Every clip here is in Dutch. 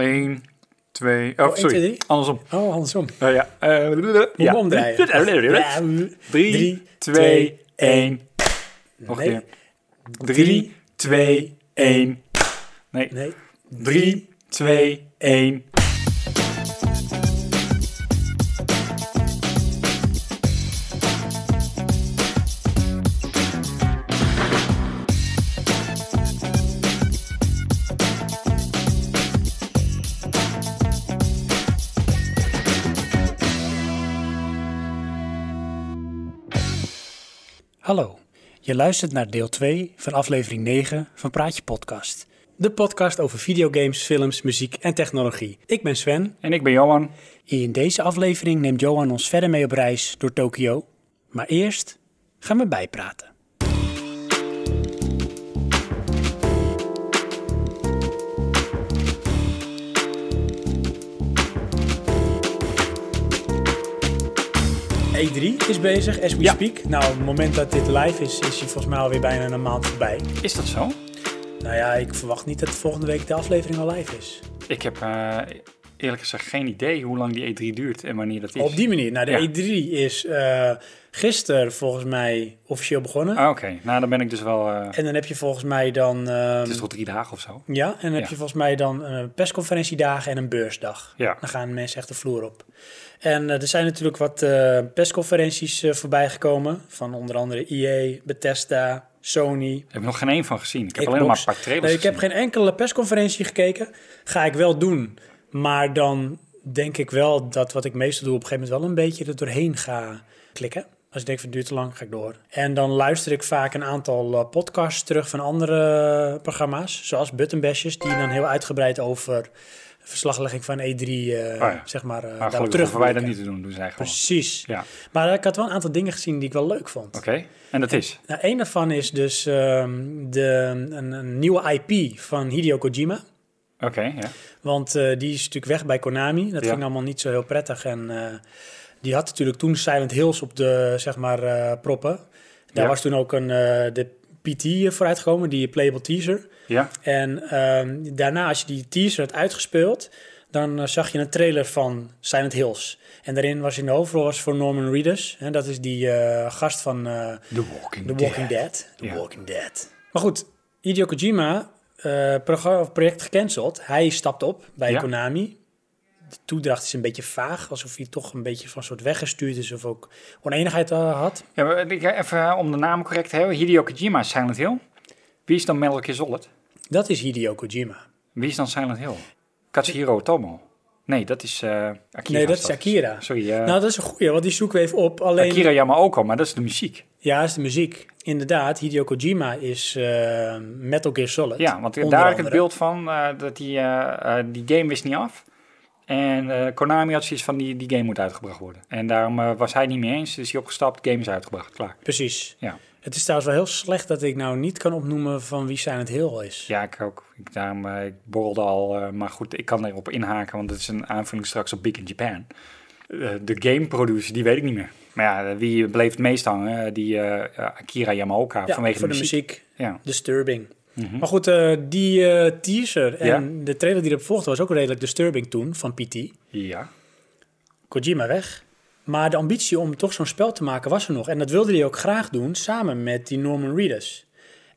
1, 2, oh, één, sorry, twee, drie? andersom. Oh, andersom. Nou ja, eh, Moet ja. me omdraaien. 3, 2, 1. Nog een Nee. keer. 3, 2, 1. Nee. Nee. 3, 2, 1. Hallo, je luistert naar deel 2 van aflevering 9 van Praatje Podcast. De podcast over videogames, films, muziek en technologie. Ik ben Sven. En ik ben Johan. In deze aflevering neemt Johan ons verder mee op reis door Tokio. Maar eerst gaan we bijpraten. E3 E is bezig, as we Ja. speak. Nou, op het moment dat dit live is, is hij volgens mij alweer bijna een maand voorbij. Is dat zo? Nou ja, ik verwacht niet dat volgende week de aflevering al live is. Ik heb eh, eerlijk gezegd geen idee hoe lang die E3 duurt en wanneer dat is. Op die manier. Nou, de Ja. E3 is eh gisteren volgens mij officieel begonnen. Ah, Oké, nou dan ben ik dus wel... eh, En dan heb je volgens mij dan... ehm, het is toch drie dagen of zo? ja, en dan heb Ja. je volgens mij dan een persconferentiedagen en een beursdag. Ja. Dan gaan mensen echt de vloer op. En eh, er zijn natuurlijk wat eh, persconferenties eh, voorbij gekomen. Van onder andere EA, Bethesda, Sony. Ik heb er nog geen één van gezien. Ik heb Xbox. alleen nog maar een paar trailers Nee, ik heb gezien. geen enkele persconferentie gekeken. Ga ik wel doen. Maar dan denk ik wel dat wat ik meestal doe op een gegeven moment wel een beetje er doorheen ga klikken. Als ik denk van het duurt te lang, ga ik door. En dan luister ik vaak een aantal eh, podcasts terug van andere eh, programma's. Zoals Buttonbashers, die dan heel uitgebreid over verslaglegging van E3, eh, Oh ja. zeg maar, eh Maar daarop gelukkig hoeven wij dat terugblikken. niet te doen. Doen zij gewoon. Precies. Ja, Maar ik had wel een aantal dingen gezien die ik wel leuk vond. oké. En dat is? Nou, een daarvan is dus ehm, de, een, een nieuwe IP van Hideo Kojima. Oké, ja. Want eh, die is natuurlijk weg bij Konami. Dat Ja. ging allemaal niet zo heel prettig. En eh, die had natuurlijk toen Silent Hills op de, zeg maar, eh, proppen. Daar Ja. was toen ook een, eh, de PT vooruitgekomen, die playable teaser. Ja, En ehm, daarna, als je die teaser had uitgespeeld, dan eh, zag je een trailer van Silent Hills. En daarin was in de hoofdrol was voor Norman Reedus. En dat is die eh, gast van... eh, The Walking The Walking Dead. The Ja. Walking Dead. Maar goed, Hideo Kojima, eh, proga- of project gecanceld. Hij stapt op bij Ja. Konami. De toedracht is een beetje vaag, alsof hij toch een beetje van soort weggestuurd is of ook oneenigheid eh, had. Ja, maar ik- even eh, om de naam correct te hebben. Hideo Kojima is Silent Hill. Wie is dan Metal Gear Solid? Dat is Hideo Kojima. Wie is dan Silent Hill? Katsuhiro Otomo. Nee, dat is eh, Akira. nee, dat is Akira. Sorry, eh, Nou, dat is een goeie, want die zoeken we even op. Alleen, Akira Yamaoka, maar dat is de muziek. ja, is de muziek. Inderdaad, Hideo Kojima is eh, Metal Gear Solid. Ja, want onder daar had ik het andere. beeld van eh, dat die, eh, eh, die game wist niet af. En eh, Konami had zoiets van die, die game moet uitgebracht worden. En daarom eh, was hij het niet mee eens, dus hij opgestapt, game is uitgebracht, klaar. Precies. Ja, Het is trouwens wel heel slecht dat ik nou niet kan opnoemen van wie Silent Hill is. ja ik ook. Ik, daarom, eh, ik borrelde al, eh, maar goed, ik kan erop inhaken, want het is een aanvulling straks op Big in Japan. Eh, de game producer, die weet ik niet meer. Maar ja, eh, wie bleef het meest hangen? Eh, die eh, eh, Akira Yamaoka, Ja, vanwege de voor muziek. de muziek. Ja. Disturbing. Mhm. Maar goed, eh, die eh, teaser en de trailer die erop volgde was ook redelijk disturbing toen van PT. ja. Kojima weg. Maar de ambitie om toch zo'n spel te maken was er nog. En dat wilde hij ook graag doen samen met die Norman Reedus.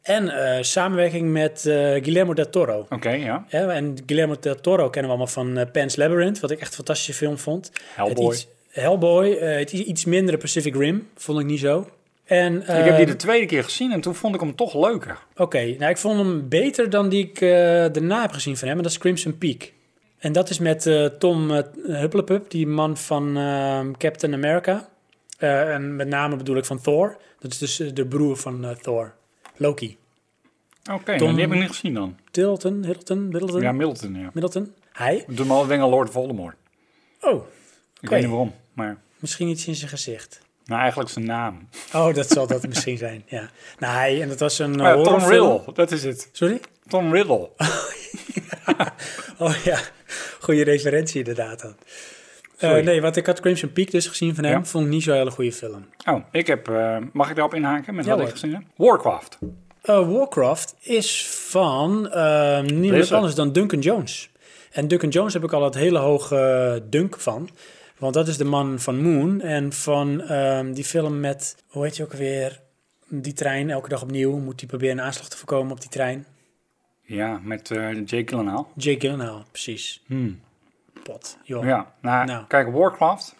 En eh, samenwerking met eh, Guillermo del Toro. Oké, ja. Hè, en Guillermo del Toro kennen we allemaal van eh Pan's Labyrinth, wat ik echt een fantastische film vond. Hellboy. Het iets, Hellboy, eh, het i- iets mindere Pacific Rim, vond ik niet zo. En, ik heb eh, die de tweede keer gezien en toen vond ik hem toch leuker. Oké, nou ik vond hem beter dan die ik eh, daarna heb gezien van hem. En dat is Crimson Peak. En dat is met eh, Tom eh, Hupplepup, die man van ehm, Captain America. Eh, en met name bedoel ik van Thor. Dat is dus eh, de broer van eh, Thor. Loki. Oké, nou, Tom- die heb ik niet gezien dan. Tilton, Hiddleton, Middleton, Ja, Middleton, ja. Middleton. Hij? Doe me al denken aan Lord Voldemort. Oh, Ik Oké. weet niet waarom, maar... misschien iets in zijn gezicht. Nou, eigenlijk zijn naam. Oh, dat zal dat misschien zijn, ja. Nou, hij, en dat was een Oh ja, Tom horrorfilm. Riddle, dat is het. Sorry? Tom Riddle. Oh ja, goede referentie inderdaad dan. Eh, Sorry. nee, want ik had Crimson Peak dus gezien van hem. Ja. Vond ik niet zo'n hele goede film. Oh, ik heb... eh, mag ik daarop inhaken met Ja, wat ik hoor. gezien heb? Warcraft. Eh, Warcraft is van eh, niemand Blizzard. anders dan Duncan Jones. En Duncan Jones heb ik al het hele hoge dunk van. Want dat is de man van Moon en van ehm, die film met, hoe heet je ook weer? Die trein, elke dag opnieuw, moet hij proberen een aanslag te voorkomen op die trein. Ja, met eh Jake Gyllenhaal. Jake Gyllenhaal, precies. Hmm. Pot, joh. Ja, nou, Nou. kijk, Warcraft,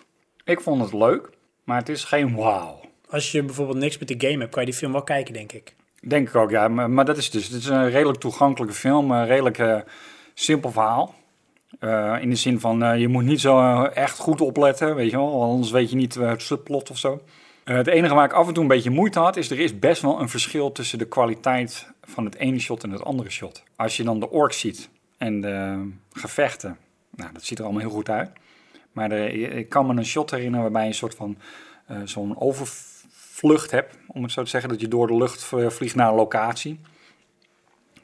ik vond het leuk, maar het is geen wauw. Als je bijvoorbeeld niks met de game hebt, kan je die film wel kijken, denk ik. Denk ik ook, ja. Maar, maar dat is dus, het is een redelijk toegankelijke film, een redelijk eh, simpel verhaal. Eh, in de zin van, eh, je moet niet zo eh, echt goed opletten, weet je wel. want Anders weet je niet eh, het subplot of zo. Eh, het enige waar ik af en toe een beetje moeite had, is er is best wel een verschil tussen de kwaliteit van het ene shot en het andere shot. Als je dan de orks ziet en de gevechten, nou, dat ziet er allemaal heel goed uit. Maar er- ik kan me een shot herinneren waarbij je een soort van eh, zo'n overvlucht hebt, om het zo te zeggen, dat je door de lucht eh, vliegt naar een locatie.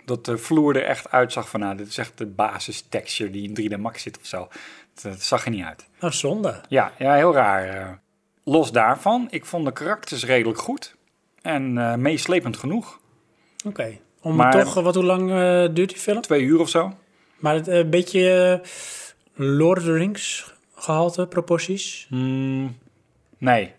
Dat de vloer er echt uitzag van, nou, dit is echt de basis texture die in 3D Max zit of zo. Dat, dat zag er niet uit. Nou, zonde. Ja, ja heel raar. eh. Los daarvan, ik vond de karakters redelijk goed en eh, meeslepend genoeg. Oké. Om Maar- toch, eh, wat, hoe lang eh, duurt die film? Twee uur of zo. Maar het, eh, een beetje eh, Lord of the Rings gehalte, proporties. Hmm, nee.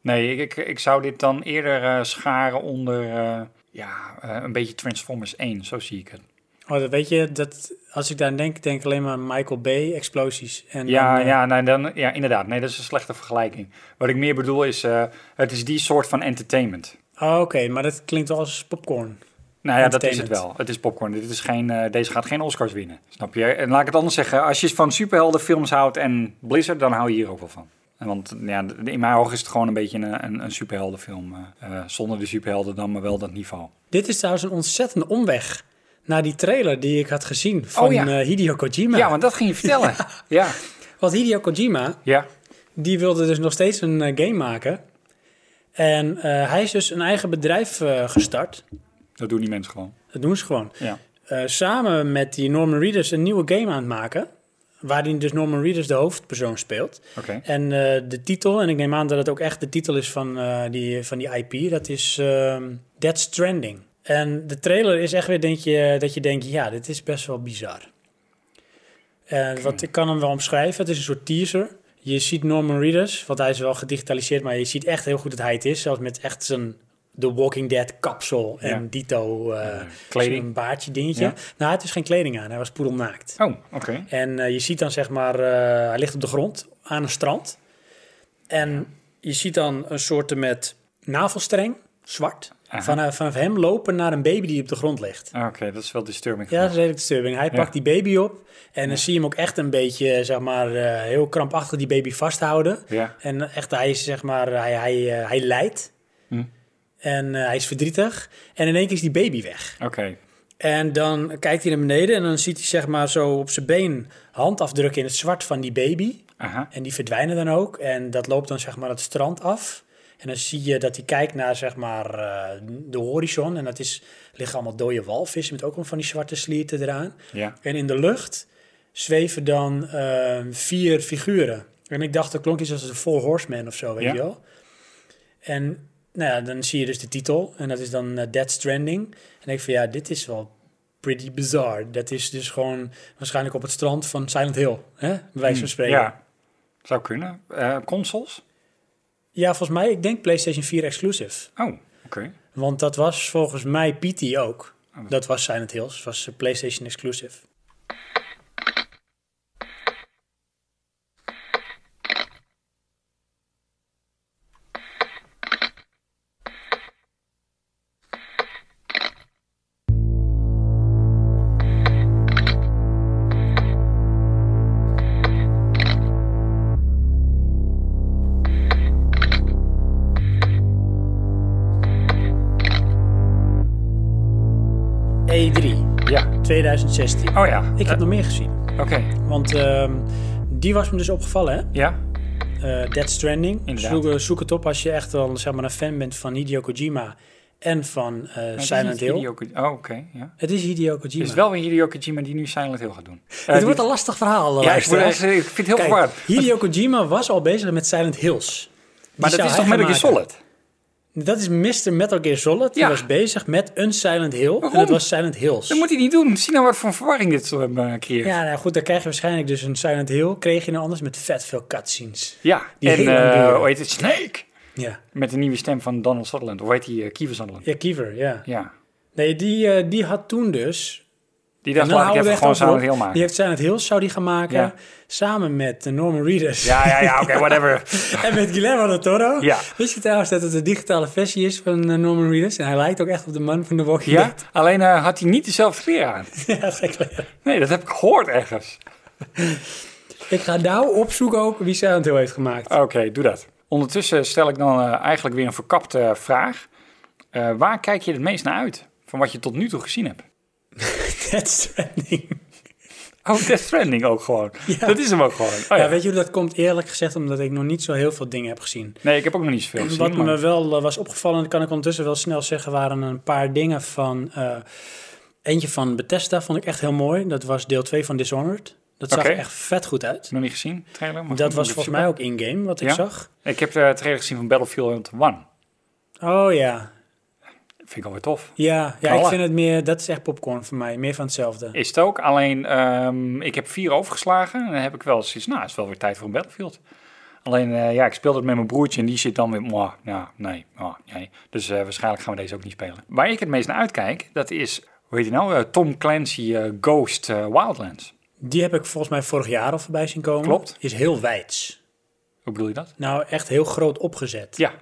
Nee, ik, ik, ik zou dit dan eerder eh, scharen onder eh, ja, eh, een beetje Transformers 1, zo zie ik het. Oh, dat weet je, dat, als ik daar aan denk, denk ik alleen maar Michael Bay, explosies. En Ja, dan, eh, ja, nee, dan, ja, inderdaad. Nee, dat is een slechte vergelijking. Wat ik meer bedoel is, eh, het is die soort van entertainment. oh, Oké, maar dat klinkt wel als popcorn. Nou ja, dat is het Entertainment. wel. Het is popcorn. Dit is geen, eh, deze gaat geen Oscars winnen, snap je? En laat ik het anders zeggen. Als je van superheldenfilms houdt en Blizzard, dan hou je hier ook wel van. Want ja, d- in mijn ogen is het gewoon een beetje een, een, een superheldenfilm. eh, eh, zonder de superhelden dan, maar wel dat niveau. Dit is trouwens een ontzettende omweg naar die trailer die ik had gezien van Oh, ja. eh, Hideo Kojima. Ja, want dat ging je vertellen. Ja, Want Hideo Kojima, ja. die wilde dus nog steeds een eh, game maken. En eh, hij is dus een eigen bedrijf eh, gestart. dat doen die mensen gewoon. Dat doen ze gewoon. Ja. eh, samen met die Norman Reedus een nieuwe game aan het maken. Waarin dus Norman Reedus de hoofdpersoon speelt. Oké. En eh, de titel, en ik neem aan dat het ook echt de titel is van, eh, die, van die IP, dat is ehm Dead Stranding. En de trailer is echt weer denk je, dat je denkt, ja, dit is best wel bizar. En wat, ik kan hem wel omschrijven, het is een soort teaser. Je ziet Norman Reedus, want hij is wel gedigitaliseerd, maar je ziet echt heel goed dat hij het is. Zelfs met echt zijn The Walking Dead kapsel en Ja. dito eh, Eh, kleding. Een baardje dingetje. Ja. Nou, het is geen kleding aan. Hij was poedelnaakt. Oh, oké. En eh, je ziet dan zeg maar... eh, hij ligt op de grond aan een strand. En je ziet dan een soort met navelstreng, zwart... Aha. Vanaf, vanaf hem lopen naar een baby die op de grond ligt. Ah, Oké, dat is wel disturbing. Ja, dat genoeg. is redelijk disturbing. Hij Ja. pakt die baby op en dan zie je hem ook echt een beetje, eh, zeg maar, eh, heel krampachtig die baby vasthouden. ja. En eh, echt, hij is zeg maar, hij, hij, eh, hij lijdt Hm. en eh, hij is verdrietig. En in één keer is die baby weg. Oké. En dan kijkt hij naar beneden en dan ziet hij zeg maar zo op zijn been handafdrukken in het zwart van die baby. Aha. En die verdwijnen dan ook. En dat loopt dan zeg maar het strand af. En dan zie je dat hij kijkt naar zeg maar eh, de horizon. En dat is, liggen allemaal dode walvissen met ook een van die zwarte slierten eraan. Ja. En in de lucht zweven dan eh, vier figuren. En ik dacht, dat klonk iets als de Four Horsemen of zo, weet Ja. je wel. En nou ja, dan zie je dus de titel. En dat is dan eh, Dead Stranding. En ik denk van, ja, dit is wel pretty bizar. Dat is dus gewoon waarschijnlijk op het strand van Silent Hill, hè? bij wijze van spreken. Hmm, Ja. Zou kunnen. Eh, consoles? Ja, volgens mij, ik denk PlayStation 4 exclusive. Oh, oké. Want dat was volgens mij PT ook. Oh. Dat was Silent Hills, was eh, PlayStation exclusive. E3, Ja. 2016. Oh ja. Ik Eh, heb nog meer gezien. Oké. Want ehm, die was me dus opgevallen, hè? Ja. nou, Eh, Dead Stranding. Inderdaad. Zoek, eh, zoek het op als je echt al zeg maar, een fan bent van Hideo Kojima en van eh, Nee, het is Silent niet Hill. Hideo Ko- Oh, oké. ja. Het is Hideo Kojima. Het is wel weer Hideo Kojima die nu Silent Hill gaat doen. Eh, het die- wordt een lastig verhaal. eh, ja, ik, word luisteraars. echt- ik vind het heel Kijk, verwaard. Hideo Kojima was al bezig met Silent Hills. Die Maar dat zou is hij toch gaan Metal Gear maken. Solid? Dat is Mr. Metal Gear Solid. Die Ja. was bezig met een Silent Hill. En Waarom? dat was Silent Hills. Dat moet hij niet doen. Zie nou wat voor verwarring dit zo hebben eh, creëert. Ja, Ja, nou goed, dan krijg je waarschijnlijk dus een Silent Hill. Kreeg je nou anders met vet veel cutscenes. Die en hele eh deur. hoe heet het? Snake! Ja. Met de nieuwe stem van Donald Sutherland. Hoe heet die? eh, Kiefer Sutherland. Ja, Kiever, ja. Ja. Nee, die, eh, die had toen dus... Die dacht, en dan laat ik houden we even echt gewoon over samen op. heel maken. Die heeft Silent Hills, zou die gaan maken. Ja. Samen met eh, Norman Reedus. Ja, ja, ja, oké, whatever. En met Guillermo del Toro. Ja. Wist je trouwens dat het een digitale versie is van eh, Norman Reedus? En hij lijkt ook echt op de man van de Walking Ja, Dead. alleen eh, had hij niet dezelfde kleren aan. Ja, gek leren. Nee, dat heb ik gehoord ergens. Ik ga nou opzoeken ook wie Silent Hill heeft gemaakt. Ah, Oké, doe dat. Ondertussen stel ik dan eh, eigenlijk weer een verkapte eh, vraag. Eh, waar kijk je het meest naar uit? Van wat je tot nu toe gezien hebt? Death Stranding. Oh, Death Stranding ook gewoon. Ja. Dat is hem ook gewoon. Oh, ja. Ja. weet je hoe dat komt? Eerlijk gezegd, omdat ik nog niet zo heel veel dingen heb gezien. Nee, ik heb ook nog niet zoveel gezien. Wat maar- me wel eh, was opgevallen, dat kan ik ondertussen wel snel zeggen, waren een paar dingen van... eh, eentje van Bethesda vond ik echt heel mooi. Dat was deel 2 van Dishonored. Dat zag Oké. er echt vet goed uit. Nog niet gezien, trailer. maar Dat goed, was moet ik volgens het mij ook in-game wat ik Ja? zag. zoeken. Ik heb eh, de trailer gezien van Battlefield 1. Oh ja. Vind ik alweer tof. Ja, ja ik Knallen. vind het meer... Dat is echt popcorn voor mij. Meer van hetzelfde. Is het ook, alleen ehm, ik heb vier overgeslagen. En dan heb ik wel eens iets, nou, is wel weer tijd voor een Battlefield. Alleen, eh, ja, ik speel dat met mijn broertje en die zit dan weer, mwah, nou, nee, mwah, nee. Dus eh, waarschijnlijk gaan we deze ook niet spelen. Waar ik het meest naar uitkijk, dat is, hoe heet die nou, Eh, Tom Clancy eh, Ghost eh, Wildlands. Die heb ik volgens mij vorig jaar al voorbij zien komen. Klopt. Is heel wijds. Hoe bedoel je dat? Nou, echt heel groot opgezet. Ja,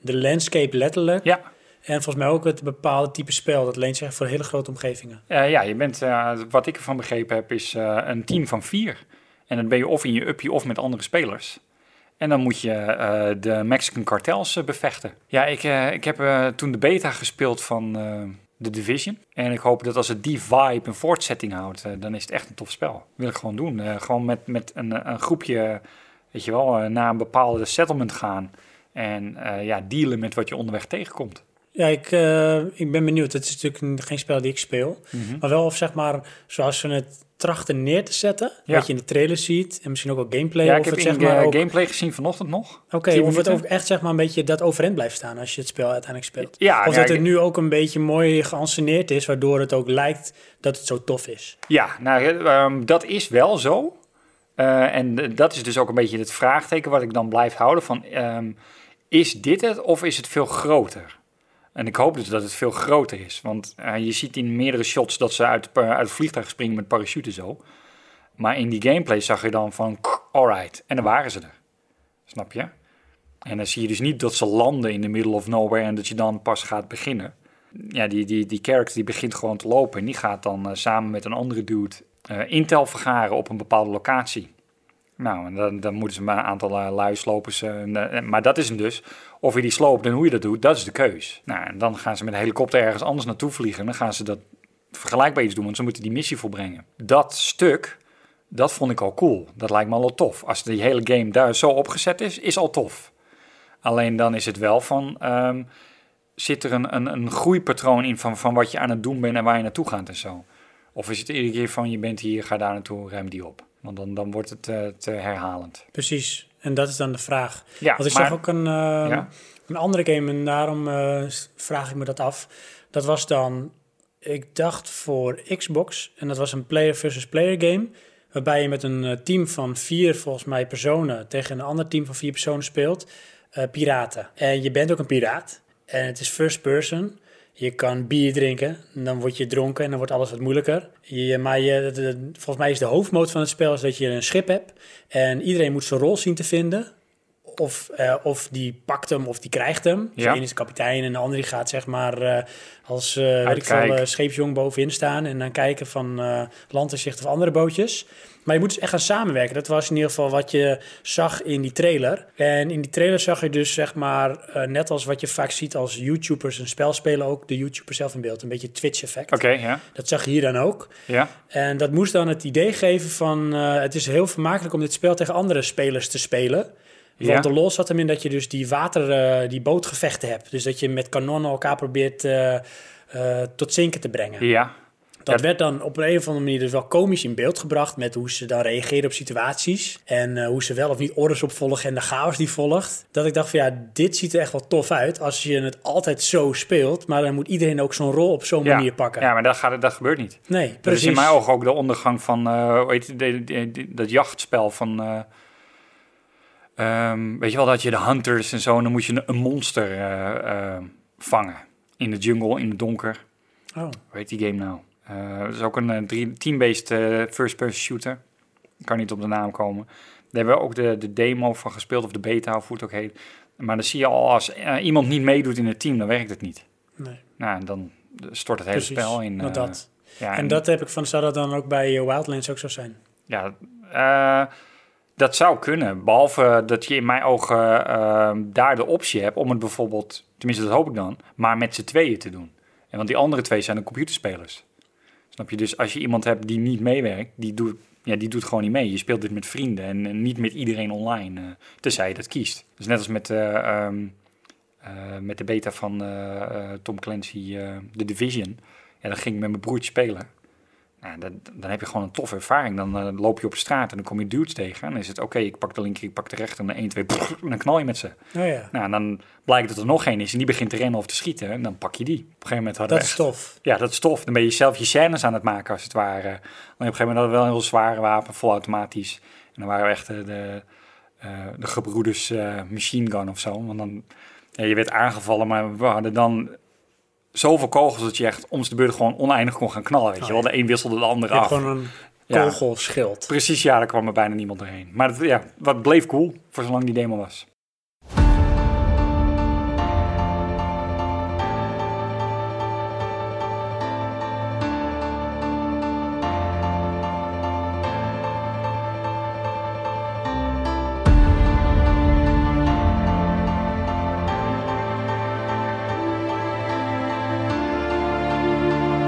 De landscape letterlijk. ja. En volgens mij ook het bepaalde type spel. Dat leent zich echt voor hele grote omgevingen. Eh, ja, je bent, eh, wat ik ervan begrepen heb, is eh, een team van vier. En dan ben je of in je uppie of met andere spelers. En dan moet je eh, de Mexican cartels eh, bevechten. Ja, ik, eh, ik heb eh, toen de beta gespeeld van eh, The Division. En ik hoop dat als het die vibe een voortzetting houdt, eh, dan is het echt een tof spel. wil ik gewoon doen. Eh, gewoon met, met een, een groepje, weet je wel, eh, naar een bepaalde settlement gaan. En eh, ja, dealen met wat je onderweg tegenkomt. Ja, ik, eh, ik ben benieuwd. Het is natuurlijk geen spel die ik speel. Maar wel of zeg maar, zoals we het trachten neer te zetten. Ja. Wat je in de trailer ziet. En misschien ook wel gameplay. ja, of ik heb het in, zeg maar eh, ook... gameplay gezien vanochtend nog. Oké, tien of het minuten. ook echt zeg maar een beetje dat overeind blijft staan als je het spel uiteindelijk speelt. Ja, nou, of ja, dat ik- het nu ook een beetje mooi geanceneerd is, waardoor het ook lijkt dat het zo tof is. Ja, nou, eh, ehm, dat is wel zo. Eh, en eh, dat is dus ook een beetje het vraagteken wat ik dan blijf houden van... ehm, is dit het of is het veel groter? En ik hoop dus dat het veel groter is. Want eh, je ziet in meerdere shots dat ze uit, het pa- uit het vliegtuig springen met parachute zo. Maar in die gameplay zag je dan van, "Kk, alright. En dan waren ze er. Snap je? En dan zie je dus niet dat ze landen in the middle of nowhere en dat je dan pas gaat beginnen ja, die, die, die character die begint gewoon te lopen. En die gaat dan eh, samen met een andere dude eh, intel vergaren op een bepaalde locatie. Nou, en dan, dan moeten ze maar een aantal eh, lui slopen. ze. En, eh, maar dat is hem dus. Of je die sloopt en hoe je dat doet, dat is de keus. Nou, en dan gaan ze met een helikopter ergens anders naartoe vliegen. En dan gaan ze dat vergelijkbaar iets doen, want ze moeten die missie volbrengen. Dat stuk, dat vond ik al cool. Dat lijkt me al tof. Als die hele game daar zo opgezet is, is al tof. Alleen dan is het wel van... ehm, zit er een, een, een groeipatroon in van, van wat je aan het doen bent en waar je naartoe gaat en zo? Of is het iedere keer van je bent hier, ga daar naartoe, ruim die op? Want dan, dan wordt het eh, te herhalend. Precies. En dat is dan de vraag. Ja, Want ik maar, zag ook een, eh, Ja. een andere game en daarom eh, s- vraag ik me dat af. Dat was dan, ik dacht voor Xbox en dat was een player versus player game. Waarbij je met een eh, team van vier, volgens mij, personen tegen een ander team van vier personen speelt. eh, piraten. En je bent ook een piraat. En het is first person. Je kan bier drinken, en dan word je dronken en dan wordt alles wat moeilijker. Je, maar je, de- de- volgens mij is de hoofdmoot van het spel is dat je een schip hebt. En iedereen moet zijn rol zien te vinden. Of, eh, of die pakt hem of die krijgt hem. Dus Ja. de een is kapitein en de ander die gaat zeg maar eh, als eh, weet ik veel, Uitkijk. eh, scheepsjong bovenin staan. En dan kijken van eh landenzicht of andere bootjes. Maar je moet dus echt gaan samenwerken. Dat was in ieder geval wat je zag in die trailer. En in die trailer zag je dus zeg maar, eh, net als wat je vaak ziet als YouTubers een spel spelen, ook de YouTuber zelf in beeld. Een beetje Twitch effect. Oké, ja. Dat zag je hier dan ook. ja. En dat moest dan het idee geven van... eh, het is heel vermakelijk om dit spel tegen andere spelers te spelen. Want Ja. de lol zat hem in dat je dus die water, eh, die bootgevechten hebt. Dus dat je met kanonnen elkaar probeert eh, eh, tot zinken te brengen. Ja, Dat werd dan op een of andere manier dus wel komisch in beeld gebracht met hoe ze dan reageren op situaties en eh, hoe ze wel of niet orders opvolgen en de chaos die volgt. Dat ik dacht van ja, dit ziet er echt wel tof uit als je het altijd zo speelt, maar dan moet iedereen ook zo'n rol op zo'n manier pakken. Ja, maar dat, gaat, dat gebeurt niet. Nee, Dat precies. is in mijn ogen ook de ondergang van eh, hoe heet het, de- de- de- dat jachtspel van. eh, ehm, weet je wel, dat je de hunters en zo, en dan moet je een- een monster eh, eh, vangen. In de jungle, in het donker. Oh, Hoe heet die game nou? Eh, dat is ook een eh, drie- team-based eh, first-person shooter. Ik kan niet op de naam komen. Daar hebben we ook de, de demo van gespeeld, of de beta, of hoe het ook heet. Maar dan zie je al, als eh, iemand niet meedoet in het team, dan werkt het niet. nee. Nou, en dan stort het hele Precies. spel in. Nou, eh, dat. ja, En dat heb ik van, zou dat dan ook bij eh, Wildlands ook zo zijn? Ja, eh, dat zou kunnen. Behalve dat je in mijn ogen eh, daar de optie hebt om het bijvoorbeeld, tenminste dat hoop ik dan, maar met z'n tweeën te doen. En want die andere twee zijn de computerspelers. Snap je? Dus als je iemand hebt die niet meewerkt, die doet, ja, die doet gewoon niet mee. Je speelt dit met vrienden en, en niet met iedereen online, eh tenzij je dat kiest. Dus net als met, eh, ehm, eh, met de beta van eh, eh, Tom Clancy, eh, The Division. Ja, dan ging ik met mijn broertje spelen. Nou, dat, dan heb je gewoon een toffe ervaring. Dan eh, loop je op straat en dan kom je dudes tegen. En dan is het oké, ik pak de linker, ik pak de rechter. En dan 1, 2, en dan knal je met ze. Oh ja, Nou, en dan blijkt dat er nog één is. En die begint te rennen of te schieten. En dan pak je die. Op een gegeven moment hadden dat we is echt- tof. Ja, dat is tof. Dan ben je zelf je scènes aan het maken, als het ware. Maar op een gegeven moment hadden we wel een heel zware wapen, volautomatisch. En dan waren we echt eh, de, eh, de gebroeders eh, machine gun of zo. Want dan, ja, je werd aangevallen, maar we hadden dan zoveel kogels... dat je echt om de beurt gewoon oneindig kon gaan knallen, weet Oh, je wel. ja. De een wisselde de ander Je hebt af. gewoon een Ja. kogelschild. Precies, ja, daar kwam er bijna niemand doorheen. Maar dat, ja, wat bleef cool, voor zolang die demo was.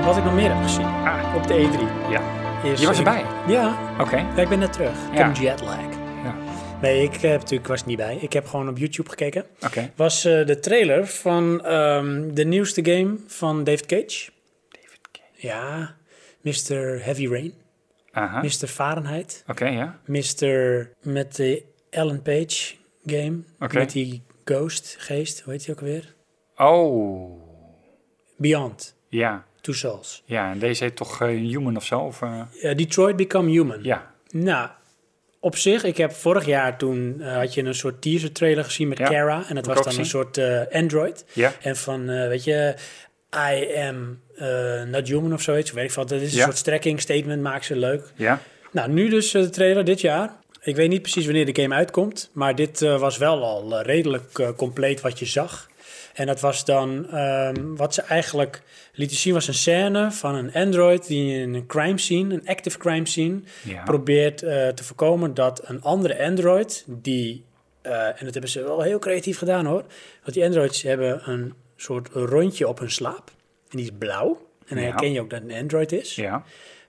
Wat ik nog meer heb gezien Ah, op de E3 ja. is... Je was eh, erbij? Ja, Oké. Ja, ik ben net terug. Ik Ja. heb een jetlag. Ja. Nee, ik, heb natuurlijk, ik was er niet bij. Ik heb gewoon op YouTube gekeken. Oké. Was eh, de trailer van ehm, de nieuwste game van David Cage. David Cage. Ja, Mr. Heavy Rain. Aha. Oké, Mr. Fahrenheit. ja. Mr. met de Ellen Page game. Oké. Met die ghost, geest, hoe heet die ook weer? Oh, Beyond, ja. Two Souls. Ja, en deze heet toch eh, Human of zo? Of, eh, Eh, Detroit Become Human. ja. Nou, op zich, ik heb vorig jaar toen eh, had je een soort teaser trailer gezien met Ja, Kara. En dat ik was ook dan gezien. een soort eh, android. Ja. En van, eh, weet je, I am eh, not human of zoiets. Weet ik veel. Dat is een Ja. soort strekking statement, maakt ze leuk. Ja. Nou, nu dus eh, de trailer dit jaar. Ik weet niet precies wanneer de game uitkomt. Maar dit eh, was wel al eh, redelijk eh, compleet wat je zag. En dat was dan, ehm, wat ze eigenlijk lieten zien was een scène van een android die in een crime scene, een active crime scene, Ja. probeert eh, te voorkomen dat een andere Android, die, eh, en dat hebben ze wel heel creatief gedaan hoor, want die Androids hebben een soort rondje op hun slaap. En die is blauw. En dan Ja. herken je ook dat het een Android is. ja.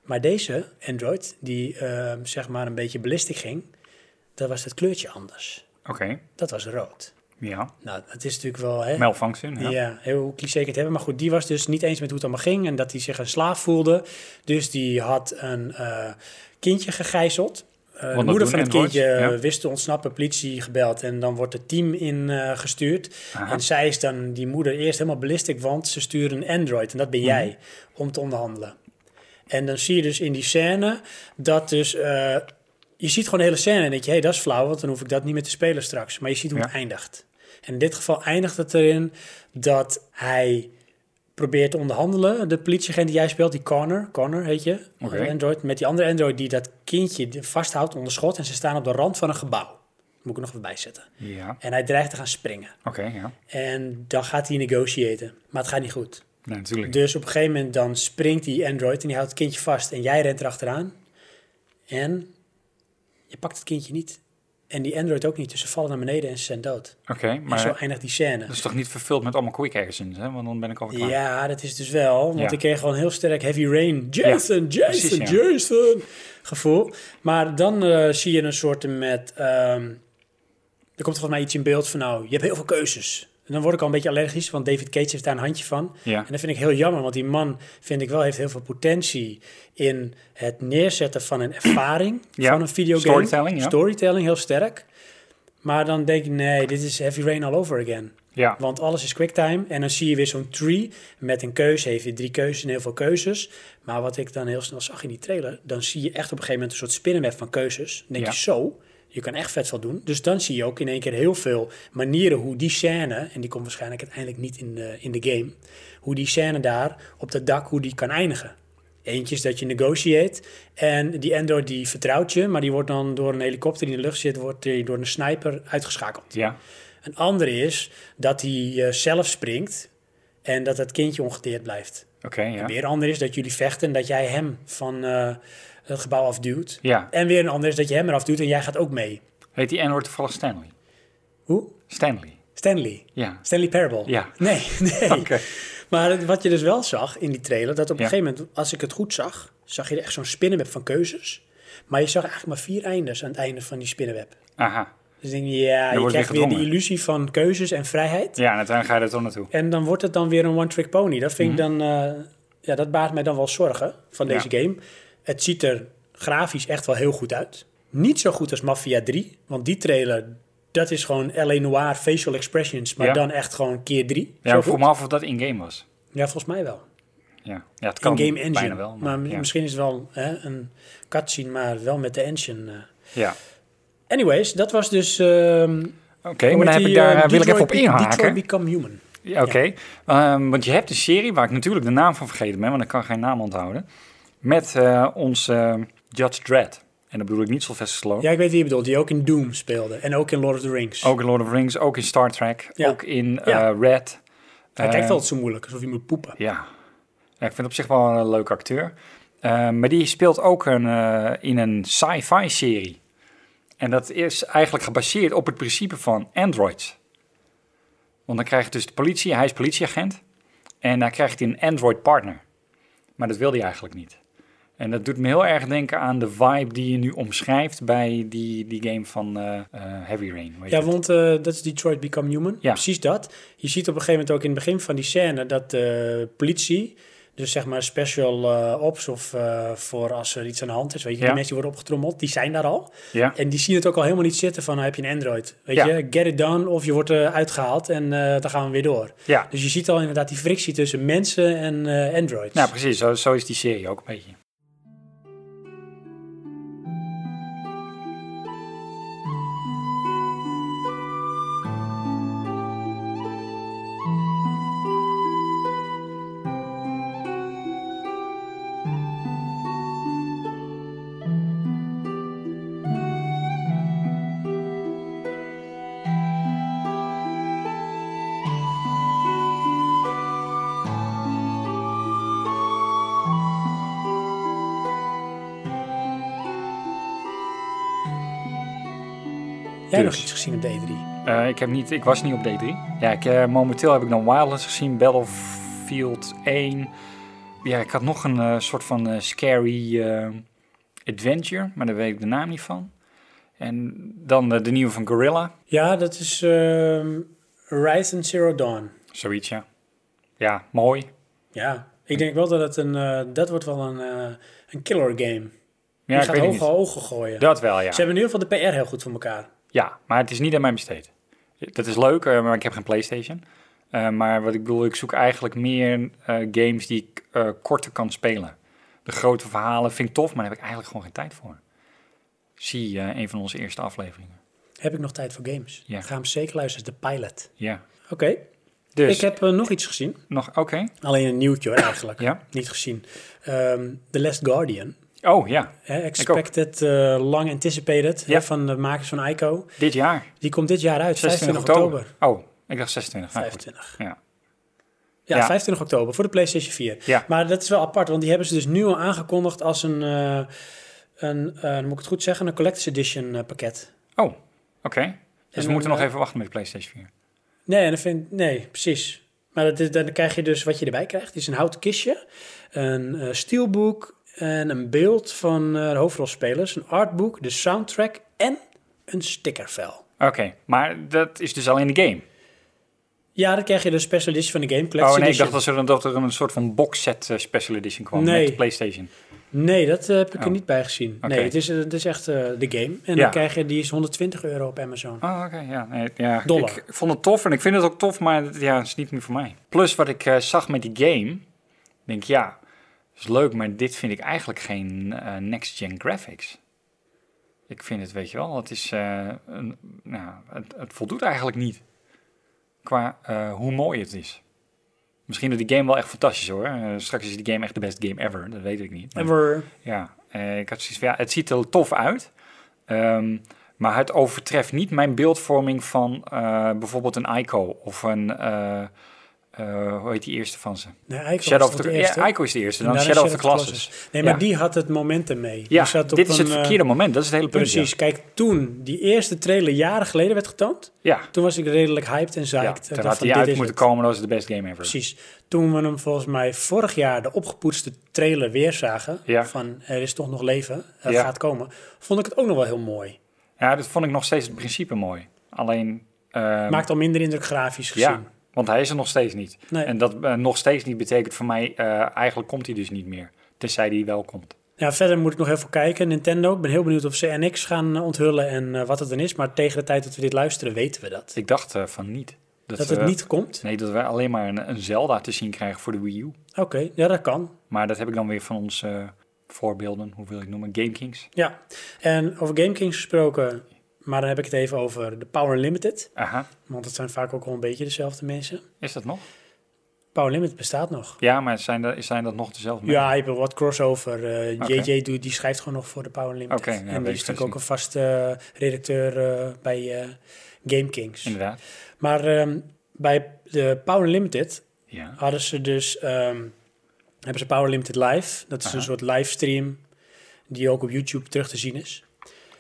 Maar deze Android, die eh, zeg maar een beetje ballistic ging, daar was het kleurtje anders. Oké. Dat was rood. Ja. Nou, dat is natuurlijk wel. Hè? Malfunction. Ja, Ja. heel cliché ik het hebben. Maar goed, die was dus niet eens met hoe het allemaal ging en dat hij zich een slaaf voelde. Dus die had een eh, kindje gegijzeld. Eh, dat de moeder doen van het androids, kindje eh, ja. wist te ontsnappen, politie gebeld en dan wordt het team ingestuurd. Aha. en zij is dan die moeder eerst helemaal ballistic, want ze sturen een android en dat Mhm. ben jij om te onderhandelen. En dan zie je dus in die scène dat dus... eh, je ziet gewoon de hele scène en denk je... hé, dat is flauw, want dan hoef ik dat niet meer te spelen straks. Maar je ziet hoe het Ja. eindigt. En in dit geval eindigt het erin dat hij probeert te onderhandelen. De politieagent die jij speelt, die Connor, Connor heet je, Oké. een Android, met die andere Android die dat kindje vasthoudt onder schot en ze staan op de rand van een gebouw. Moet ik er nog even bij zetten. Ja. En hij dreigt te gaan springen. Oké, ja. En dan gaat hij negotiëren, maar het gaat niet goed. Nee, Nou, natuurlijk. Dus op een gegeven moment dan springt die Android en die houdt het kindje vast en jij rent erachteraan. En je pakt het kindje niet. En die Android ook niet. Dus ze vallen naar beneden en ze zijn dood. Oké, en zo maar eindigt die scène. dat is toch niet vervuld met allemaal quick actions, hè? Want dan ben ik alweer klaar. Ja, dat is dus wel. Want Ja. ik kreeg gewoon heel sterk Heavy Rain. Jason, Jason, precies, ja. Jason. Gevoel. Maar dan eh, zie je een soort met... ehm, er komt volgens mij iets in beeld van nou, je hebt heel veel keuzes. En dan word ik al een beetje allergisch, want David Cage heeft daar een handje van. Ja. En dat vind ik heel jammer, want die man, vind ik wel, heeft heel veel potentie in het neerzetten van een ervaring Ja, van een videogame. storytelling, ja. Storytelling, heel sterk. Maar dan denk ik, nee, dit is Heavy Rain all over again. Ja. Want alles is quicktime. En dan zie je weer zo'n tree met een keuze. Heeft je drie keuzes en heel veel keuzes. Maar wat ik dan heel snel zag in die trailer... dan zie je echt op een gegeven moment een soort spinnenweb van keuzes. Dan denk Ja. je zo, je kan echt vet veel doen. Dus dan zie je ook in één keer heel veel manieren hoe die scène... en die komt waarschijnlijk uiteindelijk niet in de, in de game... hoe die scène daar op dat dak, hoe die kan eindigen. Eentje is dat je negotiate en die Endor die vertrouwt je... maar die wordt dan door een helikopter die in de lucht zit... wordt die door een sniper uitgeschakeld. Ja. Een andere is dat hij eh, zelf springt en dat het kindje ongedeerd blijft. Oké, ja. Weer een ander is dat jullie vechten en dat jij hem van eh, het gebouw afduwt. Ja. En weer een ander is dat je hem eraf duwt en jij gaat ook mee. Heet die N-woord toevallig Stanley? Hoe? Stanley. Stanley. Ja. Stanley Parable. Ja. Nee, nee. Oké. Maar het- wat je dus wel zag in die trailer, dat op een Ja. gegeven moment, als ik het goed zag, zag je er echt zo'n spinnenweb van keuzes. Maar je zag eigenlijk maar vier eindes aan het einde van die spinnenweb. Aha. Dus ik denk, ja, je wordt krijgt weer weer die gedwongen. illusie van keuzes en vrijheid. Ja, en uiteindelijk ga je er toch naartoe. En dan wordt het dan weer een one-trick pony. Dat vind Mhm. ik dan, eh, ja, dat baart mij dan wel zorgen van deze game. Het ziet er grafisch echt wel heel goed uit. Niet zo goed als Mafia 3, want die trailer, dat is gewoon L.A. Noir facial expressions, maar Ja. dan echt gewoon keer drie. Ja, Zo ik vroeg goed. me af of dat in-game was. ja volgens mij wel. Ja, ja het kan In game engine. bijna wel. maar ja. misschien is het wel hè, een cutscene, maar wel met de engine. eh. Ja. Anyways, dat was dus. ehm Oké, maar dan heb ik daar, eh, wil ik even op inhaken. eh, Detroit Become Human. Ja, Oké, Ehm, want je hebt een serie waar ik natuurlijk de naam van vergeten ben, want ik kan geen naam onthouden. Met eh onze eh, Judge Dredd. En dat bedoel ik niet Sylvester Stallone. Ja, ik weet wie je bedoelt. Die ook in Doom speelde en ook in Lord of the Rings. Ook in Lord of the Rings, ook in Star Trek, Ja. ook in Ja. eh, Red. Hij Eh, kijkt altijd zo moeilijk, alsof hij moet poepen. Ja. ja, ik vind op zich wel een leuk acteur. Eh, maar die speelt ook een, eh, in een sci-fi serie. En dat is eigenlijk gebaseerd op het principe van androids. Want dan krijgt dus de politie, hij is politieagent. En dan krijgt hij een android partner. Maar dat wil hij eigenlijk niet. En dat doet me heel erg denken aan de vibe die je nu omschrijft bij die, die game van eh, eh, Heavy Rain. Weet Ja, het? want eh, dat is Detroit Become Human. Ja. Precies dat. Je ziet op een gegeven moment ook in het begin van die scène dat de politie, dus zeg maar special eh, ops of eh, voor als er iets aan de hand is, weet je, Ja. die mensen die worden opgetrommeld, die zijn daar al. ja. En die zien het ook al helemaal niet zitten van, nou, heb je een Android? Weet Ja. je, get it done of je wordt eh, uitgehaald en eh, dan gaan we weer door. ja. Dus je ziet al inderdaad die frictie tussen mensen en eh, Androids. Nou, precies. Zo, zo is die serie ook een beetje. Jij nog dus. iets gezien op de E E3? Eh, ik, heb niet, ik was niet op D3. Ja, ik, eh, momenteel heb ik dan Wildlands gezien, Battlefield 1. Ja, ik had nog een eh, soort van eh, scary eh, adventure, maar daar weet ik de naam niet van. En dan eh, de nieuwe van Gorilla, Ja, dat is ehm Rise and Zero Dawn. zoiets ja. Ja, mooi. Ja, ik denk wel dat het een... eh, dat wordt wel een, eh, een killer game. Ja, Die ik gaat weet het hoge niet. ogen gooien. Dat wel, ja. Ze hebben in ieder geval de PR heel goed voor elkaar. Ja, maar het is niet aan mij besteed. Dat is leuk, eh, maar ik heb geen PlayStation. Eh, maar wat ik bedoel, ik zoek eigenlijk meer eh, games die ik eh, korter kan spelen. De grote verhalen vind ik tof, maar daar heb ik eigenlijk gewoon geen tijd voor. Zie eh, een van onze eerste afleveringen. Heb ik nog tijd voor games? Ja. Ga hem zeker luisteren, de pilot. Ja. Oké, Dus ik heb eh, nog iets gezien. nog, oké. Alleen een nieuwtje hoor, eigenlijk. Ja. Niet gezien. Ehm, The Last Guardian. Oh ja, Hè, expected, eh, long anticipated. hè, Ja. van de makers van Ico. dit jaar. Die komt dit jaar uit, 26 25 oktober. oktober. Oh, ik dacht 26. maar goed. 25. Ja. Ja, Ja. 25 oktober voor de PlayStation 4. Ja. Maar dat is wel apart, want die hebben ze dus nu al aangekondigd als een, eh, een eh, moet ik het goed zeggen, een Collector's Edition eh, pakket. Oh, oké. Dus we dan, moeten nog eh, even wachten met de PlayStation 4. Nee, en dat vind, nee precies. Maar dat is, dan krijg je dus wat je erbij krijgt. is een houten kistje, een eh stielboek en een beeld van eh, de hoofdrolspelers, een artboek, de soundtrack en een stickervel. Oké, maar dat is dus al in de game. Ja, dan krijg je de special edition van de game. Oh Collector's nee, ik dacht Edition. dat er, dat er een soort van box set eh, special edition kwam Nee. met PlayStation. Nee, dat eh, heb ik er Oh. niet bij gezien. Oké. Nee, het is, eh, het is echt eh, de game. En Ja. dan krijg je, die is 120 euro op Amazon. Oh, oké, ja. Nee, ja. Dollar. Ik vond het tof en ik vind het ook tof, maar het- ja, het is niet meer voor mij. Plus wat ik eh, zag met die game, denk ik, ja, is leuk, maar dit vind ik eigenlijk geen eh, next-gen graphics. Ik vind het, weet je wel, het is, eh, een, nou, het, het voldoet eigenlijk niet qua eh, hoe mooi het is. Misschien dat die game wel echt fantastisch is, hoor. Eh, straks is die game echt de best game ever, dat weet ik niet. Maar- En we ja, eh, ik had zoiets van, ja, het ziet er tof uit. Ehm, maar het overtreft niet mijn beeldvorming van eh, bijvoorbeeld een Ico of een, eh, eh, hoe heet die eerste van ze? nee, Ico Shadow was of dat the, de eerste. ja, Ico is de eerste, En dan daarna Shadow of the Classes. Nee, maar Ja. die had het momentum mee. Die Ja, zat op dit is het een, eh, verkeerde moment, dat is het hele punt. ja. Precies, kijk, toen die eerste trailer jaren geleden werd getoond, Ja, toen was ik redelijk hyped en ja, psyched. Ik terwijl dacht had eh, van, die dit uit is moeten het. komen, dat was de best game ever. Precies. Toen we hem volgens mij vorig jaar de opgepoetste trailer weer zagen, Ja. van er is toch nog leven, er Ja. gaat komen, vond ik het ook nog wel heel mooi. Ja, dat vond ik nog steeds het principe mooi. Alleen, ehm, Maakt al minder indruk grafisch gezien. ja, want hij is er nog steeds niet. Nee. En dat eh, nog steeds niet betekent voor mij, eh, eigenlijk komt hij dus niet meer. Tenzij hij wel komt. Ja, verder moet ik nog heel veel kijken. Nintendo, ik ben heel benieuwd of ze NX gaan eh, onthullen en eh, wat het dan is. Maar tegen de tijd dat we dit luisteren weten we dat. Ik dacht eh, van niet. Dat, Dat het we- niet komt. Nee, dat we alleen maar een, een Zelda te zien krijgen voor de Wii U. Oké, ja dat kan. Maar dat heb ik dan weer van onze eh, voorbeelden, hoe wil ik noemen, GameKings. Ja, en over Game Kings gesproken, maar dan heb ik het even over de Power Limited. Aha, Want het zijn vaak ook wel een beetje dezelfde mensen. is dat nog? Power Limited bestaat nog. Ja, maar zijn dat, zijn dat nog dezelfde mensen? Ja, je hebt wat crossover. Eh, Oké. JJ doet, die schrijft gewoon nog voor de Power Limited. Oké, ja, weet en ik die is dus natuurlijk ook een vaste eh, redacteur eh, bij eh Game Kings. Inderdaad. Maar ehm, bij de Power Limited Ja. hadden ze dus ehm, hebben ze Power Limited Live. Dat is Aha. een soort livestream die ook op YouTube terug te zien is.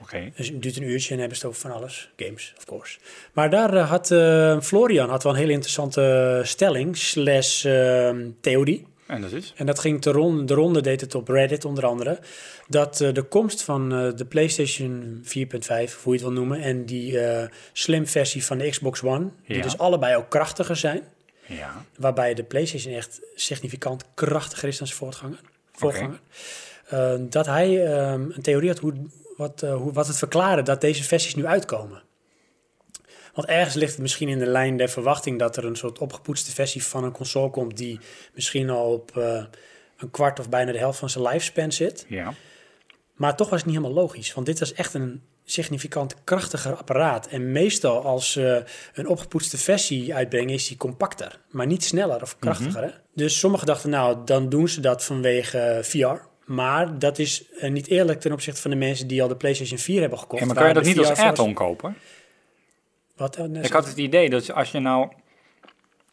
Oké. Dus het duurt een uurtje en hebben ze het over van alles. Games, of course. Maar daar eh, had eh, Florian had wel een hele interessante stelling slash ehm, theorie. En dat is? En dat ging de ronde, de ronde deed het op Reddit onder andere. Dat eh, de komst van eh, de PlayStation 4.5, of hoe je het wil noemen, en die eh, slim versie van de Xbox One, die Ja. dus allebei ook krachtiger zijn, Ja. waarbij de PlayStation echt significant krachtiger is dan zijn voortganger. voorganger. Eh, dat hij ehm, een theorie had hoe, wat, eh, hoe, wat het verklaren dat deze versies nu uitkomen. Want ergens ligt het misschien in de lijn der verwachting dat er een soort opgepoetste versie van een console komt die misschien al op eh, een kwart of bijna de helft van zijn lifespan zit. Ja. Maar toch was het niet helemaal logisch, want dit was echt een significant krachtiger apparaat. En meestal als ze een opgepoetste versie uitbrengen, is die compacter, maar niet sneller of krachtiger. Mhm. hè? Dus sommigen dachten, nou, dan doen ze dat vanwege eh, VR. Maar dat is eh, niet eerlijk ten opzichte van de mensen die al de PlayStation 4 hebben gekocht. En maar kan je waar dat de niet als VR voor- add-on kopen? Wat? eh, nee, Ik had het idee dat als je nou...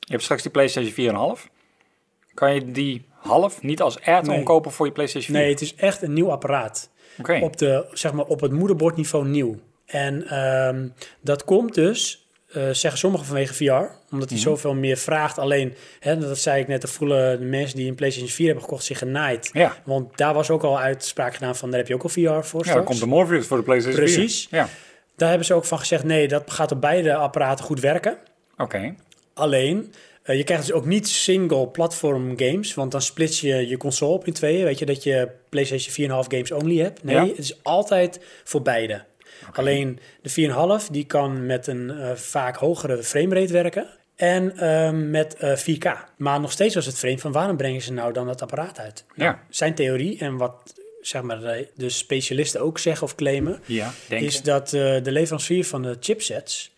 Je hebt straks die PlayStation 4,5. Kan je die half niet als add-on Nee. kopen voor je PlayStation 4? nee, het is echt een nieuw apparaat. Oké. op, de, zeg maar, op het moederbordniveau nieuw. En ehm, dat komt dus, eh, zeggen sommigen vanwege VR, omdat Mhm. hij zoveel meer vraagt. Alleen, hè, dat zei ik net, er voelen de mensen die een PlayStation 4 hebben gekocht zich genaaid. Ja. Want daar was ook al uitspraak gedaan van, daar heb je ook al VR voor Ja, dan straks. komt de Morpheus voor de PlayStation 4. Precies. Ja. Daar hebben ze ook van gezegd, nee, dat gaat op beide apparaten goed werken. Oké. Alleen, eh, je krijgt dus ook niet single platform games, want dan splits je je console op in tweeën. Weet je dat je PlayStation 4,5 games only hebt? Nee, Ja. het is altijd voor beide. Alleen de 4,5 die kan met een eh, vaak hogere framerate werken en eh, met eh, 4K. Maar nog steeds was het vreemd van waarom brengen ze nou dan dat apparaat uit? Ja. Zijn theorie en wat zeg maar, de- de specialisten ook zeggen of claimen, Ja, denk is ik. dat eh, de leverancier van de chipsets,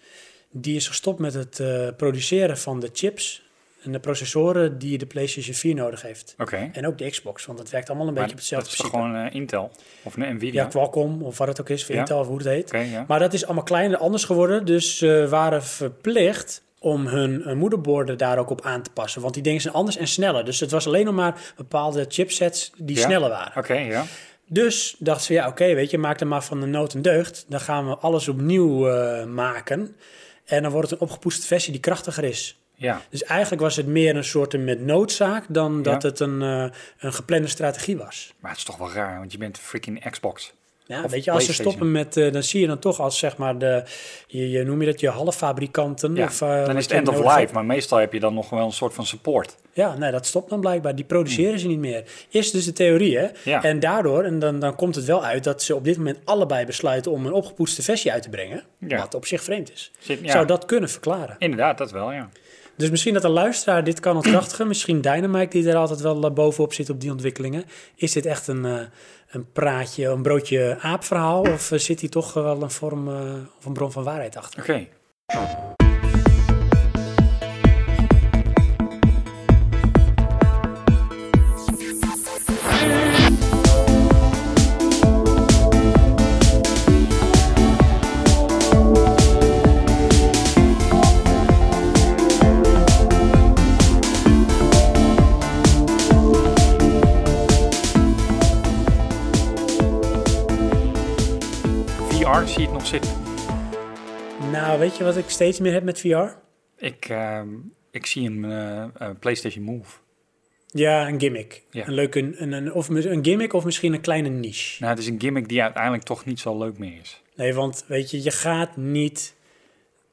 die is gestopt met het eh, produceren van de chips en de processoren die de PlayStation 4 nodig heeft. Oké. En ook de Xbox, want het werkt allemaal een beetje op Maar hetzelfde dat is toch principe. gewoon eh, Intel of een Nvidia? Ja, Qualcomm of wat het ook is, Ja. Intel of hoe het heet. Oké, ja. Maar dat is allemaal kleiner anders geworden, dus ze waren verplicht om hun eh, moederborden daar ook op aan te passen. Want die dingen zijn anders en sneller. Dus het was alleen nog maar bepaalde chipsets die Ja. sneller waren. Oké, ja. Dus dachten ze, ja oké, weet je, maak er maar van de nood een deugd. Dan gaan we alles opnieuw eh, maken. En dan wordt het een opgepoetste versie die krachtiger is. Ja, Dus eigenlijk was het meer een soort met noodzaak dan dat het een, eh, een geplande strategie was. maar het is toch wel raar, want je bent freaking Xbox. Ja, Of weet je, als ze PlayStation. stoppen met, eh, dan zie je dan toch als zeg maar de, je, je noem je dat, je halffabrikanten. Ja, of, eh, wat dan is het je end of nodig hebt. life, maar meestal heb je dan nog wel een soort van support. Ja, nee, dat stopt dan blijkbaar. Die produceren ze niet meer. Is dus de theorie, hè? Ja. En daardoor, en dan, dan komt het wel uit dat ze op dit moment allebei besluiten om een opgepoetste versie uit te brengen. Ja. Wat op zich vreemd is. Zit- ja. Zou dat kunnen verklaren? Inderdaad, dat wel, ja. Dus misschien dat de luisteraar dit kan ontkrachtigen. misschien Dynamite, die er altijd wel eh, bovenop zit op die ontwikkelingen. Is dit echt een, eh, een praatje, een broodje aapverhaal? Of eh, zit hier toch eh, wel een vorm eh, of een bron van waarheid achter? Oké. VR zie je het nog zitten. Nou, weet je wat ik steeds meer heb met VR? Ik, ehm, ik zie een eh, eh, PlayStation Move. Ja, een gimmick. Ja. Een leuke, een, een, of mis- een gimmick of misschien een kleine niche. Nou, het is een gimmick die uiteindelijk toch niet zo leuk meer is. Nee, want weet je, je gaat niet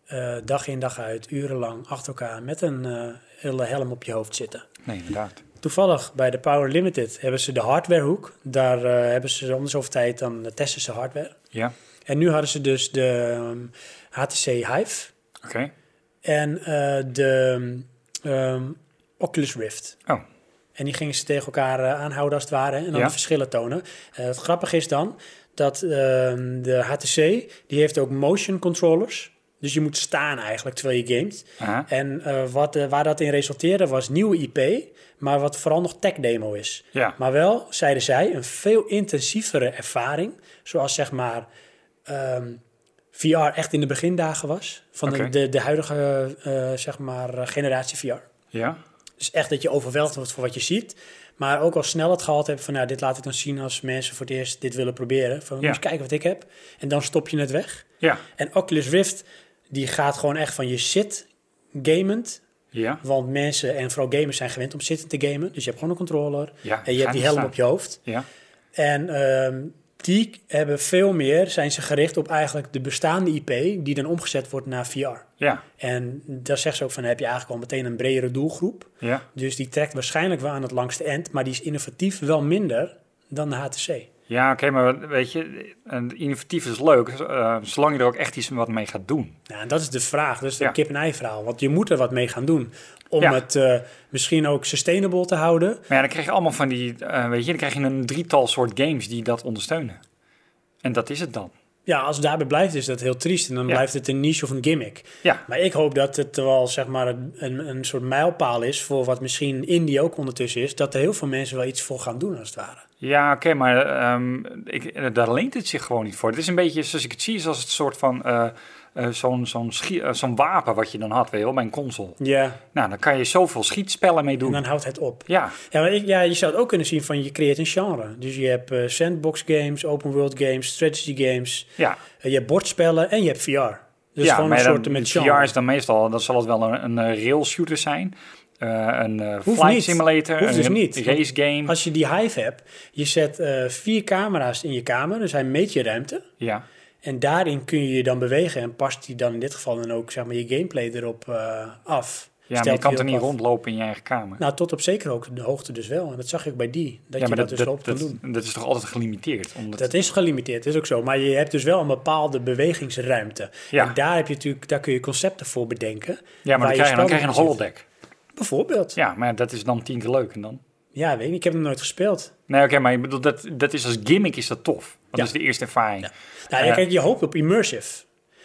eh, dag in dag uit, urenlang achter elkaar met een eh, hele helm op je hoofd zitten. Nee, inderdaad. Toevallig bij de Power Limited hebben ze de hardwarehoek. Daar eh, hebben ze om de zoveel tijd dan eh, testen ze hardware. Ja, En nu hadden ze dus de ehm, HTC Hive oké. en eh, de ehm, Oculus Rift. Oh. En die gingen ze tegen elkaar eh, aanhouden als het ware en dan Ja. de verschillen tonen. Eh, het grappige is dan dat ehm, de HTC die heeft ook motion controllers. Dus je moet staan eigenlijk terwijl je gamet. Aha. En eh, wat, eh, waar dat in resulteerde was nieuwe IP, maar wat vooral nog tech-demo is. Ja, Maar wel, zeiden zij, een veel intensievere ervaring. Zoals zeg maar ehm, VR echt in de begindagen was. Van Oké. de, de, de huidige eh, zeg maar, eh, generatie VR. ja. Dus echt dat je overweldigd wordt voor wat je ziet. Maar ook al snel het gehad hebt van, nou, dit laat ik dan zien als mensen voor het eerst dit willen proberen. Van, Ja. eens kijken wat ik heb. En dan stop je het weg. Ja, En Oculus Rift, die gaat gewoon echt van je zit gamend. ja. Want mensen en vooral gamers zijn gewend om zitten te gamen. Dus je hebt gewoon een controller. ja. En je hebt die helm op je hoofd. Ja, En ehm, die hebben veel meer, zijn ze gericht op eigenlijk de bestaande IP, die dan omgezet wordt naar VR. ja, En daar zegt ze ook van, dan heb je eigenlijk al meteen een bredere doelgroep. ja. Dus die trekt waarschijnlijk wel aan het langste end, maar die is innovatief wel minder dan de HTC. Ja, oké, maar weet je, een innovatief is leuk, eh, zolang je er ook echt iets wat mee gaat doen. Nou, en dat is de vraag, dat is de Ja. kip-en-ei verhaal. Want je moet er wat mee gaan doen om Ja. het eh, misschien ook sustainable te houden. Maar ja, dan krijg je allemaal van die, eh, weet je, dan krijg je een drietal soort games die dat ondersteunen. En dat is het dan. Ja, als het daarbij blijft is dat heel triest en dan Ja. blijft het een niche of een gimmick. Ja, Maar ik hoop dat het wel zeg maar een, een- een soort mijlpaal is voor wat misschien Indie ook ondertussen is. Dat er heel veel mensen wel iets voor gaan doen als het ware. ja oké, maar ehm, ik, daar leent het zich gewoon niet voor. Het is een beetje, zoals ik het zie, is als het soort van eh, eh, zo'n zo'n schie- eh, zo'n wapen wat je dan had, weet je wel, bij een console. Ja. Nou, dan kan je zoveel schietspellen mee En doen. dan houdt het op. Ja, Ja, maar ik, ja, je zou het ook kunnen zien van je creëert een genre. Dus je hebt eh, sandbox games, open world games, strategy games. ja. Eh, je hebt bordspellen en je hebt VR. Dus gewoon een maar soort dan- met VR genre. is dan meestal, dan zal het wel een, een eh, rail shooter zijn. eh, een eh, Hoeft flight niet. simulator, Hoeft een dus ra- niet. race game. Als je die hive hebt, je zet eh, vier camera's in je kamer, dus hij meet je ruimte. Ja, En daarin kun je je dan bewegen en past die dan in dit geval dan ook zeg maar, je gameplay erop eh, af. ja maar Stelt je kan die er op niet af. rondlopen in je eigen kamer. Nou, tot op zekere ook de hoogte dus wel. En dat zag ik bij die, dat ja, je maar dat, dus wel op kan dat, doen. dat is toch altijd gelimiteerd? Omdat, Dat is gelimiteerd, is ook zo. Maar je hebt dus wel een bepaalde bewegingsruimte. Ja. En daar, heb je natuurlijk, daar kun je concepten voor bedenken. ja, maar waar dan je krijg, je, dan spel krijg je een in zit. holodeck. Bijvoorbeeld. Ja, Ja, maar dat is dan tien keer leuk. En dan? weet ik niet. Ik heb hem nooit gespeeld. Nee, oké, maar ik bedoel, dat, dat is als gimmick is dat tof. Want Ja. dat is de eerste ervaring. Ja. Ja, Nou, Ja. kijk, je hoopt op immersive.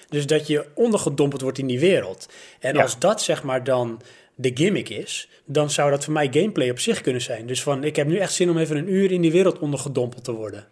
Dus dat je ondergedompeld wordt in die wereld. En Ja. als dat zeg maar dan de gimmick is, dan zou dat voor mij gameplay op zich kunnen zijn. Dus van, ik heb nu echt zin om even een uur in die wereld ondergedompeld te worden.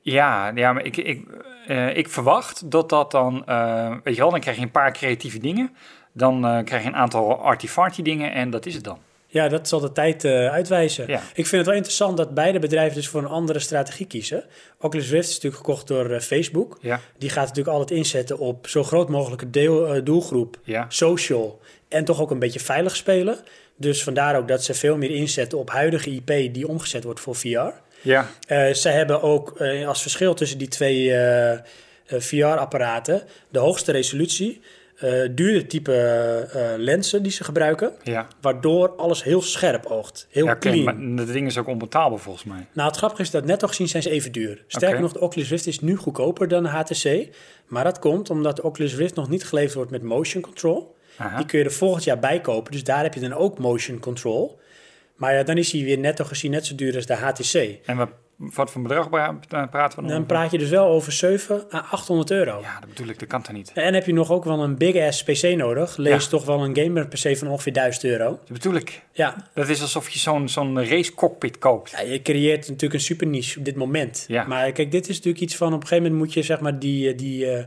ja, maar ik, ik, eh, ik verwacht dat dat dan... eh, weet je wel, dan krijg je een paar creatieve dingen. Dan eh, krijg je een aantal artifarty dingen en dat is het dan. Ja, dat zal de tijd eh, uitwijzen. Ja. Ik vind het wel interessant dat beide bedrijven dus voor een andere strategie kiezen. Oculus Rift is natuurlijk gekocht door eh, Facebook. Ja, Die gaat natuurlijk altijd inzetten op zo groot mogelijke deel, eh, doelgroep, ja. social en toch ook een beetje veilig spelen. Dus vandaar ook dat ze veel meer inzetten op huidige IP die omgezet wordt voor VR. Ja, Eh, ze hebben ook eh, als verschil tussen die twee eh, VR-apparaten de hoogste resolutie, eh duurder type eh, eh, lenzen die ze gebruiken, ja. waardoor alles heel scherp oogt, heel ja oké, clean. maar dat ding is ook onbetaalbaar volgens mij. Nou, het grappige is dat net al gezien zijn ze even duur. Sterker Oké. nog, de Oculus Rift is nu goedkoper dan de HTC, maar dat komt omdat de Oculus Rift nog niet geleverd wordt met motion control. Aha. Die kun je er volgend jaar bij kopen. Dus daar heb je dan ook motion control. Maar ja, dan is hij weer netto gezien net zo duur als de HTC. En wat, wat voor bedrag pra- pra- praten we dan? Dan over? praat je dus wel over 7 à 800 euro. Mhm. Ja, dat bedoel ik, dat kan toch niet? En heb je nog ook wel een big ass PC nodig. Lees Ja. toch wel een gamer PC van ongeveer 1000 euro. Dat bedoel ik. Ja. Dat is alsof je zo'n zo'n race cockpit koopt. ja, je creëert natuurlijk een super niche op dit moment. Ja. Maar kijk, dit is natuurlijk iets van op een gegeven moment moet je zeg maar die, eh, die, eh,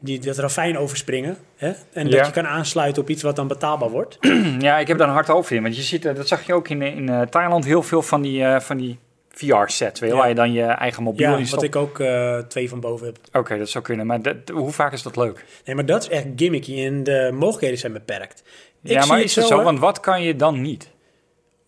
die, dat ravijn overspringen. Hè? En Ja. dat je kan aansluiten op iets wat dan betaalbaar wordt. Ja, ik heb daar een hard hoofd in. Want je ziet, eh, dat zag je ook in, eh, in eh, Thailand, heel veel van die, eh, van die VR-sets. Ja. Waar je dan je eigen mobiel Ja, in wat stopt. ik ook eh, twee van boven heb. Oké, dat zou kunnen. Maar dat, hoe vaak is dat leuk? Nee, maar dat is echt gimmicky en de mogelijkheden zijn beperkt. Ik ja, zie maar het is het zo, zo? hoor. Want wat kan je dan niet?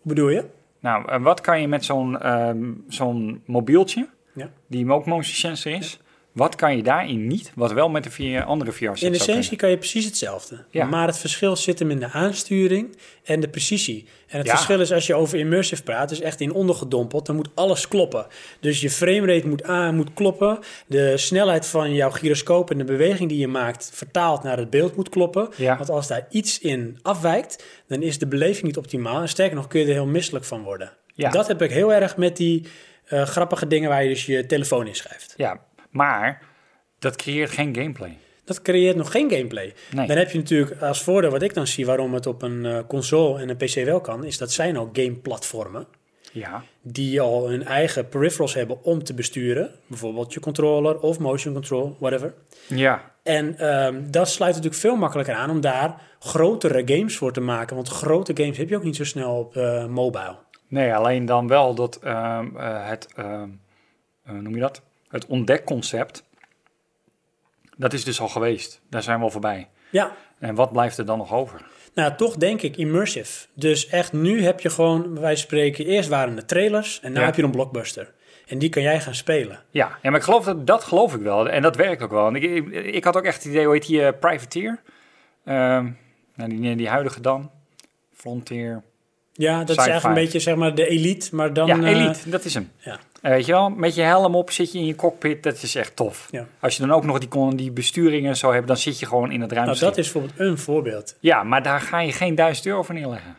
Hoe bedoel je? Nou, eh, wat kan je met zo'n ehm, zo'n mobieltje, Ja. die ook motion sensor is, wat kan je daarin niet, wat wel met de vier andere VR-sets In Dus zou essentie kan je precies hetzelfde. Ja. Maar het verschil zit hem in de aansturing en de precisie. En het Ja. verschil is als je over immersive praat, is echt in ondergedompeld, dan moet alles kloppen. Dus je framerate moet aan, moet kloppen. De snelheid van jouw gyroscoop en de beweging die je maakt vertaald naar het beeld moet kloppen. Ja. Want als daar iets in afwijkt, dan is de beleving niet optimaal. En sterker nog, kun je er heel misselijk van worden. Ja. Dat heb ik heel erg met die eh, grappige dingen waar je dus je telefoon in schrijft. kunnen. Ja, maar dat creëert geen gameplay. Dat creëert nog geen gameplay. Nee. Dan heb je natuurlijk als voordeel wat ik dan zie waarom het op een eh, console en een PC wel kan, is dat zijn al gameplatformen Ja, die al hun eigen peripherals hebben om te besturen. Bijvoorbeeld je controller of motion control, whatever. ja. En ehm, dat sluit natuurlijk veel makkelijker aan om daar grotere games voor te maken. Want grote games heb je ook niet zo snel op eh, mobile. Nee, alleen dan wel dat ehm, eh, het, ehm, eh, noem je dat? Het ontdekconcept, dat is dus al geweest. Daar zijn we al voorbij. Ja, En wat blijft er dan nog over? Nou, toch denk ik immersive. Dus echt nu heb je gewoon, bij wijze van spreken, eerst waren de trailers en nu Ja. heb je een blockbuster. En die kan jij gaan spelen. Ja, ja maar ik geloof dat, dat geloof ik wel. En dat werkt ook wel. En ik, ik, ik had ook echt het idee, hoe heet die eh, Privateer? Ehm, nou, die, die huidige dan. Frontier. Ja, dat is Sci-fi. eigenlijk een beetje zeg maar de elite, maar dan... ja, eh, Elite, dat is hem. ja. En weet je wel, met je helm op zit je in je cockpit. Dat is echt tof. Ja. Als je dan ook nog die, kon- die besturingen zo hebt, dan zit je gewoon in het ruimte. Nou, dat is bijvoorbeeld een voorbeeld. Ja, maar daar ga je geen duizend euro voor neerleggen.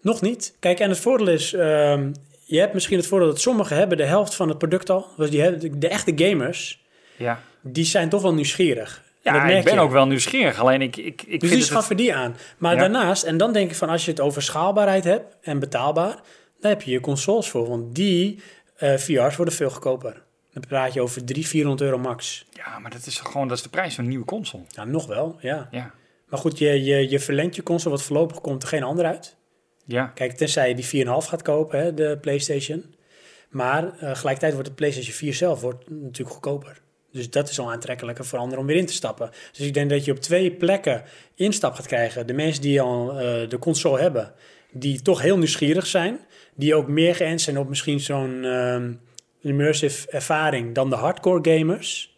Nog niet. Kijk, en het voordeel is, ehm, je hebt misschien het voordeel dat sommigen hebben de helft van het product al. Dus die, hebben- de echte gamers, Ja, die zijn toch wel nieuwsgierig. En dat ja merk ik ben je. ook wel nieuwsgierig. Alleen ik, ik, ik Dus vind die het... schaffen die aan. Maar Ja. daarnaast, en dan denk ik van als je het over schaalbaarheid hebt en betaalbaar, dan heb je je consoles voor. Want die eh, VR's worden veel goedkoper. Dan praat je over 300, 400 euro max. Ja, maar dat is gewoon dat is de prijs van een nieuwe console. Nou, nog wel, ja. Ja, Maar goed, je, je, je verlengt je console, wat voorlopig komt er geen ander uit. ja. Kijk, tenzij je die 4,5 gaat kopen, hè, de PlayStation. Maar eh, gelijkertijd wordt de PlayStation 4 zelf wordt natuurlijk goedkoper. Dus dat is al aantrekkelijker voor anderen om weer in te stappen. Dus ik denk dat je op twee plekken instap gaat krijgen. De mensen die al eh, de console hebben, die toch heel nieuwsgierig zijn. Die ook meer geënt zijn op misschien zo'n ehm, immersive ervaring dan de hardcore gamers.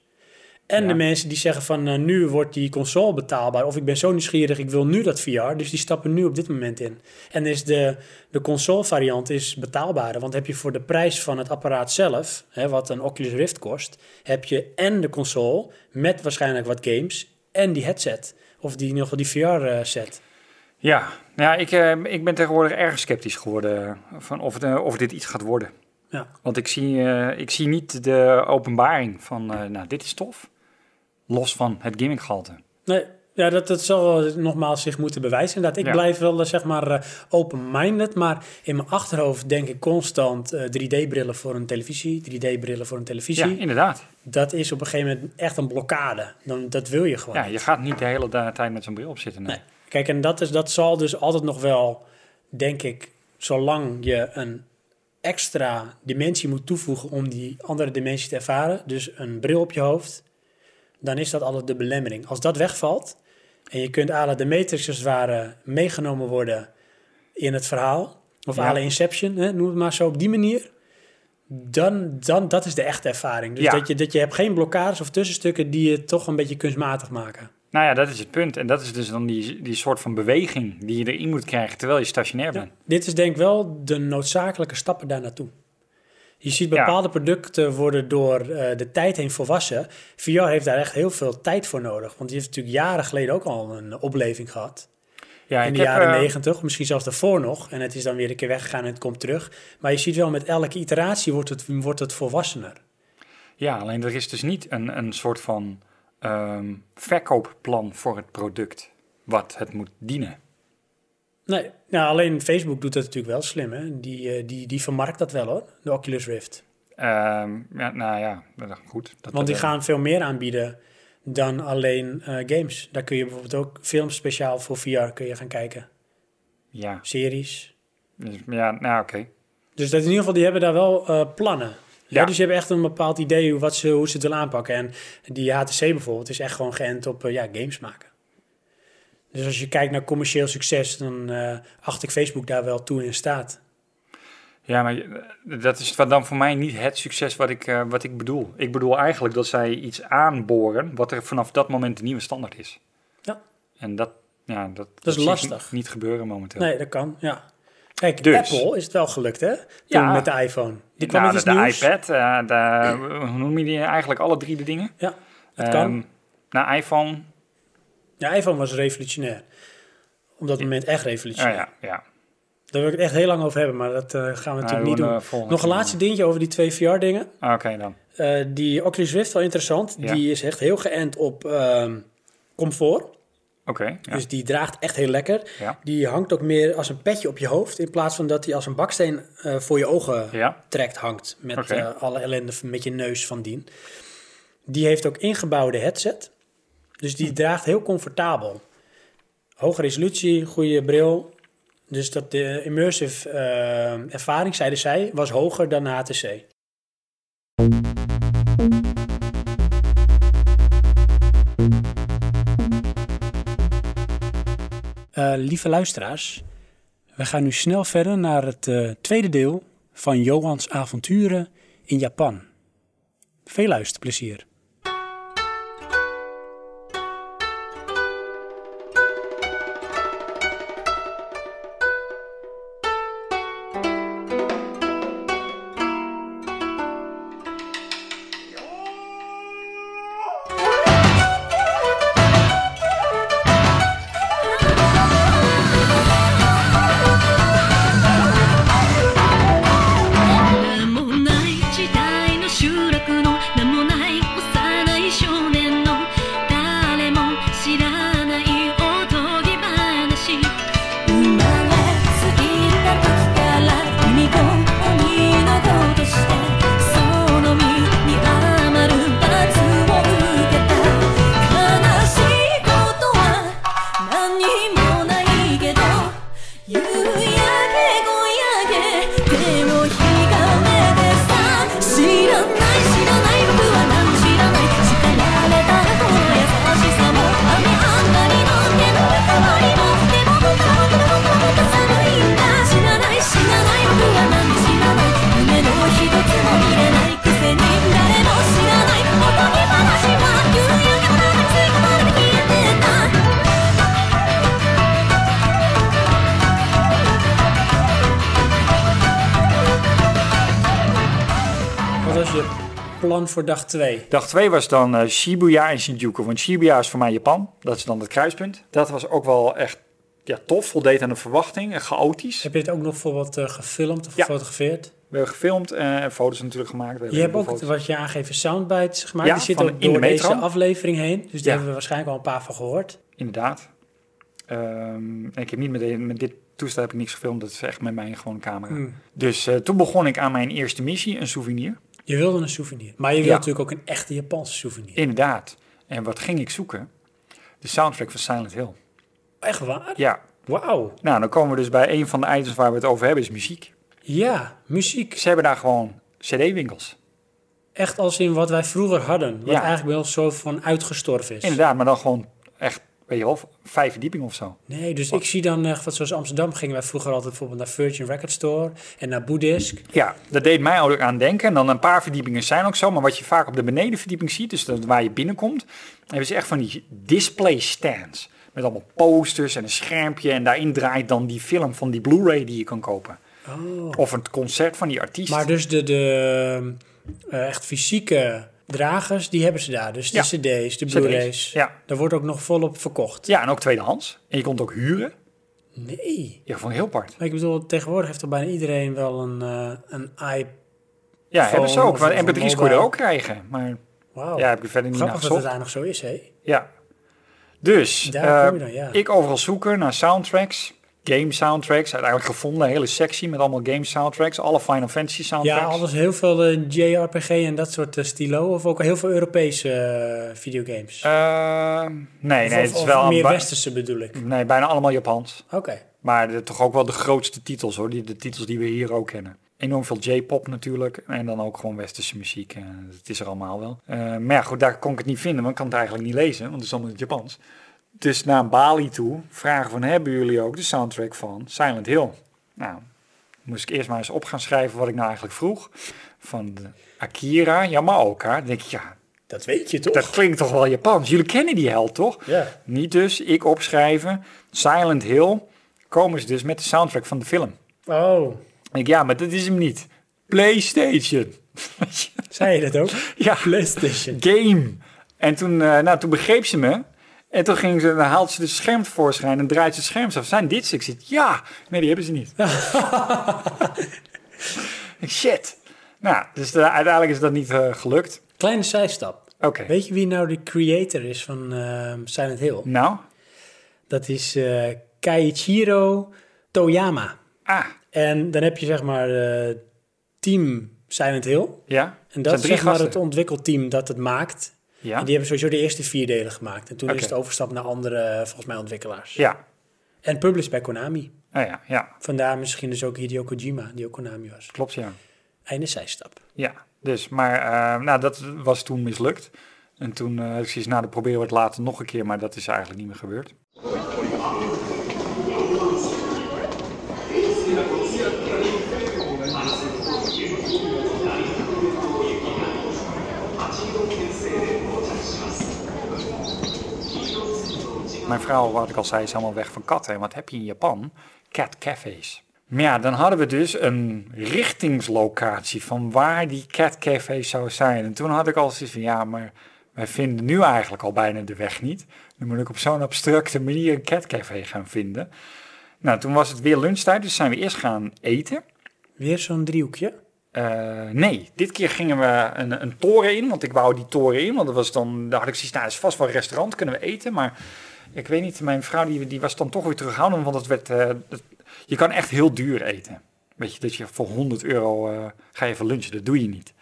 En Ja. de mensen die zeggen van eh, nu wordt die console betaalbaar. Of ik ben zo nieuwsgierig, ik wil nu dat VR. Dus die stappen nu op dit moment in. En is de, de console variant is betaalbaarder. Want heb je voor de prijs van het apparaat zelf, hè, wat een Oculus Rift kost, heb je en de console met waarschijnlijk wat games en die headset. Of die, in ieder geval die eh, VR-set. Ja, nou ja ik, eh, ik ben tegenwoordig erg sceptisch geworden van of, het, eh, of dit iets gaat worden. Ja. Want ik zie, eh, ik zie niet de openbaring van, eh, nou, dit is tof. Los van het gimmickgehalte. Nee, ja, dat, dat zal wel nogmaals zich moeten bewijzen. Inderdaad, ik Ja. blijf wel eh, zeg maar eh, open-minded, maar in mijn achterhoofd denk ik constant eh, 3D-brillen voor een televisie, 3D-brillen voor een Ja, televisie. inderdaad. Dat is op een gegeven moment echt een blokkade. Dan, dat wil je gewoon. Ja, je gaat niet de hele da- tijd met zo'n bril op zitten. Nee. Nee. Kijk, en dat, is, dat zal dus altijd nog wel, denk ik, zolang je een extra dimensie moet toevoegen om die andere dimensie te ervaren, dus een bril op je hoofd, dan is dat altijd de belemmering. Als dat wegvalt en je kunt à la de Matrix als het ware meegenomen worden in het verhaal, of Ja. à la Inception, hè, noem het maar zo op die manier, dan, dan dat is de echte ervaring. Dus Ja. dat, je, dat je hebt geen blokkades of tussenstukken die je toch een beetje kunstmatig maken. Nou ja, dat is het punt. En dat is dus dan die, die soort van beweging die je erin moet krijgen terwijl je stationair bent. Dit is denk ik wel de noodzakelijke stappen daar naartoe. Je ziet Ja. bepaalde producten worden door eh, de tijd heen volwassen. VR heeft daar echt heel veel tijd voor nodig. Want die heeft natuurlijk jaren geleden ook al een opleving gehad. Ja, in ik de heb, jaren eh, negentig, misschien zelfs daarvoor nog. En het is dan weer een keer weggegaan en het komt terug. Maar je ziet wel, met elke iteratie wordt het, wordt het volwassener. Ja, alleen er is dus niet een, een soort van ehm, verkoopplan voor het product wat het moet dienen. Nee, nou, alleen Facebook doet dat natuurlijk wel slim. Hè? Die, eh, die, die vermarkt dat wel hoor, de Oculus Rift. Ehm, ja, nou ja, dat- goed. Dat, Want die eh, gaan veel meer aanbieden dan alleen eh, games. Daar kun je bijvoorbeeld ook films speciaal voor VR kun je gaan kijken. Ja, Series. dus- ja nou oké. Dus dat in ieder geval, die hebben daar wel eh, plannen. Ja. Ja. dus die hebben echt een bepaald idee hoe, wat ze, hoe ze het willen aanpakken. En die HTC bijvoorbeeld is echt gewoon geënt op eh, ja, games maken. Dus als je kijkt naar commercieel succes, dan eh, acht ik Facebook daar wel toe in staat. Ja, maar je- dat is wat dan voor mij niet het succes wat ik, eh, wat ik bedoel. Ik bedoel eigenlijk dat zij iets aanboren wat er vanaf dat moment de nieuwe standaard is. Ja. En dat, ja, dat, dat, is zie ik lastig. Niet gebeuren momenteel. Nee, dat kan, ja. Kijk, Dus. Apple is het wel gelukt, hè? Toen Ja. met de iPhone. Die kwam Nou, met iets de, de nieuws. iPad, eh, de, hoe noem je die eigenlijk? Alle drie de dingen. Ja, het Ehm, kan. Nou, iPhone. De iPhone was revolutionair. Op dat moment echt Oh, revolutionair. ja, ja. Daar wil ik het echt heel lang over hebben, maar dat eh, gaan we natuurlijk Ah, niet doen doen. we volgende Nog een keer. laatste dingetje over die twee VR-dingen. Ah, Oké dan. Eh, die Oculus Rift, wel interessant. Ja. Die is echt heel geënt op ehm, comfort. Oké. ja. Dus die draagt echt heel lekker. Ja. Die hangt ook meer als een petje op je hoofd. In plaats van dat die als een baksteen eh, voor je ogen ja. trekt hangt. Met Oké. eh, alle ellende van- met je neus van dien. Die heeft ook ingebouwde headset. Dus die draagt heel comfortabel. Hoge resolutie, goede bril. Dus dat de immersive eh, ervaring, zeiden zij, was hoger dan de HTC. Eh, lieve luisteraars, we gaan nu snel verder naar het eh, tweede deel van Johans avonturen in Japan. Veel luisterplezier. 名もない時代の集落の名もない幼い少年の誰も知らないおとぎ話生まれついた時から海と鬼の子としてその身に余る罰を受けた悲しいことは何もないけど夕焼け小焼け手をひがめてさ知らない知らない僕は何も知らない叱られたこの優しさも雨あんがりの手の代わりもでも僕は僕は僕は僕は寒いんだ知らない知らない僕は何も知らない夢の一つも見れないくせに誰も知らないおとぎ話は夕焼け小焼け吸い込まれて消えてた Wat was je plan voor dag 2? Dag 2 was dan eh, Shibuya en Shinjuku. Want Shibuya is voor mij Japan. Dat is dan het kruispunt. Dat was ook wel echt ja, tof. Voldeed aan de verwachting. En chaotisch. Heb je het ook nog voor wat eh, gefilmd of Ja. gefotografeerd? We hebben gefilmd eh, en foto's natuurlijk gemaakt. We Je hebt heel veel ook foto's. wat je aangeeft soundbites gemaakt. Ja, die zitten van ook in de door deze metro. aflevering heen. Dus daar Ja. hebben we waarschijnlijk al een paar van gehoord. Inderdaad. Ehm, en ik heb niet met, de- met dit toestel heb ik niks gefilmd. Dat is echt met mijn gewone camera. Hmm. Dus eh, toen begon ik aan mijn eerste missie, een souvenir. Je wilde een souvenir. Maar je wilde Ja. natuurlijk ook een echte Japanse souvenir. Inderdaad. En wat ging ik zoeken? De soundtrack van Silent Hill. Echt waar? Ja. Wauw. Nou, dan komen we dus bij een van de items waar we het over hebben, is muziek. Ja, muziek. Ze hebben daar gewoon cd-winkels. Echt als in wat wij vroeger hadden. Wat Ja. eigenlijk wel zo van uitgestorven is. Inderdaad, maar dan gewoon echt weet je wel, v- vijf verdiepingen of zo. Nee, dus ik zie dan, eh, wat zoals Amsterdam gingen wij vroeger altijd bijvoorbeeld naar Virgin Record Store en naar Boeddhisk. Ja, dat deed mij ook aan denken. En dan een paar verdiepingen zijn ook zo. Maar wat je vaak op de benedenverdieping ziet, dus dat waar je binnenkomt, hebben ze echt van die display stands. Met allemaal posters en een schermpje. En daarin draait dan die film van die Blu-ray die je kan kopen. Of het concert van die artiest. Oh. Maar dus de, de eh, echt fysieke dragers, die hebben ze daar. Dus de Ja. cd's, de blu-rays. ja. Daar wordt ook nog volop verkocht. ja, en ook tweedehands. En je kon het ook huren. Nee. Ja, van heel apart. Maar ik bedoel, tegenwoordig heeft toch bijna iedereen wel een, eh een iPad. Ja, Phone hebben ze ook. of Want een MP3's kon je mobile. er ook krijgen. Maar Wauw. ja, heb ik er verder niet naar Grappig dat het gezocht. daar nog zo is, hè? Ja. Dus, Daar kom je eh, dan, ja. ik overal zoeken naar soundtracks, game soundtracks. Uiteindelijk gevonden, een hele sectie met allemaal game soundtracks. Alle Final Fantasy soundtracks. Ja, alles heel veel eh, JRPG en dat soort eh, stilo. Of ook heel veel Europese eh, videogames. Eh, nee, Of- nee, het of- is of wel... Mm. meer ba- westerse bedoel ik. Nee, bijna allemaal Japans. Oké. Maar de- toch ook wel de grootste titels hoor, die, de titels die we hier ook kennen. Enorm veel J-pop natuurlijk en dan ook gewoon westerse muziek. eh, Het is er allemaal wel. Eh, maar ja, goed, daar kon ik het niet vinden, want ik kan het eigenlijk niet lezen, want het is allemaal in het Japans. Dus naar Bali toe vragen van, hebben jullie ook de soundtrack van Silent Hill? Nou, moest ik eerst maar eens op gaan schrijven wat ik nou eigenlijk vroeg. Van de Akira Yamaoka. Dan denk ik, ja, Dat weet je toch? dat klinkt toch wel Japans. Jullie kennen die held toch? Ja. Niet dus, ik opschrijven. Silent Hill komen ze dus met de soundtrack van de film. Oh, Ik denk, ja, maar dat is hem niet. PlayStation. zei je dat ook? ja, PlayStation. game. En toen, eh, nou, toen begreep ze me. En toen ging ze, dan haalt ze de scherm tevoorschijn en draait ze het scherm af. Zijn dit? Ik zit, ja. Nee, die hebben ze niet. Ik, Shit. Nou, dus eh, uiteindelijk is dat niet eh, gelukt. Kleine zijstap. Oké. Weet je wie nou de creator is van ehm, Silent Hill? Nou, Dat is eh Keiichiro Toyama. ah, En dan heb je zeg maar eh, team Silent Hill. ja. En Zijn dat is drie zeg maar gasten. het ontwikkelteam dat het maakt. Ja. En die hebben sowieso de eerste vier delen gemaakt. En toen Oké. is het overstap naar andere, eh, volgens mij, ontwikkelaars. Ja. En published bij Konami. Ah, ja, ja. Vandaar misschien dus ook Hideo Kojima, die ook Konami was. Klopt, ja. Einde zijstap. Ja, dus, maar eh, nou, dat was toen mislukt. En toen eh had ik zoiets, nou, dan proberen we het later nog een keer, maar dat is eigenlijk niet meer gebeurd. Mijn vrouw, wat ik al zei, is helemaal weg van katten. En wat heb je in Japan? Catcafés. Maar ja, dan hadden we dus een richtingslocatie van waar die catcafé zou zijn. En toen had ik al zoiets van, ja, maar wij vinden nu eigenlijk al bijna de weg niet. Dan moet ik op zo'n abstracte manier een catcafé gaan vinden. Nou, toen was het weer lunchtijd, dus zijn we eerst gaan eten. Weer zo'n driehoekje. Eh, nee, dit keer gingen we een, een toren in, want ik wou die toren in, want dat was dan, daar had ik zoiets, nou, dat is vast wel een restaurant, kunnen we eten, maar ik weet niet, mijn vrouw die, die was dan toch weer terughoudend, want het werd, eh, het- je kan echt heel duur eten. Weet je, dat je voor 100 euro eh, ga je even lunchen, dat doe je niet.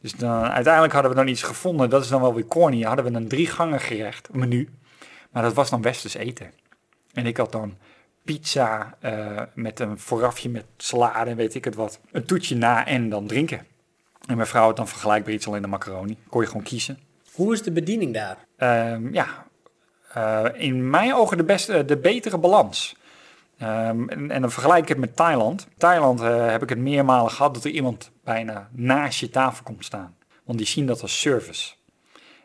Dus dan, uiteindelijk hadden we dan iets gevonden, dat is dan wel weer corny, hadden we een drie gangen gerecht, een menu, maar dat was dan westers eten. En ik had dan pizza eh, met een voorafje met salade en weet ik het wat. Een toetje na en dan drinken. En mijn vrouw had dan vergelijkbaar iets alleen de macaroni. Kon je gewoon kiezen. Hoe is de bediening daar? Ehm, ja, eh, in mijn ogen de, beste, de betere balans. Ehm, en, en dan vergelijk ik het met Thailand. Thailand eh, heb ik het meermalen gehad dat er iemand bijna naast je tafel komt staan. Want die zien dat als service.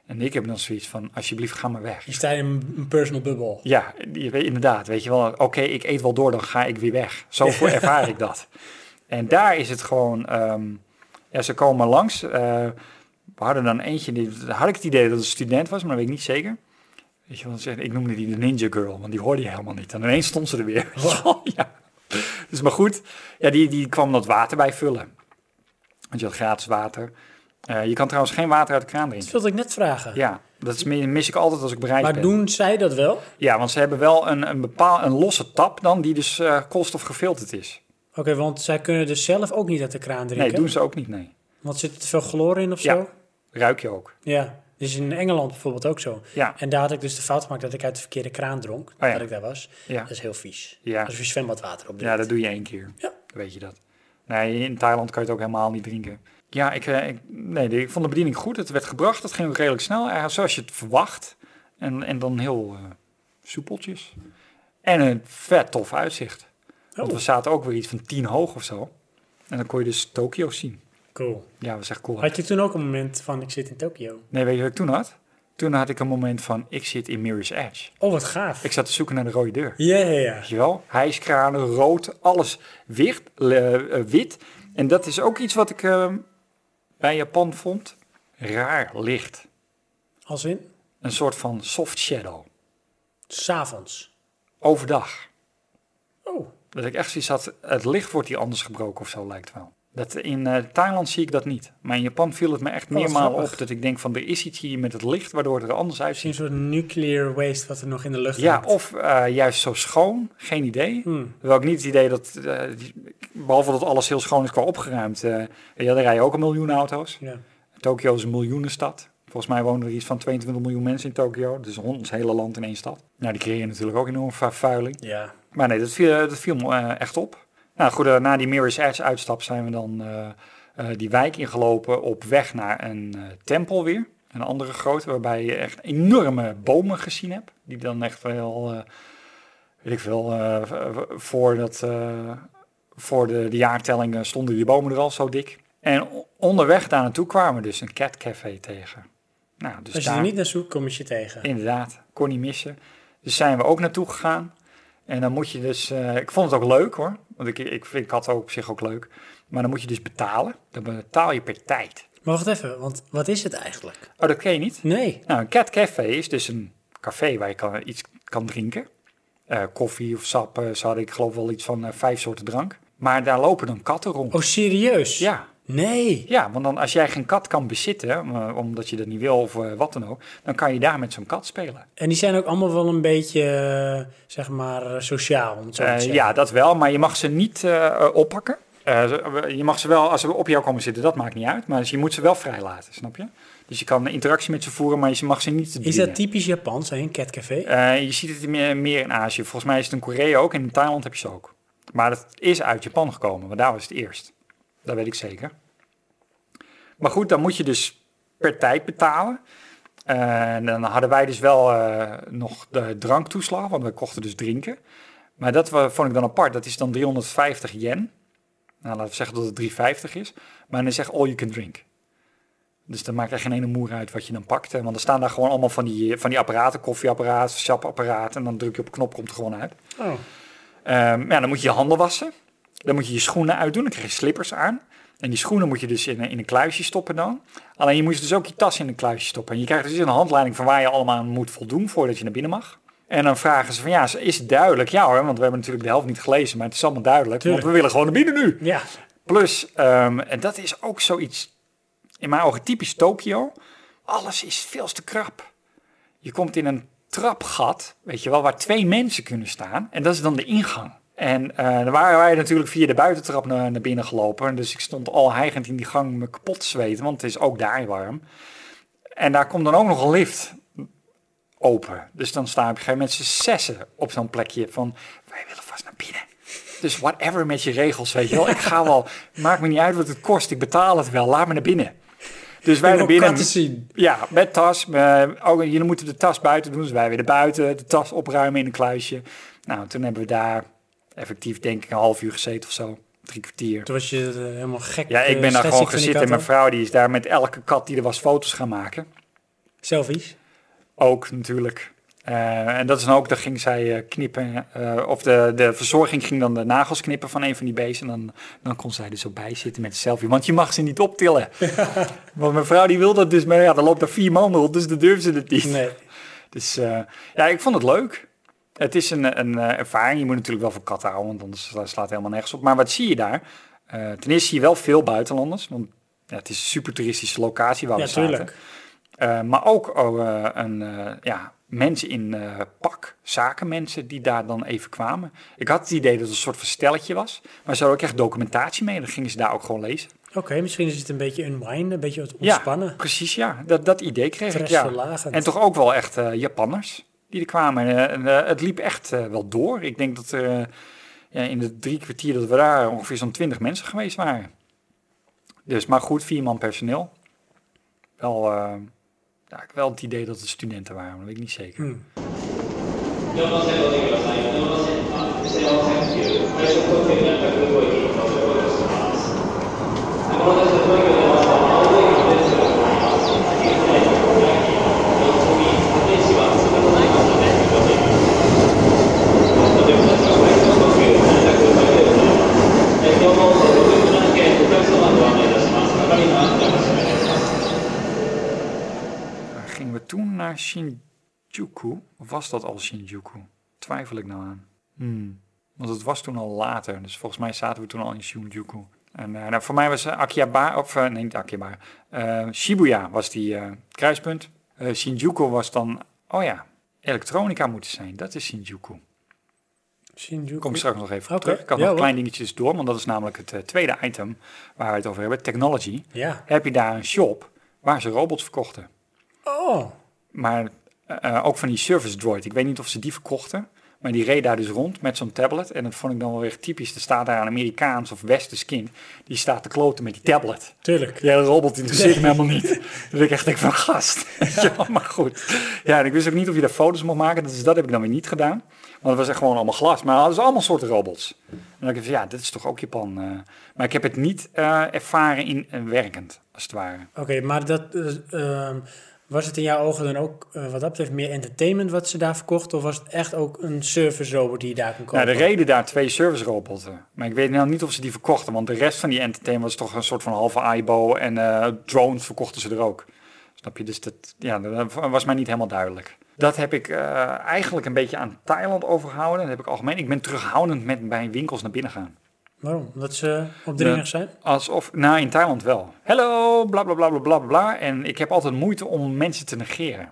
En ik heb dan zoiets van, alsjeblieft ga maar weg. Je staat in een personal bubble. Ja, je weet- inderdaad. Weet je wel, oké, ik eet wel door, dan ga ik weer weg. Zo voor ervaar ik dat. En daar is het gewoon, ehm, ja, ze komen langs. eh, we hadden dan eentje, die, had ik het idee dat het een student was, maar dat weet ik niet zeker. Weet je wel, ze- ik noemde die de Ninja Girl, want die hoorde je helemaal niet. En ineens stond ze er weer. ja. Dus maar goed, ja, die, die kwam dat water bij vullen. Want je had gratis water. Eh, je kan trouwens geen water uit de kraan Dat drinken. wilde ik net vragen. Ja, dat is, mis ik altijd als ik bereid ben. Maar doen zij dat wel? Oké, Ja, want ze hebben wel een, een, bepaal, een losse tap dan, die dus eh, koolstof gefilterd is. want zij kunnen dus zelf ook niet uit de kraan drinken. Nee, doen ze ook niet, nee. Want zit er te veel chloor in of Ja. zo? Ruik je ook. Ja. Dus in Engeland bijvoorbeeld ook zo. Ja. En daar had ik dus de fout gemaakt dat ik uit de verkeerde kraan dronk. Oh ja. Dat ik daar was. Ja. Dat is heel vies. Ja. Als je zwembadwater op Ja, drinkt. dat doe je één keer. Ja. Weet je dat. Nee, in Thailand kan je het ook helemaal niet drinken. Ja, ik, eh, ik, nee, ik vond de bediening goed. Het werd gebracht, het ging ook redelijk snel. eh, zoals je het verwacht. En, en dan heel eh, soepeltjes. En een vet tof uitzicht. Want Oh. we zaten ook weer iets van 10 hoog of zo. En dan kon je dus Tokio zien. Cool. Ja, dat was echt cool. Had je toen ook een moment van ik zit in Tokio? Nee, weet je wat ik toen had? Toen had ik een moment van, ik zit in Mirror's Edge. Oh, wat gaaf. Ik zat te zoeken naar de rode deur. Ja, ja, ja. Weet je wel? Hijskranen, rood, alles wit. le- eh, wit. En dat is ook iets wat ik eh, bij Japan vond. Raar licht. Als in? Een soort van soft shadow. S'avonds. Overdag. Oh, Dat ik echt zoiets had, het licht wordt hier anders gebroken of zo lijkt wel. Dat in eh, Thailand zie ik dat niet. Maar in Japan viel het me echt wat meermalen grappig. op dat ik denk van er is iets hier met het licht waardoor het er anders misschien uitziet. een soort nuclear waste wat er nog in de lucht Ja, hangt. of eh, juist zo schoon, geen idee. Hmm. Terwijl ik niet het idee dat, eh, die- behalve dat alles heel schoon is qua opgeruimd. eh, ja, daar rijden ook een miljoen auto's. Ja. Tokio is een miljoenenstad. Volgens mij wonen er iets van 22 miljoen mensen in Tokio. Dus ons hele land in één stad. Nou, die creëren natuurlijk ook enorm vervuiling. ja. Maar nee, dat viel, dat viel me eh, echt op. Nou goed, eh, na die Mirror's Edge uitstap zijn we dan eh, eh, die wijk ingelopen op weg naar een eh, tempel weer. Een andere grote, waarbij je echt enorme bomen gezien hebt. Die dan echt wel, eh, weet ik veel, eh, v- v- voor, dat, eh, voor de, de jaartelling eh, stonden die bomen er al zo dik. En o- onderweg daar naartoe kwamen we dus een catcafé tegen. Nou, dus Als je daar... er niet naar zoekt, kom je je tegen. Inderdaad, kon niet missen. Dus zijn we ook naartoe gegaan. En dan moet je dus, eh, ik vond het ook leuk hoor, want ik, ik, ik had het ook op zich ook leuk. Maar dan moet je dus betalen. Dan betaal je per tijd. Maar wacht even, want wat is het eigenlijk? Oh, dat ken je niet? Nee. Nou, een cat café is dus een café waar je kan, iets kan drinken. Eh, koffie of sap, eh, ze hadden ik geloof wel iets van eh, vijf soorten drank. Maar daar lopen dan katten rond. Oh, serieus? Ja, Nee. ja, want dan, als jij geen kat kan bezitten, eh, omdat je dat niet wil of eh, wat dan ook, dan kan je daar met zo'n kat spelen. En die zijn ook allemaal wel een beetje, eh, zeg maar, eh, sociaal, om het zo te Eh, zeggen. ja, dat wel, maar je mag ze niet eh, eh, oppakken. Eh, ze- je mag ze wel, als ze op jou komen zitten, dat maakt niet uit. Maar je moet ze wel vrij laten, snap je? Dus je kan een interactie met ze voeren, maar je mag ze niet Is dwingen. dat typisch Japans, hè, een catcafé? Eh, je ziet het meer, meer in Azië. Volgens mij is het in Korea ook en in Thailand heb je ze ook. Maar dat is uit Japan gekomen, want daar was het eerst. Dat weet ik zeker. Maar goed, dan moet je dus per tijd betalen. Eh, En dan hadden wij dus wel eh, nog de dranktoeslag, want we kochten dus drinken. Maar dat wa- vond ik dan apart. Dat is dan 350 yen. Nou, laten we zeggen dat het 350 is. Maar dan zeg all you can drink. Dus dan maakt er geen ene moer uit wat je dan pakt. hè. Want er staan daar gewoon allemaal van die, van die apparaten, koffieapparaat, sapapparaat. En dan druk je op een knop, komt er gewoon uit. Oh, Ehm, ja, dan moet je je handen wassen. Dan moet je je schoenen uitdoen. Dan krijg je slippers aan. En die schoenen moet je dus in, een- in een kluisje stoppen dan. Alleen je moet dus ook je tas in een kluisje stoppen. En je krijgt dus een handleiding van waar je allemaal aan moet voldoen voordat je naar binnen mag. En dan vragen ze van ja, is het duidelijk? Ja hoor, want we hebben natuurlijk de helft niet gelezen, maar het is allemaal duidelijk. Tuurlijk. Want we willen gewoon naar binnen nu. ja. Plus, ehm, en dat is ook zoiets, in mijn ogen typisch Tokio. Alles is veel te krap. Je komt in een trapgat, weet je wel, waar twee mensen kunnen staan. En dat is dan de ingang. En eh dan waren wij natuurlijk via de buitentrap naar, naar binnen gelopen. Dus ik stond al hijgend in die gang me kapot te zweten, want het is ook daar warm. En daar komt dan ook nog een lift open. Dus dan staan op een gegeven moment z'n zessen op zo'n plekje van... wij willen vast naar binnen. Dus whatever met je regels, weet je wel. Ik ga wel, maakt me niet uit wat het kost. Ik betaal het wel, laat me naar binnen. Dus wij naar Ik wil binnen... katten zien. Ja, met tas. eh, ook, jullie moeten de tas buiten doen, dus wij weer naar buiten. De tas opruimen in een kluisje. Nou, toen hebben we daar effectief denk ik een half uur gezeten of zo. Drie kwartier. Toen was je eh, helemaal gek. Ja, ik eh, ben daar schetsig gewoon van die gezeten en mijn katten. vrouw die is daar met elke kat die er was foto's gaan maken. Selfies? Ook natuurlijk. Eh, en dat is dan ook, dan ging zij eh, knippen, eh, of de, de verzorging ging dan de nagels knippen van een van die beesten. En dan, dan kon zij er zo bij zitten met een selfie, want je mag ze niet optillen. Want mijn vrouw die wil dat dus, maar ja, dan loopt er vier man rond, dus dan durven ze het niet. Nee. Dus eh, ja, ik vond het leuk. Het is een, een eh, ervaring. Je moet natuurlijk wel voor katten houden, want anders sla- slaat het helemaal nergens op. Maar wat zie je daar? Eh, ten eerste zie je wel veel buitenlanders, want ja, het is een super toeristische locatie waar Ja, we zaten. tuurlijk. Eh, maar ook oh, eh, een, eh, ja, mensen in eh, pak, zakenmensen die daar dan even kwamen. Ik had het idee dat het een soort van stelletje was, maar ze hadden ook echt documentatie mee. Dan gingen ze daar ook gewoon lezen. Oké, misschien is het een beetje unwind, een beetje wat ontspannen. Ja, precies, ja. Dat, dat idee kreeg ik, ja. Stressverlagend. En toch ook wel echt eh, Japanners die er kwamen. En, eh, en, eh, het liep echt eh, wel door. Ik denk dat er eh, ja, in de drie kwartier dat we daar ongeveer zo'n twintig mensen geweest waren. Dus, maar goed, vier man personeel. Wel, eh, ja, ik heb wel het idee dat het studenten waren, maar dat weet ik niet zeker. Hmm. Eh, gingen we toen naar Shinjuku? Of was dat al Shinjuku? Twijfel ik nou aan. Hmm. Want het was toen al later. Dus volgens mij zaten we toen al in Shinjuku. En eh, nou, voor mij was eh, Akihabara, of eh, nee, niet Akihabara. Eh, Shibuya was die eh, kruispunt. Eh, Shinjuku was dan, oh ja, elektronica moeten zijn. Dat is Shinjuku. Shinjuku. Kom ik straks nog even op Oké, terug. Ik had ja nog hoor. klein dingetjes door, want dat is namelijk het eh, tweede item waar we het over hebben. Technology. Ja. Heb je daar een shop waar ze robots verkochten? Oh, Maar eh, eh, ook van die service droid. Ik weet niet of ze die verkochten. Maar die reed daar dus rond met zo'n tablet. En dat vond ik dan wel weer typisch. Er staat daar een Amerikaans of Westers kind. Die staat te kloten met die tablet. tuurlijk. Die hele robot interesseert me helemaal niet. Dat ik echt denk van gast. Ja. maar goed. Ja, en ik wist ook niet of je daar foto's mocht maken. Dus dat heb ik dan weer niet gedaan. Want het was echt gewoon allemaal glas. Maar hadden ze allemaal soorten robots. En dan denk ik van ja, dit is toch ook Japan. eh. Maar ik heb het niet eh, ervaren in eh, werkend, als het ware. Oké, maar dat, eh, ehm, was het in jouw ogen dan ook eh, wat dat betreft meer entertainment wat ze daar verkochten? Of was het echt ook een service robot die je daar kon kopen? Nou, de reden daar twee service robotten. Maar ik weet nou niet of ze die verkochten. Want de rest van die entertainment was toch een soort van halve AIBO. En eh, drones verkochten ze er ook. Snap je? Dus dat, ja, dat was mij niet helemaal duidelijk. Dat heb ik eh, eigenlijk een beetje aan Thailand overgehouden. Dat heb ik algemeen. Ik ben terughoudend met bij winkels naar binnen gaan. Waarom? Omdat ze opdringerig Ja. zijn? Alsof, nou in Thailand wel. Hallo, bla bla bla bla bla bla. En ik heb altijd moeite om mensen te negeren.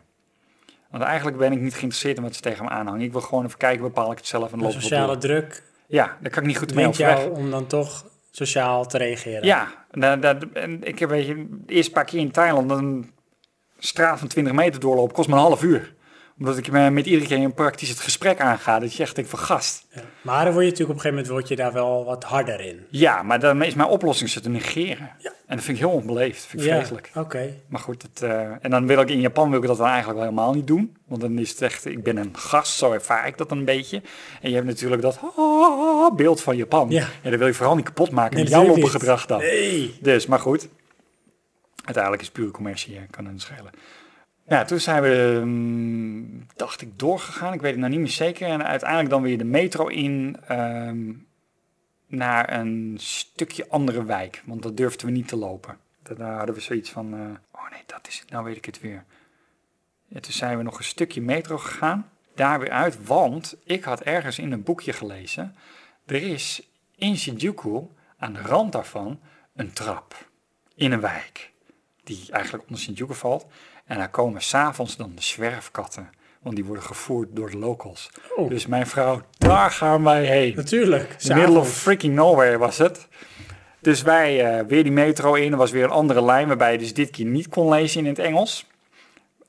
Want eigenlijk ben ik niet geïnteresseerd in wat ze tegen me aanhangen. Ik wil gewoon even kijken, bepaal ik het zelf en De loop ik sociale door. druk Ja, daar kan ik niet goed mee dwingt overweg. jou om dan toch sociaal te reageren. Ja, dat, dat- en ik heb weet je, de eerste paar keer in Thailand een straat van 20 meter doorlopen kost me een half uur. Omdat ik me met iedereen in praktisch het gesprek aanga. Dat je echt denkt van gast. Ja. Maar dan word je natuurlijk op een gegeven moment word je daar wel wat harder in. Ja, maar dan is mijn oplossing ze te negeren. En dat vind ik heel onbeleefd. vind ik Ja, vreselijk. Oké. Maar goed, het, eh, en dan wil ik in Japan wil ik dat dan eigenlijk wel helemaal niet doen. Want dan is het echt, ik ben een gast, zo ervaar ik dat een beetje. En je hebt natuurlijk dat oh, beeld van Japan. Ja. En dat wil ik vooral niet kapot maken Nee, met jouw natuurlijk loppe niet. gedrag dan. Hey. Dus, maar goed. Uiteindelijk is het pure commercie, hè. kan het niet schelen. Ja, toen zijn we, ehm, dacht ik, doorgegaan. Ik weet het nou niet meer zeker. En uiteindelijk dan weer de metro in ehm, naar een stukje andere wijk. Want dat durfden we niet te lopen. Daarna hadden we zoiets van, eh, oh nee, dat is het. Nou weet ik het weer. Ja, toen zijn we nog een stukje metro gegaan. Daar weer uit, want ik had ergens in een boekje gelezen. Er is in Shinjuku, aan de rand daarvan, een trap in een wijk. Die eigenlijk onder Shinjuku valt. En daar komen s'avonds dan de zwerfkatten. Want die worden gevoerd door de locals. Oh. Dus mijn vrouw, daar gaan wij heen. Natuurlijk. In the middle of s'avonds. freaking nowhere was het. Dus wij eh, weer die metro in. Er was weer een andere lijn waarbij je dus dit keer niet kon lezen in het Engels.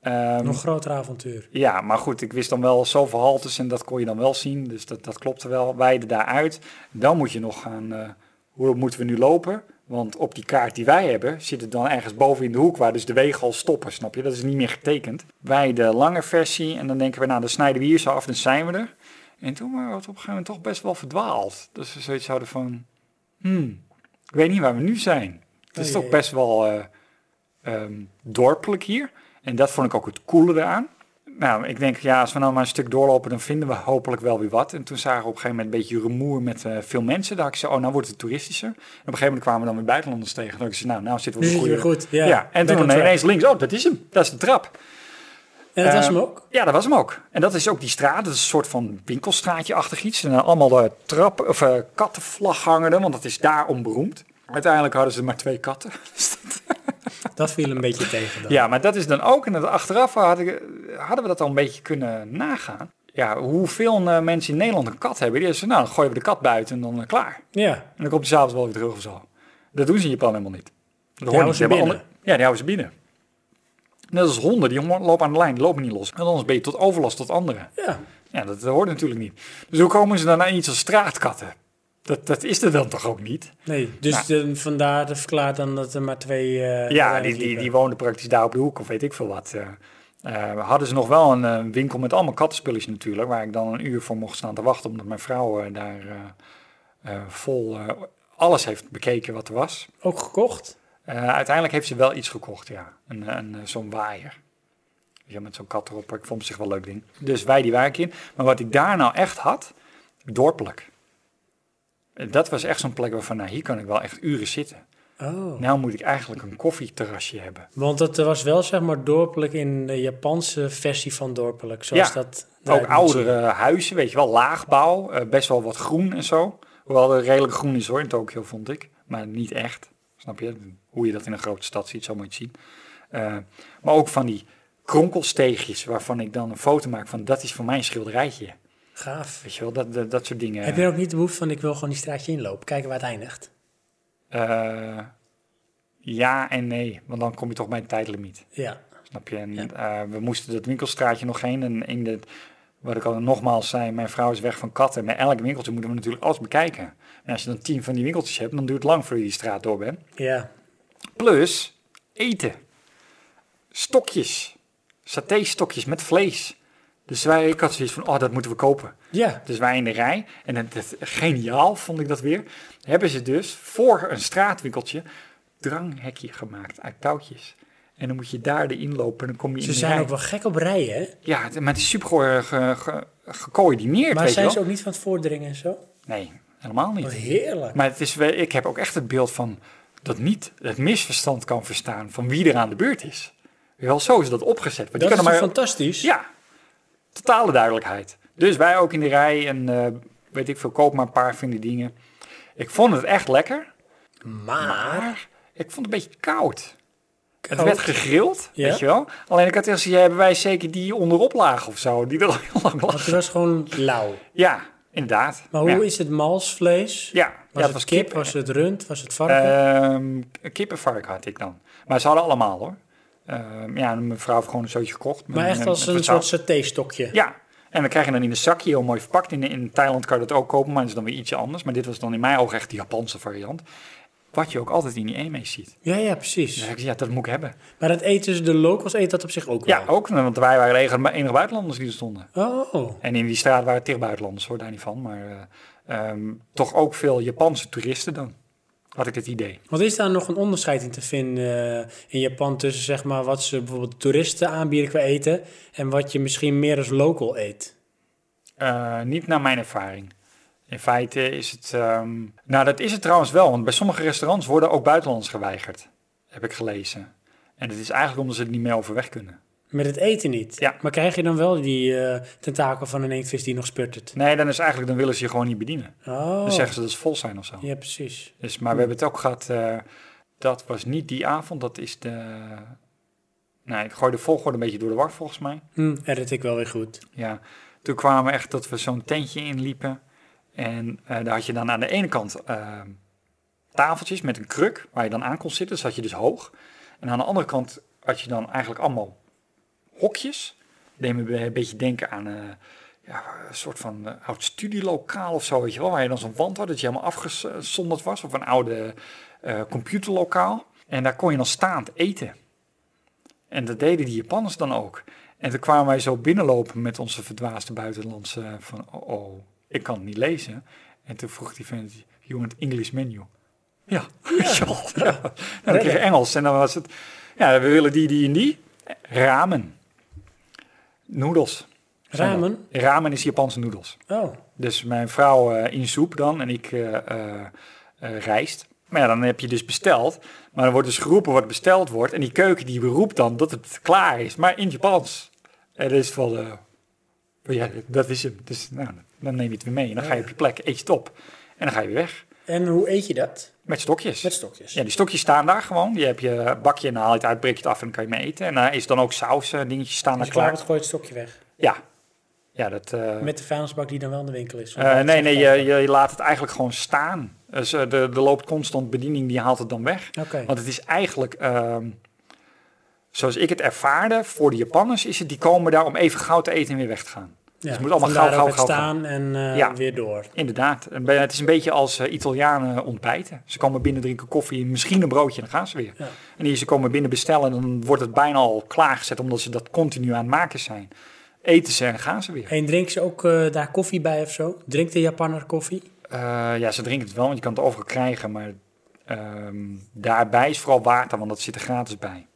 Ehm, Nog groter avontuur. ja, maar goed, ik wist dan wel zoveel haltes en dat kon je dan wel zien. Dus dat, dat klopte wel. Wijden daaruit. Dan moet je nog gaan, eh, hoe moeten we nu lopen? Want op die kaart die wij hebben, zit het dan ergens boven in de hoek waar dus de wegen al stoppen, snap je? Dat is niet meer getekend. Wij de lange versie en dan denken we, nou, dan snijden we hier zo af, dan zijn we er. En toen waren we op een gegeven moment toch best wel verdwaald. Dus we zoiets hadden van, hmm, ik weet niet waar we nu zijn. Het is Oh, toch jee. best wel eh, ehm, dorpelijk hier. En dat vond ik ook het coole eraan. Nou, ik denk, ja, als we nou maar een stuk doorlopen, dan vinden we hopelijk wel weer wat. En toen zagen we op een gegeven moment een beetje rumoer met eh, veel mensen. Daar had ik zo, oh, nou wordt het toeristischer. En op een gegeven moment kwamen we dan weer buitenlanders tegen. Toen dacht ik, zo, nou, nou zitten we Nu op zit een je weer goede... goed. Ja, Ja, en Back toen on track. ineens links, oh, dat is hem. Dat is de trap. En dat Eh, was hem ook? Ja, dat was hem ook. En dat is ook die straat. Dat is een soort van winkelstraatje-achtig iets. En dan allemaal de trap of eh, kattenvlag hangen, want dat is daar onberoemd. Uiteindelijk hadden ze maar twee katten. Dat viel een beetje tegen dan. Ja, maar dat is dan ook, en dat achteraf had ik- hadden we dat al een beetje kunnen nagaan. Ja, hoeveel eh, mensen in Nederland een kat hebben. Die zeggen, nou, dan gooien we de kat buiten en dan eh, klaar. Ja. En dan komt hij s'avonds wel weer terug of zo. Dat doen ze in Japan helemaal niet. Dat houden ze hebben binnen. andere- ja, die houden ze binnen. Net als honden, die hon- lopen aan de lijn, die lopen niet los. En anders ben je tot overlast tot anderen. Ja. Ja, dat hoort natuurlijk niet. Dus hoe komen ze dan aan iets als straatkatten? Dat, dat is er dan toch ook niet? Nee, dus de- vandaar de verklaart dan dat er maar twee... eh, Nou. Ja, rijden die, die, liepen. die woonde praktisch daar op de hoek of weet ik veel wat. eh. Eh, hadden ze nog wel een eh, winkel met allemaal kattenspulletjes natuurlijk, waar ik dan een uur voor mocht staan te wachten, omdat mijn vrouw eh, daar eh, eh, vol eh, alles heeft bekeken wat er was. Ook gekocht. Eh, uiteindelijk heeft ze wel iets gekocht, ja. Een, een, eh, zo'n waaier. Ja, met zo'n kat erop. Ik vond het zich wel een leuk ding. Dus wij die waaier in. Maar wat ik daar nou echt had, dorpelijk. Eh, Dat was echt zo'n plek waarvan, nou, hier kan ik wel echt uren zitten. Oh. Nou moet ik eigenlijk een koffieterrasje hebben. Want dat was wel zeg maar dorpelijk in de Japanse versie van dorpelijk. Zoals Ja, dat. Ook eruit moet zien. oudere huizen, weet je wel, laagbouw. eh, best wel wat groen en zo. Hoewel er redelijk groen is hoor, in Tokio vond ik. Maar niet echt. Snap je? Hoe je dat in een grote stad ziet, zo moet je het zien. Eh, maar ook van die kronkelsteegjes waarvan ik dan een foto maak van dat is voor mij een schilderijtje. Gaaf. Weet je wel, dat, dat, dat soort dingen. Heb je dan ook niet de behoefte van ik wil gewoon die straatje inlopen, kijken waar het eindigt? Eh, ja en nee, want dan kom je toch bij de tijdlimiet. Ja. Snap je? En, eh, we moesten dat winkelstraatje nog heen. En in de, wat ik al nogmaals zei, mijn vrouw is weg van katten. Bij elk winkeltje moeten we natuurlijk alles bekijken. En als je dan tien van die winkeltjes hebt, dan duurt het lang voordat je die straat door bent. Ja. Plus eten. Stokjes. Saté-stokjes met vlees. Dus wij, ik had zoiets van, oh, dat moeten we kopen. Ja. Dus wij in de rij. En het, het- geniaal vond ik dat weer. Hebben ze dus voor een straatwinkeltje dranghekje gemaakt uit touwtjes. En dan moet je daar erin lopen en dan kom je in Ze de zijn rij. ook wel gek op rijden, hè? Ja, het- maar het is super ge, ge, ge- gecoördineerd, Maar weet zijn je ze wel. ook niet van het voordringen en zo? Nee, helemaal Wat niet. heerlijk. Maar het is, wel- ik heb ook echt het beeld van dat niet het misverstand kan verstaan van wie er aan de beurt is. Wel, zo is dat opgezet. Want dat je is kan toch er maar fantastisch? ja, totale duidelijkheid. Dus wij ook in de rij en eh, weet ik veel, koop maar een paar van die dingen. Ik vond het echt lekker, Maar... Oh, maar ik vond het een beetje koud. Het Koud? werd gegrild, Ja. weet je wel. Alleen ik had echt zoiets, ja, hebben wij zeker die onderop lagen of zo, die er al heel lang Want lag. het was gewoon lauw. Ja, inderdaad. Maar hoe ja. is het malsvlees? Ja, ja, Was het het was kip? kip. Was het rund? Was het varken? Ehm kippenvark had ik dan. Maar ze hadden allemaal hoor. Ehm, ja, en mijn vrouw heeft gewoon een zootje gekocht. met- maar echt met- als met een wat soort saus. saté-stokje. Ja, en dan krijg je dan in een zakje, heel mooi verpakt. In, in Thailand kan je dat ook kopen, maar dat is dan weer ietsje anders. Maar dit was dan in mijn ogen echt de Japanse variant. Wat je ook altijd in die eenmees ziet. ja, ja, precies. Dus ik zei, ja, dat moet ik hebben. Maar dat eten ze, de locals eten dat op zich ook wel. Ja, ook, want wij waren de enige- enige buitenlanders die er stonden. Oh, En in die straat waren het tegen buitenlanders, hoor, daar niet van. Maar eh, ehm, toch ook veel Japanse toeristen dan, had ik het idee. want is daar nog een onderscheid in te vinden eh, in Japan tussen zeg maar wat ze bijvoorbeeld toeristen aanbieden qua eten en wat je misschien meer als local eet? Eh, niet naar mijn ervaring. In feite is het. ehm, Nou, dat is het trouwens wel, want bij sommige restaurants worden ook buitenlanders geweigerd. Heb ik gelezen. En dat is eigenlijk omdat ze het niet meer overweg kunnen. Met het eten niet. Ja. Maar krijg je dan wel die eh, tentakel van een eendvis die nog spurtert? Nee, dan is eigenlijk. dan willen ze je gewoon niet bedienen. Oh, Dan zeggen ze dat ze vol zijn of zo. ja precies. Dus, maar we hebben het ook gehad. eh, dat was niet die avond, dat is de. Nee, ik gooi de volgorde een beetje door de war volgens mij. Hm, edit ik wel weer goed. Ja, toen kwamen we echt dat we zo'n tentje inliepen. En eh, daar had je dan aan de ene kant eh, tafeltjes met een kruk waar je dan aan kon zitten. Dus had je dus hoog. En aan de andere kant had je dan eigenlijk allemaal hokjes. Deed me be- een beetje denken aan eh, ja, een soort van eh, oud studielokaal of zo. Weet je wel, waar je dan zo'n wand had dat je helemaal afgezonderd was. Of een oude eh, computerlokaal. En daar kon je dan staand eten. En dat deden die Japanners dan ook. En toen kwamen wij zo binnenlopen met onze verdwaasde buitenlandse eh, van, oh, oh, ik kan het niet lezen. En toen vroeg die vent, you want English menu? Ja, weet je wel. ja. Nou, dan kreeg je Engels en dan was het, ja, we willen die, die en die. Ramen. Noedels. zijn dat. Ramen? Ramen is Japanse noedels. Oh, Dus mijn vrouw eh, in soep dan en ik eh, eh, eh, rijst. Maar ja, dan heb je dus besteld. Maar dan wordt dus geroepen wat besteld wordt. En die keuken die roept dan dat het klaar is. Maar in het Japans. En dat is het wel... eh, maar ja, dat is hem. Dus nou, dan neem je het weer mee. En dan ga je op je plek, eet je het op. En dan ga je weer weg. en hoe eet je dat? Met stokjes. Met stokjes. Ja, die stokjes staan daar gewoon. Die heb je bakje en dan haal je het uit, breek je het af en dan kan je mee eten. En daar is dan ook saus, eh, dingetjes staan Als daar je klaar klaar. bent, gooi je het stokje weg. Ja. Ja, dat... eh, Met de vuilnisbak die dan wel in de winkel is. Eh, nee, nee, je, je laat het eigenlijk gewoon staan. Dus, eh, de, er loopt constant bediening, die haalt het dan weg. Oké. Want het is eigenlijk, ehm, zoals ik het ervaarde, voor de Japanners is het, die komen daar om even goud te eten en weer weg te gaan. Ja, het moet allemaal vandaar gauw, ook gauw, het gauw. gaan. staan en eh, Ja. weer door. Inderdaad. En bij- Het is een beetje als eh, Italianen ontbijten. Ze komen binnen, drinken koffie, misschien een broodje en dan gaan ze weer. Ja. En hier, ze komen binnen bestellen en dan wordt het bijna al klaargezet omdat ze dat continu aan het maken zijn. Eten ze en gaan ze weer. En drinken ze ook eh, daar koffie bij of zo? Drinkt de Japanner koffie? Eh, ja, ze drinken het wel, want je kan het overal krijgen. Maar ehm, daarbij is vooral water, want dat zit er gratis bij.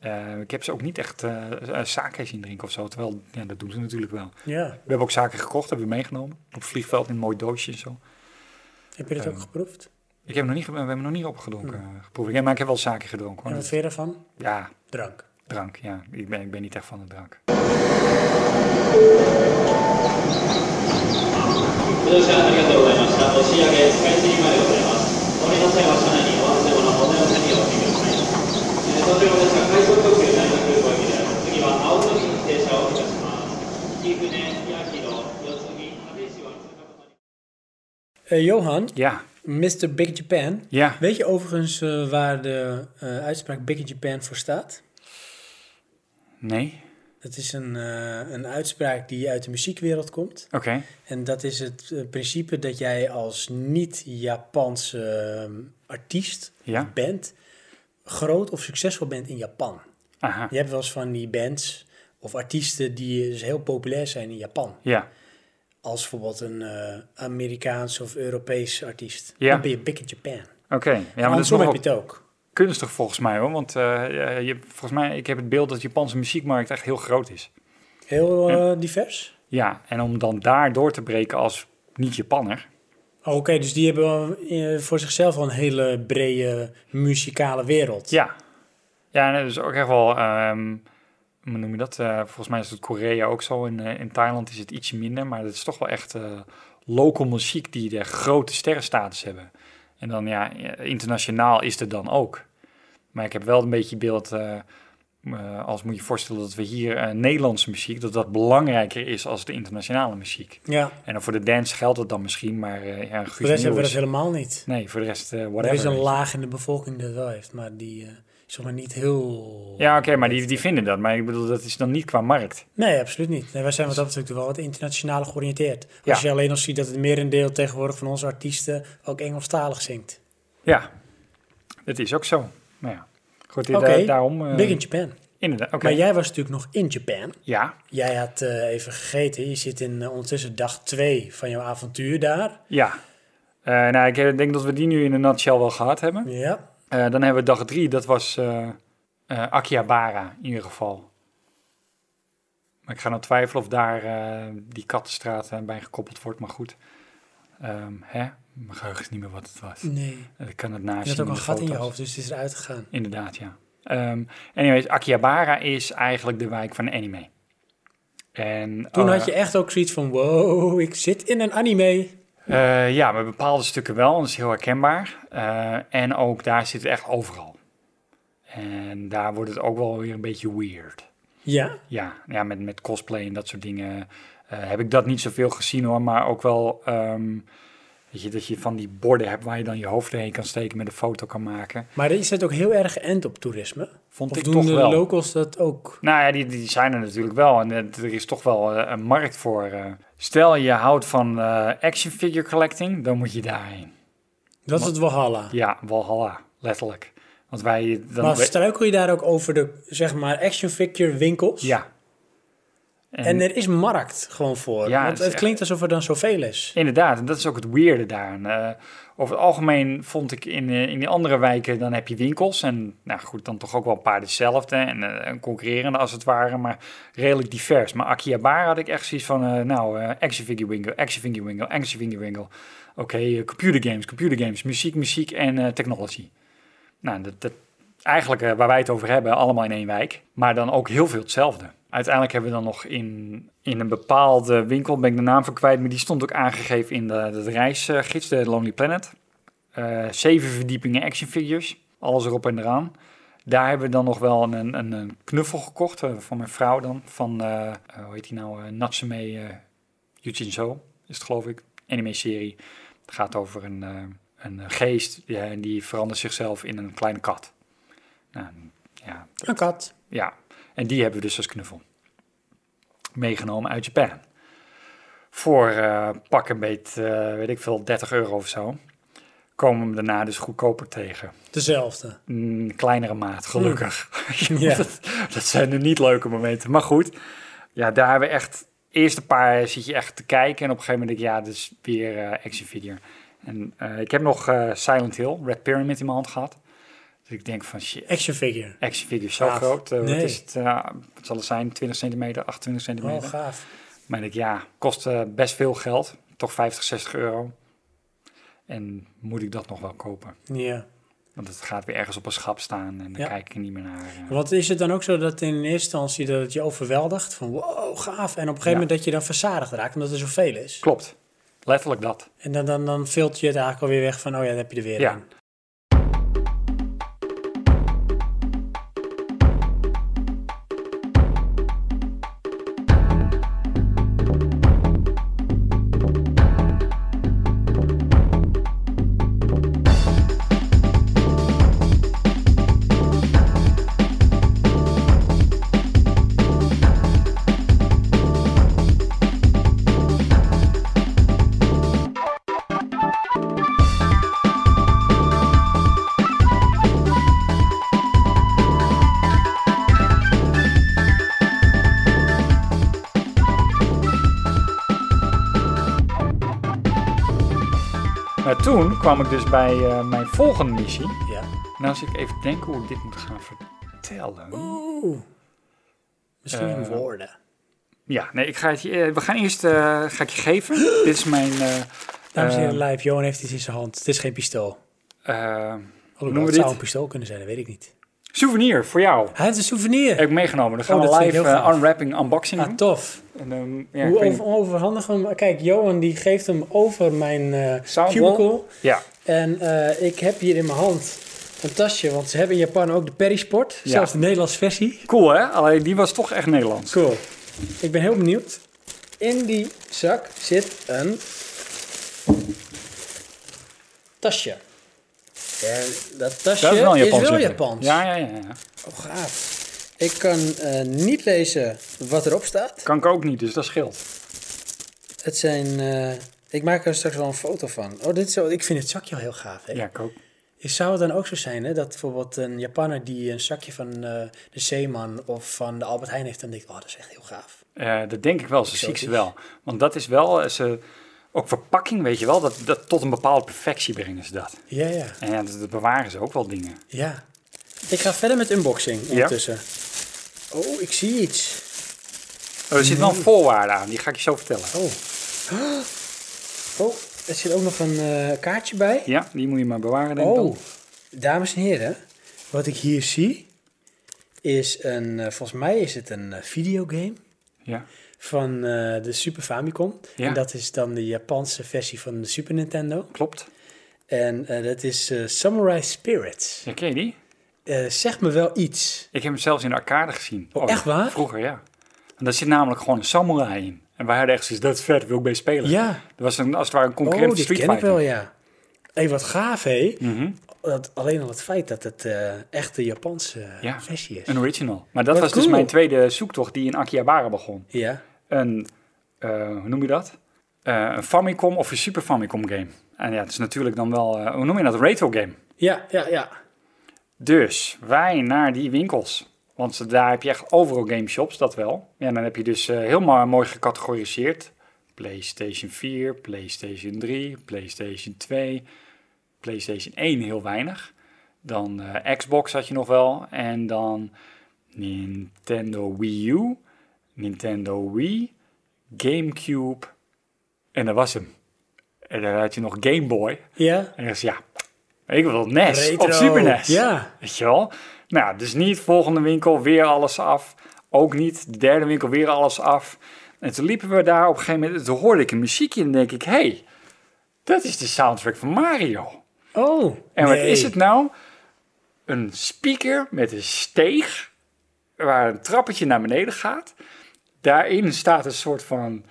Eh, ik heb ze ook niet echt eh eh, sake zien drinken of zo. Terwijl, ja, dat doen ze natuurlijk wel. Ja. We hebben ook zaken gekocht, hebben we meegenomen. Op het vliegveld in een mooi doosje en zo. Heb je dat ook Ehm, geproefd? Ik heb nog niet, ge- we hebben nog niet opgedronken, Hmm. eh, geproefd. Ja, maar ik heb wel zaken gedronken. En Hoor. Dus wat vind je daarvan? Ja, Drank. drank. Ja, ik ben, ik ben niet echt van de drank. ご乗車ありがとうございました。押し上げ開始前でございます。お降りの際は車内にお忘れ物、お手元にお置きください。えー、途中ですが、快速特急成田空港行きです。次は青森に停車をいたします。貴船、八広、四つ木、立石を通過となります。 Eh, Johan, Ja, Mr. Big Japan. ja. Weet je overigens eh, waar de eh, uitspraak Big Japan voor staat? Nee? Dat is een, eh, een uitspraak die uit de muziekwereld komt. Oké. En dat is het eh, principe dat jij als niet-Japanse eh, artiest, Ja. of band, groot of succesvol bent in Japan. Aha. Je hebt wel eens van die bands of artiesten die dus heel populair zijn in Japan. Ja. Als bijvoorbeeld een eh, Amerikaans of Europees artiest. Ja. Dan ben je big in Japan. Oké. Ja, maar dat is Andersom nog heb wel je het ook. kunstig volgens mij hoor. Want eh, eh, je, volgens mij, ik heb het beeld dat de Japanse muziekmarkt echt heel groot is. Heel eh, divers. Ja, en om dan daar door te breken als niet-Japanner. Oké, dus die hebben eh, voor zichzelf al een hele brede muzikale wereld. Ja. Ja, en dat is ook echt wel, ehm, hoe noem je dat? Eh, volgens mij is het Korea ook zo. In, eh, in Thailand is het ietsje minder. Maar het is toch wel echt eh, local muziek die de grote sterrenstatus hebben. En dan ja, internationaal is het dan ook. Maar ik heb wel een beetje beeld, eh, eh, als moet je voorstellen dat we hier eh, Nederlandse muziek, dat dat belangrijker is als de internationale muziek. ja. En dan voor de dance geldt dat dan misschien, maar eh ja, Voor Guus de rest hebben we dat Meeuwis- helemaal niet. Nee, voor de rest, eh whatever. Er is een weet je. laag in de bevolking die dat wel heeft, maar die eh, is zeg maar niet heel... Ja, oké, maar die, die vinden dat. Maar ik bedoel, dat is dan niet qua markt. Nee, absoluut niet. Nee, wij zijn wat dat betreft wel wat internationaal georiënteerd. Ja. Als je alleen al ziet dat het merendeel tegenwoordig van onze artiesten ook Engelstalig zingt. Ja, dat is ook zo. Nou ja, goed, dit, Oké, eh, daarom... eh, Big in Japan. Inderdaad, oké. Maar jij was natuurlijk nog in Japan. Ja, Jij had eh, even gegeten. Je zit in eh, ondertussen dag twee van jouw avontuur daar. ja. Eh, nou, ik denk dat we die nu in een nutshell wel gehad hebben. Ja. Eh, dan hebben we dag drie, dat was eh eh Akihabara in ieder geval. Maar ik ga nog twijfelen of daar eh, die kattenstraat eh, bij gekoppeld wordt, maar goed. Ehm, hè? Mijn geheugen is niet meer wat het was. Nee. Ik kan het Mm. Je nazien had ook in een de gat in je foto's. Oh, hoofd, dus het is eruit gegaan. Inderdaad, ja. Ehm anyways, Akihabara is eigenlijk de wijk van anime. En, Toen oh, had je echt ook zoiets van, wow, ik zit in een anime. eh, ja, maar bepaalde stukken wel, dat is heel herkenbaar. Eh, en ook daar zit het echt overal. En daar wordt het ook wel weer een beetje weird. Ja, Ja, ja met, met cosplay en dat soort dingen eh, heb ik dat niet zoveel gezien hoor. Maar ook wel ehm, weet je, dat je van die borden hebt waar je dan je hoofd heen kan steken met een foto kan maken. maar is het ook heel erg geënt op toerisme? Vond Of ik doen toch de wel. locals dat ook? Nou ja, die, die zijn er natuurlijk wel. En het- er is toch wel eh, een markt voor. eh. Stel je houdt van eh, action figure collecting, dan moet je daarheen. Dat is het Walhalla. Ja, Walhalla, letterlijk. Want wij. Dan maar we- struikel je daar ook over de, zeg maar, action figure winkels? ja. En, En er is markt gewoon voor. Ja, het want is het echt- klinkt alsof er dan zoveel is. inderdaad, en dat is ook het weirde daar. En, eh, over het algemeen vond ik in, eh, in die andere wijken, dan heb je winkels. En nou goed, dan toch ook wel een paar dezelfde. En eh, een concurrerende als het ware, maar redelijk divers. Maar Akihabara had ik echt zoiets van, eh, nou, eh, action figure winkel, action figure winkel, action figure winkel. Oké, eh, computer games, computer games, muziek, muziek en eh, technology. Nou, dat, dat, eigenlijk eh, waar wij het over hebben, allemaal in één wijk. Maar dan ook heel veel hetzelfde. Uiteindelijk hebben we dan nog in, in een bepaalde winkel, ben ik de naam van kwijt, maar die stond ook aangegeven in de, de reisgids, de Lonely Planet. Eh, zeven verdiepingen action figures, alles erop en eraan. Daar hebben we dan nog wel een, een, een knuffel gekocht eh, van mijn vrouw dan. Van, eh, eh, hoe heet die nou, eh, Natsume eh, Yujinzo is het geloof ik, anime-serie. Het gaat over een, eh, een geest ja, en die verandert zichzelf in een kleine kat. Nou, ja, Een kat. ja, en die hebben we dus als knuffel meegenomen uit Japan. voor eh pak een beet, eh, weet ik veel, 30 euro of zo. Komen we hem daarna dus goedkoper tegen. Dezelfde. Een mm, kleinere maat, gelukkig. Hmm. Ja. dat, dat zijn de niet leuke momenten. Maar goed, ja, daar hebben we echt... Eerste paar zit je echt te kijken en op een gegeven moment denk ik... Ja, dit is weer eh action figure. En eh, ik heb nog eh, Silent Hill, Red Pyramid in mijn hand gehad. Dus ik denk van shit, Action figure. action figure is zo Gaaf. groot. eh, Nee. Wat is het? eh, wat zal het zijn? 20 centimeter, 28 Oh, centimeter? gaaf. maar ik denk, ja, kost eh, best veel geld. Toch 50, 60 euro. En moet ik dat nog wel kopen? Ja. Want het gaat weer ergens op een schap staan en dan Ja. kijk ik er niet meer naar. eh. Want is het dan ook zo dat in eerste instantie dat het je overweldigt? Van wow, gaaf. En op een gegeven Ja. moment dat je dan verzadigd raakt omdat er zoveel is. Klopt. Letterlijk dat. En dan, dan, dan vult je het eigenlijk alweer weg van, oh ja, dan heb je er weer Ja. een. Maar toen kwam ik dus bij eh, mijn volgende missie. Ja. En als ik even denk hoe ik dit moet gaan vertellen. Oeh. Misschien Eh, woorden. Ja, nee, ik ga het je, eh, we gaan eerst eh, ga ik je geven. dit is mijn, eh Dames en heren, live. Johan heeft iets in zijn hand. Het is geen pistool. eh, Alhoewel, noemen we het zou dit? een pistool kunnen zijn, dat weet ik niet. souvenir voor jou. Hij heeft een souvenir. Heb ik meegenomen. Dan gaan Oh, we dat vind live ik heel eh, gaaf. unwrapping, unboxing Ah, doen. tof. En, ehm, ja, ik Hoe weet over, overhandig hem? Kijk, Johan die geeft hem over mijn eh Soundwall. cubicle. niet. ja, En eh, ik heb hier in mijn hand een tasje, want ze hebben in Japan ook de Perisport. Ja. Zelfs de Nederlandse versie. cool hè? Alleen die was toch echt Nederlands. Cool. Ik ben heel benieuwd. In die zak zit een tasje. En dat tasje Dat is wel een Japans. wel zeg ik. Japans. Ja, ja, ja, ja. Oh, gaaf. Ik kan eh, niet lezen wat erop staat. Kan ik ook niet, dus dat scheelt. Het zijn... eh, ik maak er straks wel een foto van. Oh, dit is zo, ik vind het zakje wel heel gaaf. Hè? Ja, ik ook. Zou het dan ook zo zijn hè, dat bijvoorbeeld een Japanner die een zakje van eh, de Zeeman of van de Albert Heijn heeft, dan denkt, oh, dat is echt heel gaaf. Eh, dat denk ik wel, ze ziet ze Exotisch. wel. Want dat is wel, eh, ze, ook verpakking, weet je wel, dat, dat tot een bepaalde perfectie brengen ze dat. Ja, ja. En ja, dat, dat bewaren ze ook wel dingen. Ja. Ik ga verder met unboxing ondertussen. Oh, ik zie iets. Oh, er zit wel een Mhm. voorwaarde aan, die ga ik je zo vertellen. Oh. Oh, er zit ook nog een eh, kaartje bij. Ja, die moet je maar bewaren, denk ik oh, dan. dames en heren. Wat ik hier zie is een, eh, volgens mij is het een eh, videogame Ja. van eh, de Super Famicom. Ja. En dat is dan de Japanse versie van de Super Nintendo. Klopt. En eh, dat is eh, Samurai Spirits. Ja, ken je die? Eh, zeg me wel iets. Ik heb hem zelfs in de arcade gezien. Oh, echt waar? Vroeger, ja. En daar zit namelijk gewoon een samurai in. En wij hadden echt zoiets, dat is vet, wil ik bij spelen. Ja. Er was een, als het ware een concurrent Oh, dit Street ken ik wel, Fighter. ja. Hé, wat gaaf, hé. Mhm, Dat, alleen al het feit dat het eh, echt de Japanse eh, ja. versie is. Een original. Maar dat Wat was dus cool. mijn tweede zoektocht die in Akihabara begon. Ja. een, eh, hoe noem je dat? Eh, een Famicom of een Super Famicom game. En ja, het is natuurlijk dan wel, eh, hoe noem je dat? Een retro game. Ja, ja, ja. Dus wij naar die winkels. Want ze- daar heb je echt overal game shops, dat wel. Ja, en dan heb je dus eh, heel ma- mooi gecategoriseerd. PlayStation 4, PlayStation 3, PlayStation 2, PlayStation 1 heel weinig. Dan eh, Xbox had je nog wel. En dan Nintendo Wii U, Nintendo Wii, Gamecube. En dat was hem. En dan had je nog Game Boy. Ja. En dan is ja, ik wil NES Retro. of Super NES. Ja. Weet je wel? Nou, dus niet volgende winkel, weer alles af. Ook niet de derde winkel, weer alles af. En toen liepen we daar op een gegeven moment, toen hoorde ik een muziekje en denk ik, hé, hey, dat is de soundtrack van Mario. Oh. En wat nee. is het nou? Een speaker met een steeg, waar een trappetje naar beneden gaat. Daarin staat een soort van,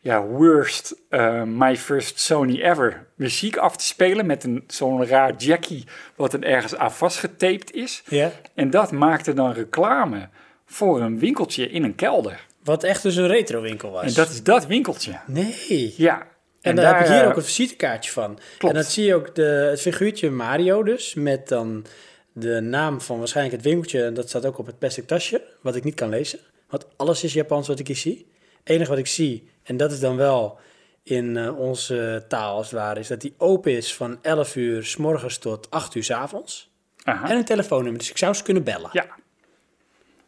ja, worst, eh, my first Sony ever muziek af te spelen met een zo'n raar jackie wat er ergens aan vastgetaped is. Ja. En dat maakte dan reclame voor een winkeltje in een kelder. Wat echt dus een retrowinkel was. En dat is dat winkeltje. Nee. Ja. En, En, daar, heb ik hier eh, ook een visitekaartje van. Klopt. En dat zie je ook de, het figuurtje Mario dus, met dan de naam van waarschijnlijk het winkeltje. En dat staat ook op het plastic tasje, wat ik niet kan lezen. Want alles is Japans wat ik hier zie. Het enige wat ik zie, en dat is dan wel in eh, onze taal als het ware, is dat die open is van 11 uur s morgens tot 8 uur s avonds. aha. En een telefoonnummer, dus ik zou ze kunnen bellen. Ja.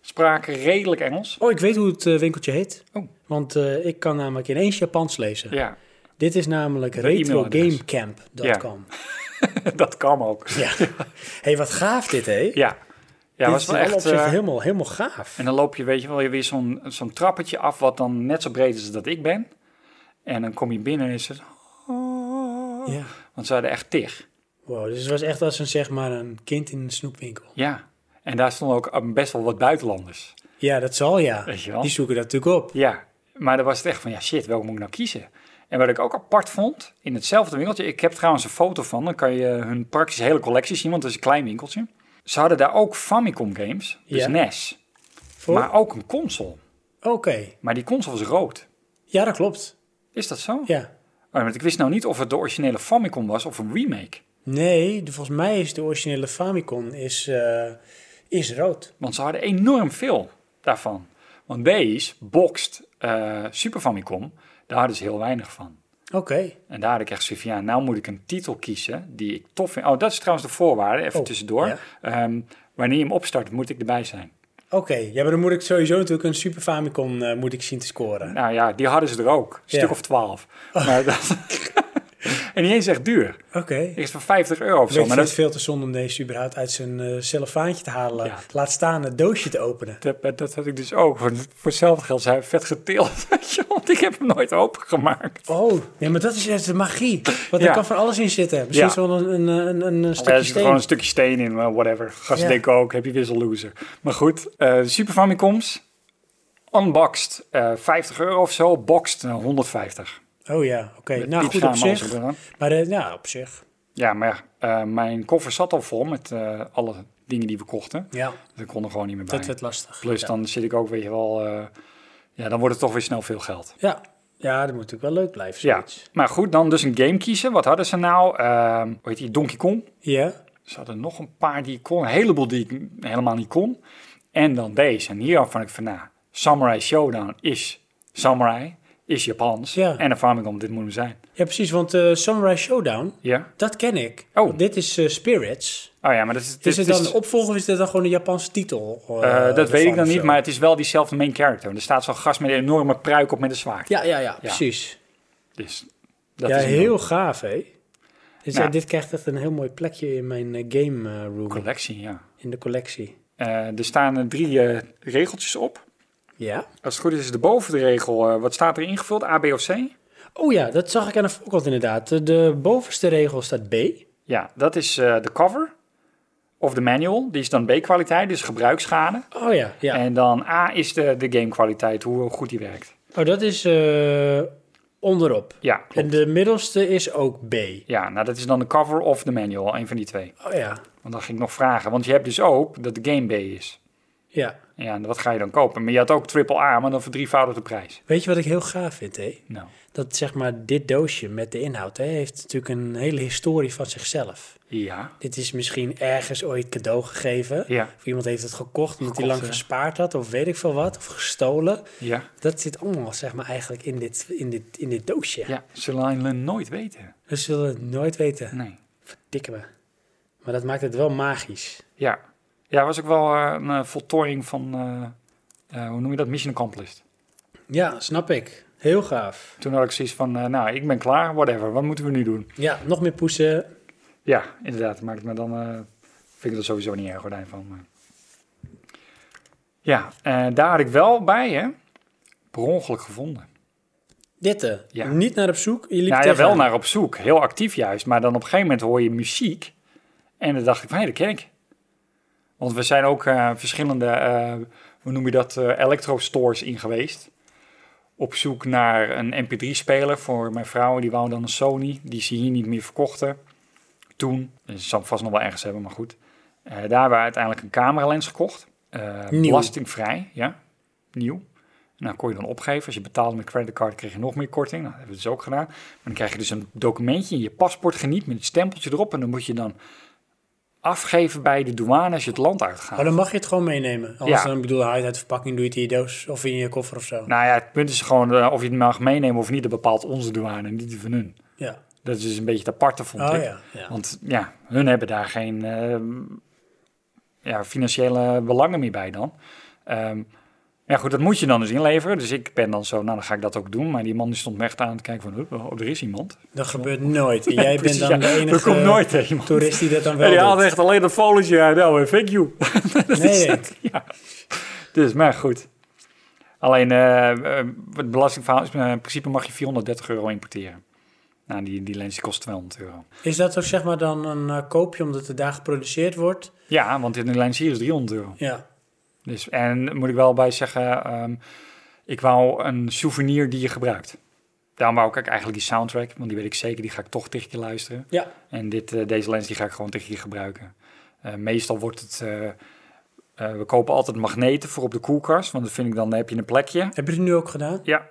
Spraken redelijk Engels. Oh, ik weet hoe het eh, winkeltje heet. Oh. Want eh, ik kan namelijk ineens Japans lezen. Ja, Dit is namelijk e-mailadres. retrogamecamp.com. dat kan ook. Ja. hey, wat gaaf dit, hè? Ja. Ja, dit was is in wel alle echt... opzichten eh, helemaal, helemaal gaaf. En dan loop je, weet je wel, weer zo'n zo'n trappetje af, wat dan net zo breed is als dat ik ben. En dan kom je binnen en is het... "Oh." Ja. Want ze hadden echt tig. Wow, dus het was echt als een, zeg maar, een kind in een snoepwinkel. Ja. En daar stonden ook eh, best wel wat buitenlanders. Ja, dat zal ja. Weet je wel. Die zoeken dat natuurlijk op. Ja, maar dan was het echt van, ja shit, welke moet ik nou kiezen? En wat ik ook apart vond, in hetzelfde winkeltje, ik heb trouwens een foto van, dan kan je hun praktisch hele collectie zien, want het is een klein winkeltje. Ze hadden daar ook Famicom games, dus Ja. Oh. NES, Voor- maar ook een console. Oké. Maar die console was rood. Ja, dat klopt. Is dat zo? Ja. Oh, want ik wist nou niet of het de originele Famicom was of een remake. Nee, de- volgens mij is de originele Famicom is, eh, is rood. Want ze hadden enorm veel daarvan. Want deze boxt eh, Super Famicom, daar hadden ze heel weinig van. Oké. En daar had ik echt zoiets van, ja, nou moet ik een titel kiezen die ik tof vind. Oh, dat is trouwens de voorwaarde, even Oh, tussendoor. ja. Ehm, wanneer je hem opstart, moet ik erbij zijn. Oké. Ja, maar dan moet ik sowieso natuurlijk een Super Famicom eh, moet ik zien te scoren. Nou ja, die hadden ze er ook. Een Ja. stuk of twaalf. Maar dat... en niet eens echt duur. Oké. Ik is van 50 euro of Ik zo. vind Maar het dat... veel te zonde om deze überhaupt uit zijn eh cellofaantje te halen. Ja. Laat staan het doosje te openen. Dat, dat had ik dus ook. want Voor hetzelfde geld zijn we vet geteeld. weet je, Want ik heb hem nooit opengemaakt. Oh, ja, maar dat is juist de magie. Want Ja. er kan van alles in zitten. Misschien Ja. wel een, een, een, een, een Er stukje zit steen. gewoon een stukje steen in, maar whatever. Gasten Ja. denken ook, heb je wisselloser. Maar goed, eh Super Famicoms, unboxed, eh 50 euro of zo, boxed eh, 150. Oh ja, oké. Met Nou, goed pizza op en alles zich. eraan. Maar eh, ja, op zich. Ja, maar ja, eh, mijn koffer zat al vol met eh, alle dingen die we kochten. Ja, Dus ik kon er gewoon niet meer bij. dat werd lastig. Plus ja. dan zit ik ook, weet je wel, eh, ja, dan wordt het toch weer snel veel geld. Ja. ja, dat moet natuurlijk wel leuk blijven. Ja, Zoiets. maar goed, dan dus een game kiezen. Wat hadden ze nou? Ehm hoe heet die? Donkey Kong. Ja. Ze hadden nog een paar die ik kon, een heleboel die ik helemaal niet kon. En dan deze. En hier van ik van, nou, Samurai Showdown is Samurai, is Japans. Ja. En dan vraag ik om, dit moet hem zijn. Ja, precies. Want eh Samurai Showdown, Ja? dat ken ik. Oh. Want Dit is eh, Spirits. Oh ja, maar dat is... Is het dit dan de opvolger of is dit dan gewoon een Japanse titel? eh, eh, dat weet ik ervan dan of niet, zo? maar het is wel diezelfde main character. Er staat zo'n gast met een enorme pruik op met een zwaard. Ja, ja, ja, precies. Dus dat ja, is een heel gaaf, hè? Dus, Nou. ja, dit krijgt echt een heel mooi plekje in mijn eh, game eh, room, collectie, ja. in de collectie. Eh, er staan eh, drie eh, regeltjes op. Ja? Als het goed is, is de boven de regel, eh, wat staat er ingevuld? A, B of C? Oh ja, dat zag ik aan de voorkant inderdaad. De- De bovenste regel staat B. Ja, dat is eh, de cover of de manual. Die is dan B-kwaliteit, dus gebruiksschade. Oh ja, ja. En dan A is de, de gamekwaliteit, hoe goed die werkt. Oh, dat is eh, onderop. Ja, klopt. En de middelste is ook B. Ja, nou dat is dan de cover of de manual, een van die twee. Oh ja, Want dan ging ik nog vragen, want je hebt dus ook dat de game B is. ja. Ja, en wat ga je dan kopen? Maar je had ook AAA, maar dan verdrievoudig de prijs. Weet je wat ik heel gaaf vind, hè? Nou, Dat zeg maar dit doosje met de inhoud, hè, heeft natuurlijk een hele historie van zichzelf. ja. Dit is misschien ergens ooit cadeau gegeven. Ja, Of iemand heeft het gekocht omdat hij Gekocht, lang ja. gespaard had, of weet ik veel wat, of gestolen. ja, Dat zit allemaal, zeg maar, eigenlijk in dit, in dit, in dit doosje. ja. Zullen we nooit weten? We zullen het nooit weten. Nee. Dikke me. Maar dat maakt het wel magisch. Ja. Ja, was ook wel eh, een eh, voltooiing van, eh, eh, hoe noem je dat, Mission Accomplished. Ja, snap ik. Heel gaaf. Toen had ik zoiets van, eh, nou, ik ben klaar, whatever, wat moeten we nu doen? Ja, nog meer poesen. Ja, inderdaad, maakt me dan, eh, vind ik er sowieso niet erg gordijn van. Maar... Ja, eh, daar had ik wel bij, hè, per ongeluk gevonden. Ditte. Ja. Niet naar op zoek. Je liep Nou ja, tegen wel aan. naar op zoek, heel actief juist, maar dan op een gegeven moment hoor je muziek. En dan dacht ik, van, hé, dat ken ik. Want we zijn ook eh, verschillende, eh, hoe noem je dat, eh electro-stores in geweest. Op zoek naar een mp3-speler voor mijn vrouw. Die wou dan een Sony, die ze hier niet meer verkochten. Toen, ze zal hem vast nog wel ergens hebben, maar goed. Eh, daar hebben we uiteindelijk een cameralens gekocht. Eh, Nieuw. Belastingvrij, ja, nieuw. Nou, kon je dan opgeven. Als je betaalde met creditcard, kreeg je nog meer korting. Nou, dat hebben we dus ook gedaan. Maar dan krijg je dus een documentje in je paspoort geniet met een stempeltje erop. En dan moet je dan afgeven bij de douane als je het land uitgaat. Maar Oh, dan mag je het gewoon meenemen. Anders Ja. dan, ik bedoel, haal je het uit de verpakking, doe je het in je doos of in je koffer of zo. Nou ja, het punt is gewoon eh, of je het mag meenemen of niet. Dat bepaalt onze douane en niet die van hun. Ja. Dat is dus een beetje het aparte, vond Oh ik. ja, ja. Want ja, hun hebben daar geen ehm, ja, financiële belangen meer bij dan. Ehm, ja goed, dat moet je dan dus inleveren. Dus ik ben dan zo, nou dan ga ik dat ook doen. Maar die man die stond me echt aan te kijken van, oh, er is iemand. Dat gebeurt nooit. En jij Precies, bent dan ja. de enige Er komt nooit iemand. toerist die dat dan En wel die had doet. echt alleen een folietje uit. Nou, eh, thank you. dat Nee, is nee. het, ja. Dus, maar goed. Alleen, eh, eh, het belastingverhaal is, eh, in principe mag je 430 euro importeren. Nou, die, die lens die kost 200 euro. Is dat ook zeg maar dan een eh, koopje omdat het daar geproduceerd wordt? Ja, want in de lens hier is 300 euro. Ja. Dus, en moet ik wel bij zeggen, ehm, ik wou een souvenir die je gebruikt. Daarom wou ik ook eigenlijk die soundtrack, want die weet ik zeker, die ga ik toch tegen je luisteren. Ja. En dit, eh, deze lens die ga ik gewoon tegen je gebruiken. Eh, meestal wordt het, eh, eh, we kopen altijd magneten voor op de koelkast, want dat vind ik dan, dan heb je een plekje. Heb je het nu ook gedaan? Ja.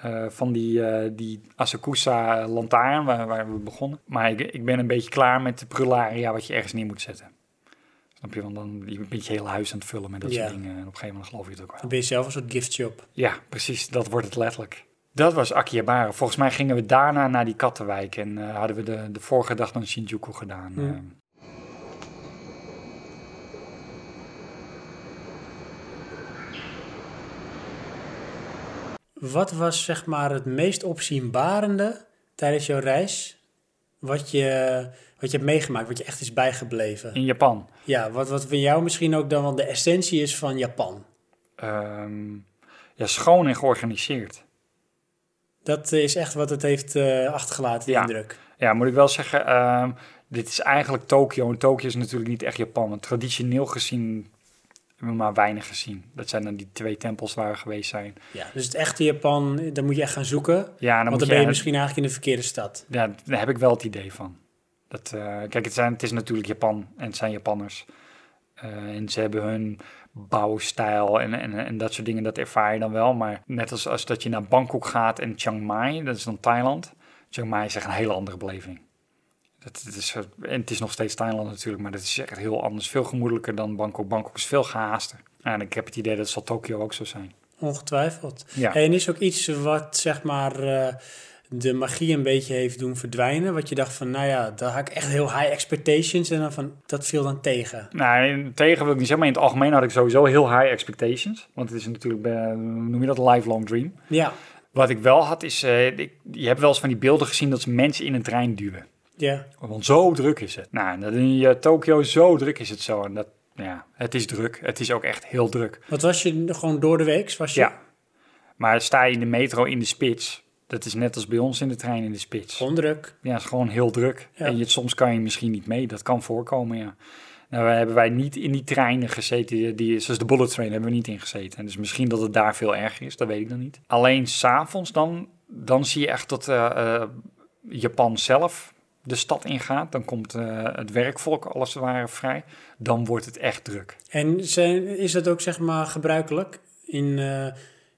Eh, van die, eh, die Asakusa eh, lantaarn waar, waar we begonnen. Maar ik, ik ben een beetje klaar met de prularia wat je ergens neer moet zetten. Snap je? Want dan je bent je hele huis aan het vullen met dat Ja. soort dingen. En op een gegeven moment geloof je het ook wel. Dan ben je zelf een soort gift shop. Ja, precies. Dat wordt het letterlijk. Dat was Akihabara. Volgens mij gingen we daarna naar die kattenwijk. En eh, hadden we de, de vorige dag dan Shinjuku gedaan. eh. Wat was zeg maar het meest opzienbarende tijdens jouw reis? Wat je, wat je hebt meegemaakt, wat je echt is bijgebleven? in Japan. Ja, wat, wat voor jou misschien ook dan wel de essentie is van Japan. Ehm, ja, schoon en georganiseerd. Dat is echt wat het heeft eh, achtergelaten, die Ja. indruk. Ja, moet ik wel zeggen, ehm, dit is eigenlijk Tokio. En Tokio is natuurlijk niet echt Japan. Want traditioneel gezien hebben we maar weinig gezien. Dat zijn dan die twee tempels waar we geweest zijn. Ja, dus het echte Japan, daar moet je echt gaan zoeken. Ja, dan, want moet je dan ben je eigenlijk- misschien eigenlijk in de verkeerde stad. ja, daar heb ik wel het idee van. Dat, eh, kijk, het, zijn, het is natuurlijk Japan en het zijn Japanners. Eh, en ze hebben hun bouwstijl en, en, en dat soort dingen, dat ervaar je dan wel. Maar net als, als dat je naar Bangkok gaat en Chiang Mai, dat is dan Thailand. Chiang Mai is echt een hele andere beleving. Dat, dat is, en het is nog steeds Thailand natuurlijk, maar dat is echt heel anders. Veel gemoedelijker dan Bangkok. Bangkok is veel gehaaster. En ik heb het idee dat zal Tokio ook zo zijn. Ongetwijfeld. Ja. En is ook iets wat zeg maar eh, de magie een beetje heeft doen verdwijnen. Wat je dacht van, nou ja, daar had ik echt heel high expectations. En dan van, dat viel dan tegen. Nou, in- tegen wil ik niet zeggen, maar in het algemeen had ik sowieso heel high expectations. Want het is natuurlijk, eh, hoe noem je dat, een lifelong dream. Ja, Wat ik wel had is, eh, ik- je hebt wel eens van die beelden gezien dat ze mensen in een trein duwen. ja. Want zo druk is het. Nou, en dat in eh, Tokio, zo druk is het zo. En dat, ja, het is druk. Het is ook echt heel druk. Wat was je gewoon door de week? Was je... Ja. Maar sta je in de metro in de spits, dat is net als bij ons in de trein in de spits. Gewoon druk. Ja, het is gewoon heel druk. Ja. En je, soms kan je misschien niet mee. Dat kan voorkomen, ja. Nou, wij- hebben wij niet in die treinen gezeten, die- die, zoals de bullet train hebben we niet in gezeten. En dus misschien dat het daar veel erger is, dat weet ik dan niet. Alleen s'avonds dan, dan zie je echt dat eh, eh, Japan zelf de stad ingaat. Dan komt eh, het werkvolk alles ware vrij. Dan wordt het echt druk. En zijn, is dat ook zeg maar gebruikelijk in, eh,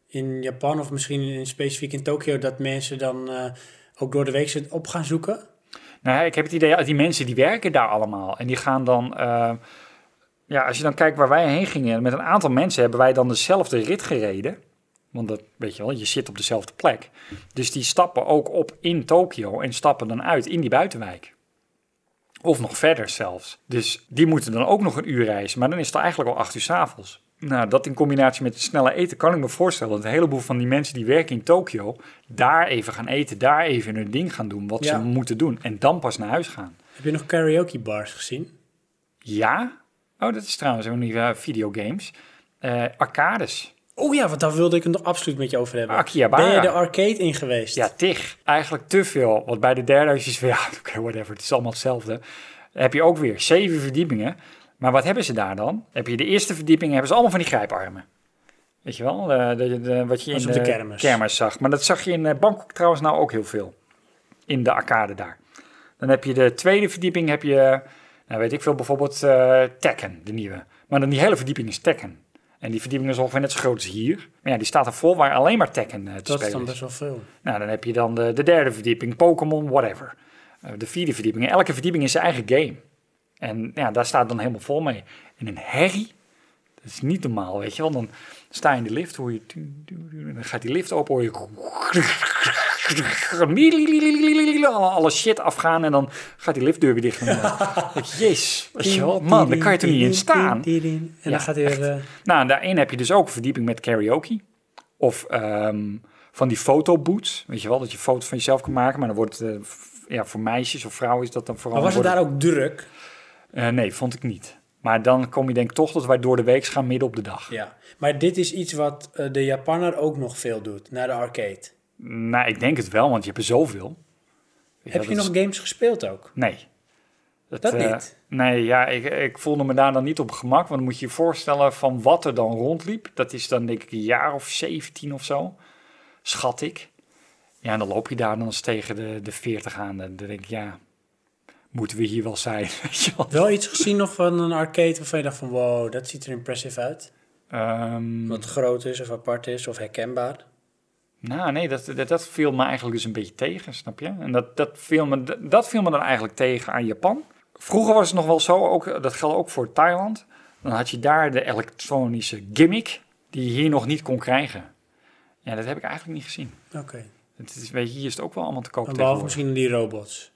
in Japan of misschien in, specifiek in Tokio... dat mensen dan eh, ook door de week ze op gaan zoeken? Nou, ja, ik heb het idee, die mensen die werken daar allemaal. En die gaan dan. eh, ja, als je dan kijkt waar wij heen gingen, met een aantal mensen hebben wij dan dezelfde rit gereden. Want dat weet je wel, je zit op dezelfde plek. Dus die stappen ook op in Tokio en stappen dan uit in die buitenwijk. Of nog verder zelfs. Dus die moeten dan ook nog een uur reizen. Maar dan is het eigenlijk al acht uur 's avonds. Nou, dat in combinatie met het snelle eten kan ik me voorstellen dat een heleboel van die mensen die werken in Tokio daar even gaan eten, daar even hun ding gaan doen, wat Ja. ze moeten doen. En dan pas naar huis gaan. Heb je nog karaoke bars gezien? Ja? Oh, dat is trouwens een nieuwe videogames. Eh, arcades. Oh ja, want daar wilde ik het nog absoluut met je over hebben. Akihabara. Ben je de arcade in geweest? Ja, tig. Eigenlijk te veel. Want bij de derde is het van, ja, oké, whatever, het is allemaal hetzelfde. Dan heb je ook weer zeven verdiepingen. Maar wat hebben ze daar dan? Heb je de eerste verdieping, hebben ze allemaal van die grijparmen. Weet je wel, eh, de, de- wat je Dat is in op de kermis. zag. Maar dat zag je in eh, Bangkok trouwens nou ook heel veel. In de arcade daar. Dan heb je de tweede verdieping, heb je, nou weet ik veel, bijvoorbeeld eh, Tekken, de nieuwe. Maar dan die hele verdieping is Tekken. En En die verdieping is ongeveer net zo groot als hier. Maar ja, die staat er vol waar alleen maar Tekken eh, te Dat is dan spelen best is. wel veel. Nou, dan heb je dan de, de derde verdieping, Pokémon, whatever. Eh, de vierde verdieping. En elke verdieping is zijn eigen game. En ja, daar staat het dan helemaal vol mee. En een herrie, dat is niet normaal, weet je wel. Dan sta je in de lift, hoor je... tu- tu- tu- en Dan gaat die lift open, hoor je... Alle shit afgaan en dan gaat die liftdeur weer dicht. Jezus, weet je wel. Man, daar kan je toch niet in staan? En Ja, dan gaat hij weer... eh, Nou, en daarin heb je dus ook een verdieping met karaoke. Of ehm, van die fotoboots. Weet je wel, dat je foto's van jezelf kan maken. Maar dan wordt het, eh, f- ja, voor meisjes of vrouwen is dat dan vooral... Maar was het wordt daar ook druk? eh, nee, vond ik niet. Maar dan kom je denk ik toch dat wij door de week gaan midden op de dag. Ja. Maar dit is iets wat eh, de Japanner ook nog veel doet, naar de arcade. Nou, ik denk het wel, want je hebt er zoveel. Ja, Heb dat je is- nog games gespeeld ook? Nee. Dat eh, niet? Nee, ja, ik, ik voelde me daar dan niet op gemak. Want dan moet je je voorstellen van wat er dan rondliep. Dat is dan denk ik een jaar of 17 of zo. Schat ik. Ja, en dan loop je daar dan eens tegen de, de 40 aan. Dan denk ik, ja, moeten we hier wel zijn? Weet je wel? Wel iets gezien nog van een arcade waarvan je dacht van wow, dat ziet er impressive uit. Ehm, Wat groot is of apart is of herkenbaar. Nou, nee, dat, dat, dat viel me eigenlijk dus een beetje tegen, snap je? En dat, dat, viel me, dat, dat viel me dan eigenlijk tegen aan Japan. Vroeger was het nog wel zo, ook, dat geldt ook voor Thailand. Dan had je daar de elektronische gimmick die je hier nog niet kon krijgen. Ja, dat heb ik eigenlijk niet gezien. Oké. Het is, weet je, hier is het ook wel allemaal te koop Maar Behalve tegenwoordig. misschien die robots.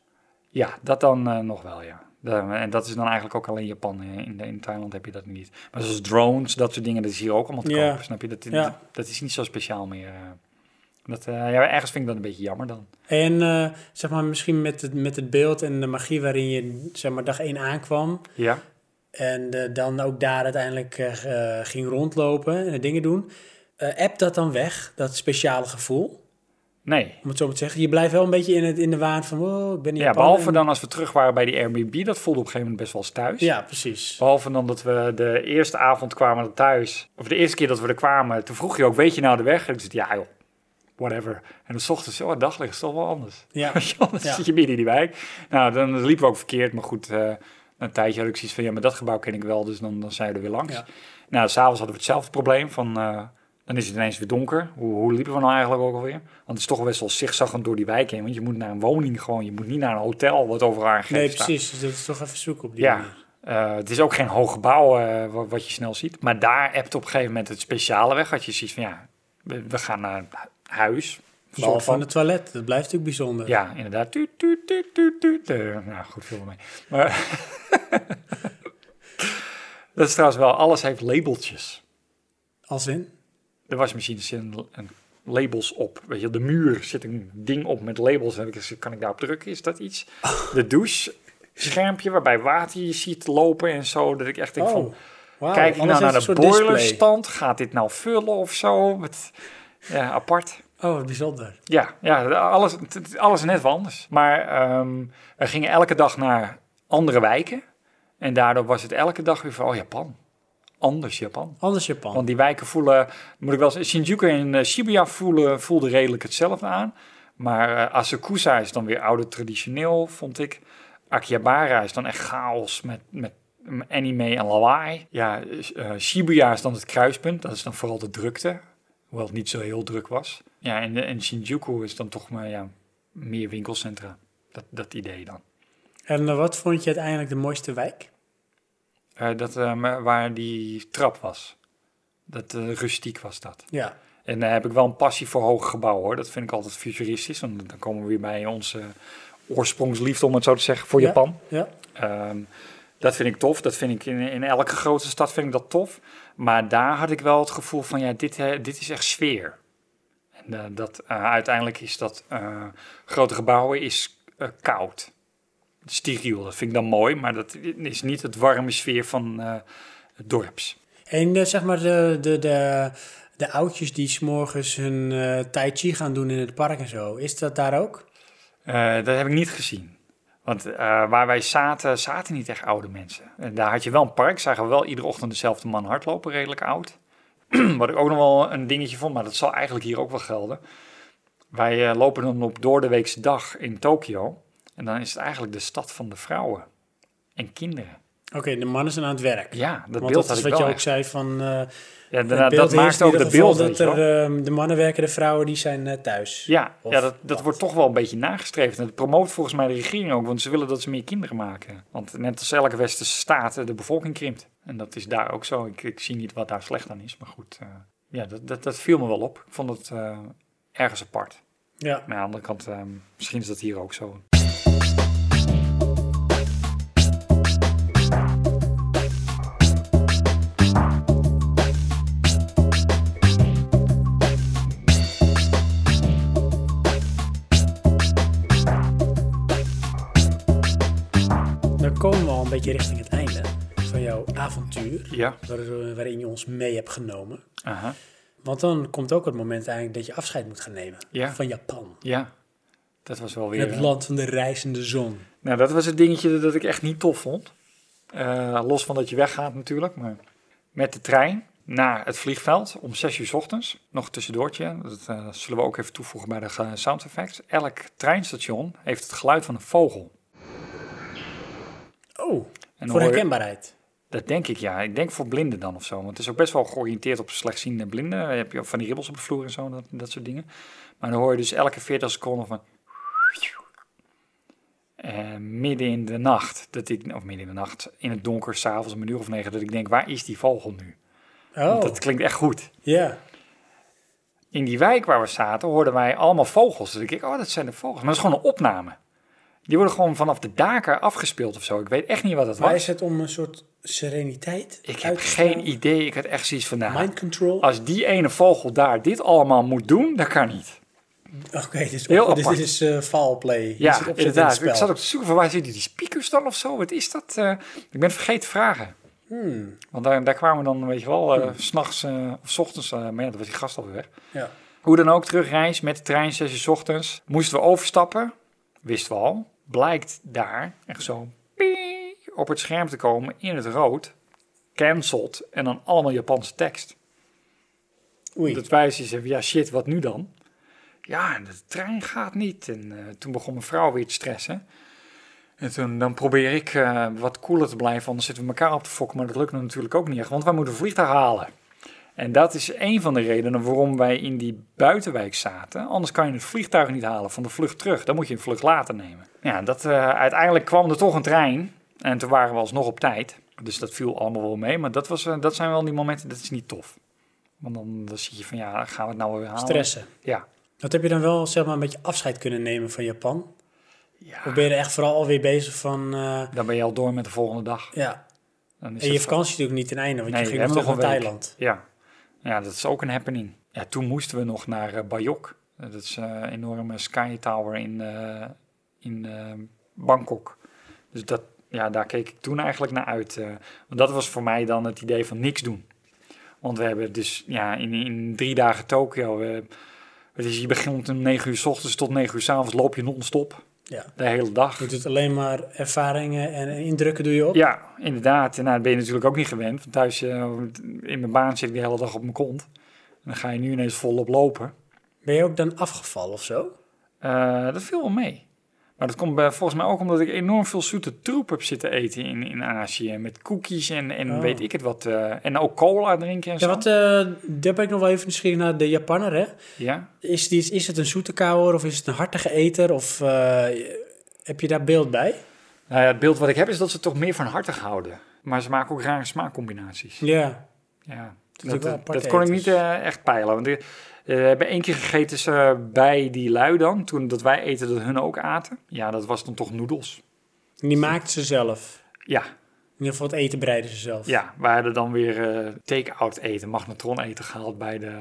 Ja, dat dan eh, nog wel, ja. Da- en dat is dan eigenlijk ook alleen Japan. hè. In, in Thailand heb je dat niet. Maar zoals drones, dat soort dingen, dat is hier ook allemaal te Ja. koop, snap je? Dat, Ja. dat is niet zo speciaal meer. eh. Dat, eh, ja, ergens vind ik dat een beetje jammer dan. En eh, zeg maar misschien met het, met het beeld en de magie waarin je zeg maar dag één aankwam. Ja. En eh, dan ook daar uiteindelijk eh, eh, ging rondlopen en dingen doen. Eh app dat dan weg, dat speciale gevoel. Nee. Om het zo maar te zeggen. Je blijft wel een beetje in, het, in de waan van wow, ik ben in Ja, Japan behalve en- dan als we terug waren bij die Airbnb, dat voelde op een gegeven moment best wel als thuis. Ja, precies. Behalve dan dat we de eerste avond kwamen we thuis, of de eerste keer dat we er kwamen, toen vroeg je ook, weet je nou de weg? En ik zei, ja joh, whatever. En dan 's ochtends, oh, het daglicht is toch wel anders. Ja. Weet je wel, dan Ja. zit je midden in die wijk. Nou, dan liepen we ook verkeerd, maar goed, eh, na een tijdje had ik zoiets van, ja, maar dat gebouw ken ik wel, dus dan, dan zijn we er weer langs. Ja. Nou, s'avonds hadden we hetzelfde probleem van... eh, dan is het ineens weer donker. Hoe, hoe liepen we nou eigenlijk ook alweer? Want het is toch best wel zigzaggend door die wijk heen. Want je moet naar een woning gewoon. Je moet niet naar een hotel wat overal aangegeven Nee, staat. precies. Dus dat is toch even zoeken op die Ja, manier. eh, het is ook geen hoog gebouw eh, wa- wat, je snel ziet. Maar daar hebt op een gegeven moment het speciale weg. Had je zoiets van, ja, we, we gaan naar huis. Een soort Behalve van het toilet. Dat blijft natuurlijk bijzonder. Ja, inderdaad. Tuut, tuut, tuut, tuut, tuut. Eh, nou, goed, veel mee. Maar dat is trouwens wel, alles heeft labeltjes. Als in? De wasmachine zit een, een labels op. Weet je, wel, de muur zit een ding op met labels. En ik zeg, kan ik daarop drukken? Is dat iets? De douche schermpje waarbij water je ziet lopen en zo. Dat ik echt denk van, Oh, wauw. Kijk ik Alles nou heeft naar een de soort display. boilerstand? Gaat dit nou vullen of zo? Wat, ja, apart. Oh, wat bijzonder. Ja, ja alles, t- alles net wel anders. Maar ehm, we gingen elke dag naar andere wijken. En daardoor was het elke dag weer van, oh Japan. Anders Japan. Anders Japan. Want die wijken voelen, moet ik wel zeggen, Shinjuku en eh, Shibuya voelen, voelden redelijk hetzelfde aan. Maar eh, Asakusa is dan weer ouder traditioneel, vond ik. Akihabara is dan echt chaos met, met anime en lawaai. Ja, eh, Shibuya is dan het kruispunt, dat is dan vooral de drukte. Hoewel het niet zo heel druk was. Ja, en, eh, en Shinjuku is dan toch maar ja, meer winkelcentra. Dat, dat idee dan. En eh, wat vond je uiteindelijk de mooiste wijk? Eh, dat, eh, maar waar die trap was. Dat eh, rustiek was dat. Ja. En daar heb ik wel een passie voor hoge gebouwen hoor. Dat vind ik altijd futuristisch. Want dan komen we weer bij onze oorsprongsliefde, om het zo te zeggen, voor Ja. Japan. Ja. Ehm, dat vind ik tof. Dat vind ik in, in elke grote stad vind ik dat tof. Maar daar had ik wel het gevoel van ja, dit, eh, dit is echt sfeer. En eh, dat, eh, uiteindelijk is dat eh, grote gebouwen is eh, koud. Steriel, dat vind ik dan mooi, maar dat is niet het warme sfeer van eh, het dorps. En eh, zeg maar de, de, de, de oudjes die s'morgens hun eh, tai chi gaan doen in het park en zo. Is dat daar ook? Eh, dat heb ik niet gezien. Want eh, waar wij zaten, zaten niet echt oude mensen. En daar had je wel een park, zagen we wel iedere ochtend dezelfde man hardlopen, redelijk oud. Wat ik ook nog wel een dingetje vond, maar dat zal eigenlijk hier ook wel gelden. Wij eh, lopen dan op doordeweekse dag in Tokio. En dan is het eigenlijk de stad van de vrouwen en kinderen. Oké, de mannen zijn aan het werk. Ja, dat Want beeld dat had is ik wat wel je ook echt. zei van... eh, Ja, het daarna- beeld dat is maakt in ook ieder de geval beeld. weet Dat je er, wel. ehm, de mannen werken, de vrouwen die zijn eh, thuis. Ja, Of ja dat, dat wat. wordt toch wel een beetje nagestreefd. En dat promoot volgens mij de regering ook, want ze willen dat ze meer kinderen maken. Want net als elke westerse staat, eh, de bevolking krimpt. En dat is daar ook zo. Ik, ik zie niet wat daar slecht aan is, maar goed. eh, ja, dat, dat, dat viel me wel op. Ik vond het eh, ergens apart. Ja. Maar aan de andere kant, eh, misschien is dat hier ook zo. Dan komen we al een beetje richting het einde van jouw avontuur. Ja. waar- waarin je ons mee hebt genomen. Aha. Want dan komt ook het moment eigenlijk dat je afscheid moet gaan nemen Ja. van Japan. Ja, dat was wel weer... Het eh, land van de reizende zon. Nou, dat was het dingetje dat ik echt niet tof vond. Eh, los van dat je weggaat natuurlijk, maar met de trein naar het vliegveld om 6 uur 's ochtends. Nog een tussendoortje, dat eh, zullen we ook even toevoegen bij de ge- sound effects. Elk treinstation heeft het geluid van een vogel. Oh, En voor hoor je- herkenbaarheid. Dat denk ik ja. Ik denk voor blinden dan of zo. Want het is ook best wel georiënteerd op slechtziende blinden. Dan heb je ook van die ribbels op de vloer en zo, dat, dat soort dingen. Maar dan hoor je dus elke 40 seconden van. Eh, midden in de nacht, dat ik, of midden in de nacht, in het donker, s'avonds om een uur of negen, dat ik denk: waar is die vogel nu? Oh, Want dat klinkt echt goed. ja. In die wijk waar we zaten, hoorden wij allemaal vogels. Dus ik denk: oh, dat zijn de vogels. Maar dat is gewoon een opname. Die worden gewoon vanaf de daken afgespeeld of zo. Ik weet echt niet wat dat Maar was. is het om een soort sereniteit Ik uit heb te stralen? geen idee. Ik had echt zoiets van: nou, Mind control? als die ene vogel daar dit allemaal moet doen, dat kan niet. Oké, dit is, Heel op- dit apart. is eh foul play. Je Ja, zit opzetten in het inderdaad. spel. ik zat ook te zoeken van waar zitten die speakers dan of zo? Wat is dat? Eh, ik ben het vergeten te vragen. Hmm. Want daar, daar kwamen we dan, weet je wel, eh, 's s'nachts of 's ochtends. eh, maar ja, dat was die gast alweer weg. Ja. Hoe dan ook, terugreis met de trein, 6 uur 's ochtends. Moesten we overstappen, wisten we al. Blijkt daar echt zo piep, op het scherm te komen in het rood. Cancelled en dan allemaal Japanse tekst. Oei. Dat wij zoiets hebben, ja shit, wat nu dan? Ja, en de trein gaat niet. En eh, toen begon mijn vrouw weer te stressen. En toen dan probeer ik eh, wat cooler te blijven, anders zitten we elkaar op te fokken. Maar dat lukt nou natuurlijk ook niet echt, want wij moeten een vliegtuig halen. En dat is een van de redenen waarom wij in die buitenwijk zaten. Anders kan je het vliegtuig niet halen van de vlucht terug. Dan moet je een vlucht later nemen. Ja, dat, eh, uiteindelijk kwam er toch een trein. En toen waren we alsnog op tijd. Dus dat viel allemaal wel mee. Maar dat, was, eh, dat zijn wel die momenten, dat is niet tof. Want dan, dan zie je van, ja, gaan we het nou weer halen? Stressen. Ja. Wat heb je dan wel zeg maar, een beetje afscheid kunnen nemen van Japan? Ja. Of ben je er echt vooral alweer bezig van... eh, Dan ben je al door met de volgende dag. ja, Dan is en je het- vakantie natuurlijk niet ten einde, want Nee, je we ging nog hebben terug naar nog een week. Thailand. Ja. ja, dat is ook een happening. Ja, toen moesten we nog naar eh, Bayok. Eh, Dat is eh, een enorme sky tower in, eh, in eh, Bangkok. Dus dat, ja, daar keek ik toen eigenlijk naar uit. eh. want dat was voor mij dan het idee van niks doen. Want we hebben dus ja, in, in drie dagen Tokio... eh, het is, je begint om negen uur s ochtends tot negen uur s avonds loop je non-stop. Ja. De hele dag. Je doet alleen maar ervaringen en indrukken doe je op. Ja, inderdaad. En nou, dat ben je natuurlijk ook niet gewend. Want thuis eh, in mijn baan zit ik de hele dag op mijn kont. En dan ga je nu ineens volop lopen. Ben je ook dan afgevallen of zo? Eh, dat viel wel mee. Maar dat komt eh, volgens mij ook omdat ik enorm veel zoete troep heb zitten eten in, in Azië. Met cookies en, en Oh. weet ik het wat. eh, en ook cola drinken en Ja, zo. wat, eh, daar ben ik nog wel even nieuwsgierig naar de Japanner, hè? Ja? Is, die, is het een zoete kouwer of is het een hartige eter? Of eh, heb je daar beeld bij? Nou ja, het beeld wat ik heb is dat ze het toch meer van hartig houden. Maar ze maken ook rare smaakcombinaties. Ja. Ja, dat, is ook wel dat, apart dat kon ik eten. niet eh, echt peilen. Want ik- eh, we hebben één keer gegeten ze bij die lui dan. Toen dat wij eten, dat hun ook aten. Ja, dat was dan toch noedels. Die maakt ze zelf. Ja, In ieder geval het eten bereiden ze zelf. ja, we hadden dan weer eh, take-out eten, magnetron eten gehaald bij de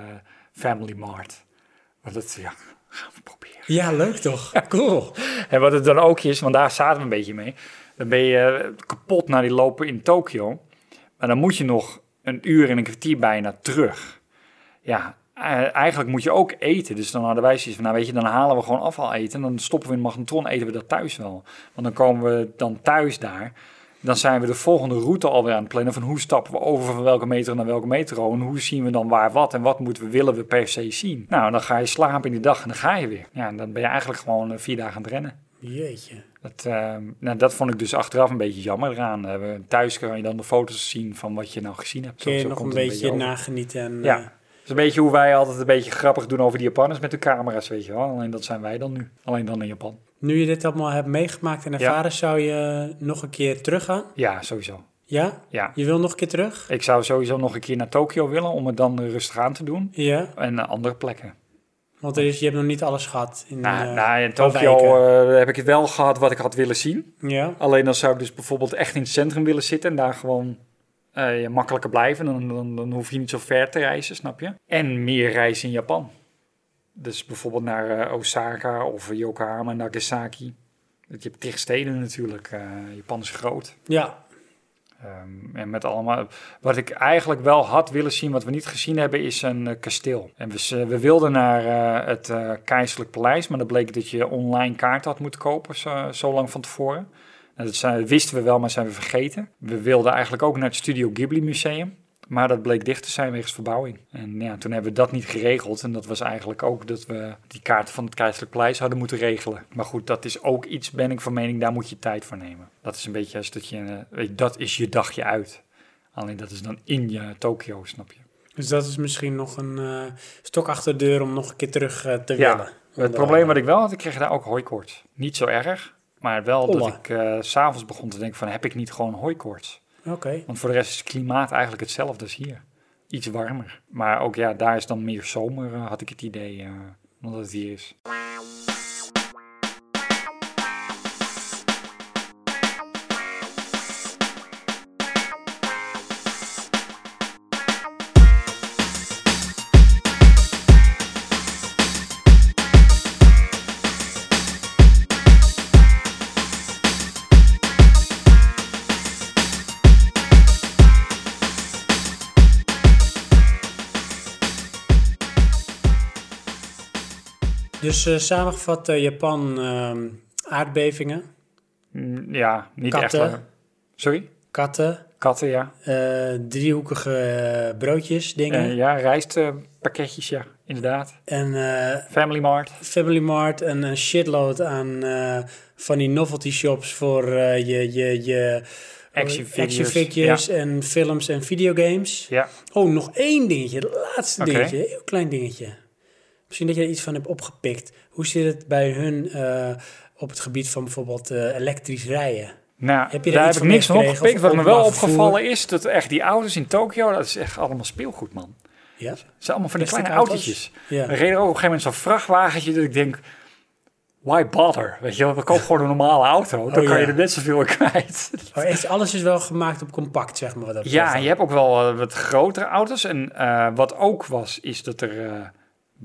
Family Mart. Maar dat, ja, gaan we proberen. Ja, leuk toch? Cool. En wat het dan ook is, want daar zaten we een beetje mee. Dan ben je eh, kapot naar die lopen in Tokio. Maar dan moet je nog een uur en een kwartier bijna terug. Ja, eh, eigenlijk moet je ook eten. Dus dan hadden wij zoiets van, nou weet je, dan halen we gewoon afval eten. En dan stoppen we in het magnetron, eten we dat thuis wel. Want dan komen we dan thuis daar. Dan zijn we de volgende route alweer aan het plannen. Van hoe stappen we over van welke metro naar welke metro. En hoe zien we dan waar wat. En wat moeten we, willen we per se zien. Nou, dan ga je slapen in die dag en dan ga je weer. Ja, en dan ben je eigenlijk gewoon eh, vier dagen aan het rennen. Jeetje. Dat, eh, nou, dat vond ik dus achteraf een beetje jammer eraan. Eh, we- Thuis kan je dan de foto's zien van wat je nou gezien hebt. Kun je Zo- zo nog een komt beetje, het over. nagenieten. En, Ja. eh, Dat is een beetje hoe wij altijd een beetje grappig doen over die Japanners met de camera's, weet je wel. Alleen dat zijn wij dan nu. Alleen dan in Japan. nu je dit allemaal hebt meegemaakt en ervaren, zou je nog een keer teruggaan? Ja, sowieso. Ja? Ja. Je wil nog een keer terug? Ik zou sowieso nog een keer naar Tokio willen om het dan rustig aan te doen. Ja, En naar andere plekken. want er is, je hebt nog niet alles gehad. In, Nou, eh, nou, in qua Tokio wijken. eh, heb ik het wel gehad wat ik had willen zien. Ja, Alleen dan zou ik dus bijvoorbeeld echt in het centrum willen zitten en daar gewoon eh, makkelijker blijven. Dan, dan, dan hoef je niet zo ver te reizen, snap je? En meer reizen in Japan. Dus bijvoorbeeld naar eh, Osaka of Yokohama, Nagasaki. Want Je hebt tig steden natuurlijk. eh, Japan is groot. ja. Ehm, en met allemaal. Wat ik eigenlijk wel had willen zien, wat we niet gezien hebben, is een eh, kasteel. En we, z- we wilden naar eh, het eh, Keizerlijk Paleis, maar dan bleek dat je online kaart had moeten kopen, zo, zo lang van tevoren. En dat zijn- wisten we wel, maar zijn we vergeten. We wilden eigenlijk ook naar het Studio Ghibli Museum. Maar dat bleek dicht te zijn wegens verbouwing. En ja, toen hebben we dat niet geregeld. En dat was eigenlijk ook dat we die kaarten van het Keizerlijk Paleis hadden moeten regelen. Maar goed, dat is ook iets, ben ik van mening, daar moet je tijd voor nemen. Dat is een beetje als dat je, eh, weet je, dat is je dagje uit. Alleen dat is dan in je Tokio, snap je. Dus dat is misschien nog een eh, stok achter de deur om nog een keer terug eh, te Ja, willen. Het probleem wat ik wel had, ik kreeg daar ook hooikoorts. Niet zo erg, maar wel Olla. dat ik eh, s s'avonds begon te denken van, heb ik niet gewoon hooikoorts? Oké. Want voor de rest is het klimaat eigenlijk hetzelfde als hier. Iets warmer. Maar ook ja, daar is dan meer zomer, eh, had ik het idee, eh, dan dat het hier is. Dus eh, samengevat, eh, Japan, ehm, aardbevingen, Mm, ja, niet Katten. echt. eh, sorry? katten, Katten, ja. eh, driehoekige eh, broodjes, dingen. Eh, ja, rijstpakketjes, ja, inderdaad. En eh, Family Mart. Family Mart en een shitload aan eh, van die novelty shops voor eh, je, je, je Action figures, figures en films en videogames. Ja, Oh, nog één dingetje, het laatste Oké. dingetje, heel klein dingetje. Misschien dat je er iets van hebt opgepikt. Hoe zit het bij hun eh, op het gebied van bijvoorbeeld eh, elektrisch rijden? nou, Heb je daar daar heb iets van ik niks van meegekregen opgepikt. of Wat me wel openbaar vervoer? opgevallen is, dat echt die auto's in Tokio, dat is echt allemaal speelgoed, man. Ja? Het zijn allemaal van die Plastic Oh, kleine auto's? autootjes. Ja. Er reed er ook op een gegeven moment zo'n vrachtwagentje dat ik denk, why bother? Weet je wel, we kopen gewoon een normale auto. Dan Oh, kan ja. je er net zoveel in kwijt. Oh, echt, alles is wel gemaakt op compact, zeg maar. Wat dat Ja, betreft. en je hebt ook wel eh, wat grotere auto's. En eh, wat ook was, is dat er eh,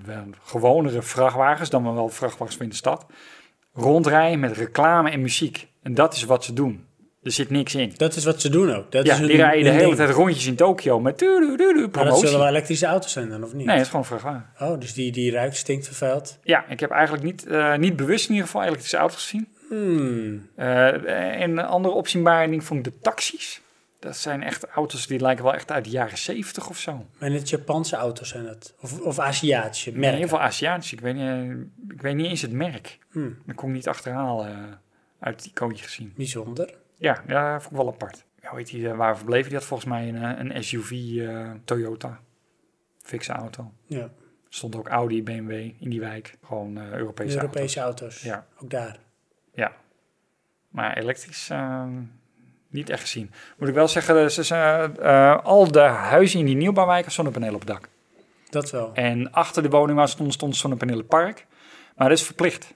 wel gewonere vrachtwagens, dan wel vrachtwagens van in de stad, rondrijden met reclame en muziek. En dat is wat ze doen. Er zit niks in. Dat is wat ze doen ook. Dat Ja, is hun, die rijden de hun hele ding. tijd rondjes in Tokio met tuurduurduurdu Maar dat promotie. zullen wel elektrische auto's zijn dan, of niet? Nee, het is gewoon een vrachtwagen. Oh, dus die, die ruikt, stinkt, vervuilt. Ja, ik heb eigenlijk niet, eh, niet bewust in ieder geval elektrische auto's gezien. Hmm. Eh, en een andere opzienbare ding vond ik de taxis. Dat zijn echt auto's die lijken wel echt uit de jaren zeventig of zo. En het Japanse auto's zijn dat. Of, of Aziatische Nee, in merken. ieder geval Aziatisch. Ik weet, niet, eh, ik weet niet eens het merk. Hmm. Dat kon ik niet achterhalen eh, uit het icoontje gezien. Bijzonder. Ja, ja, vond ik wel apart. Ja, hoe heet die, eh, waar verbleven die had volgens mij een, eh, een SUV eh, Toyota. Fikse auto. Ja, Stond ook Audi, BMW in die wijk. Gewoon eh, Europese, Europese auto's. Ja. Ook daar. auto's. Ja. Maar elektrisch eh, niet echt gezien. Moet ik wel zeggen, eh, ze zijn, eh, al de huizen in die nieuwbouwwijken zonnepanelen op het dak. Dat wel. En achter de woning waar stond, stond zonnepanelenpark. Maar dat is verplicht.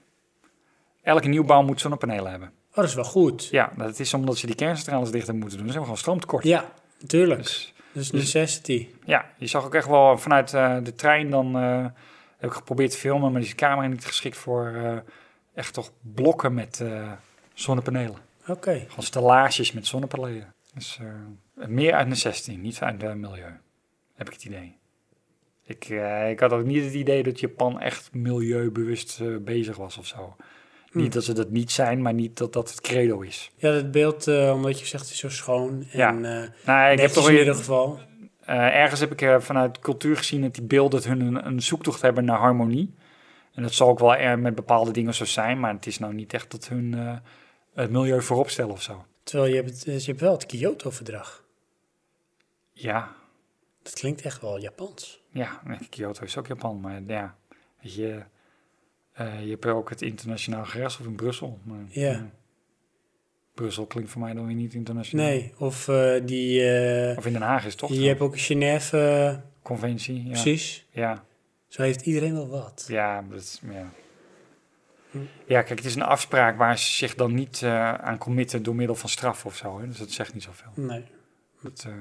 Elke nieuwbouw moet zonnepanelen hebben. Oh, dat is wel goed. Ja, Ja, dat is omdat ze die kerncentrales dichter moeten doen. Ze hebben gewoon stroomtekort. natuurlijk. Dus Dat is necessity. ja, je zag ook echt wel vanuit eh, de trein dan... eh, heb ik geprobeerd te filmen, maar die camera niet geschikt voor... eh, echt toch blokken met eh, zonnepanelen. Oké. Gewoon stellages met zonnepanelen. Dus eh, meer uit necessity, niet uit het milieu. Heb ik het idee. Ik, eh, ik had ook niet het idee dat Japan echt milieubewust eh, bezig was of zo. Hmm. Niet dat ze dat niet zijn, maar niet dat dat het credo is. Ja, dat beeld, eh, omdat je zegt, het is zo schoon. En, Ja. eh, Nou, ik heb netjes toch in ieder weer, geval. eh, ergens heb ik eh, vanuit cultuur gezien dat die beelden dat hun een, een zoektocht hebben naar harmonie. En dat zal ook wel er met bepaalde dingen zo zijn, maar het is nou niet echt dat hun eh, het milieu voorop stellen of zo. Terwijl je hebt, dus je hebt wel het Kyoto-verdrag. Ja, Dat klinkt echt wel Japans. ja, Kyoto is ook Japan, maar ja, weet je, eh, je hebt ook het internationaal gerechtshof in Brussel. Maar, eh, Ja. Brussel klinkt voor mij dan weer niet internationaal. Nee, of eh, die... eh, Of in Den Haag is het toch? je hebt ook Genève, eh, Conventie, ja. precies. Ja, Zo heeft iedereen wel wat. ja, dat is, ja. Hm. Ja, kijk, het is een afspraak waar ze zich dan niet eh, aan committen door middel van straf of zo. Hè? Dus dat zegt niet zoveel. Nee. Dat eh,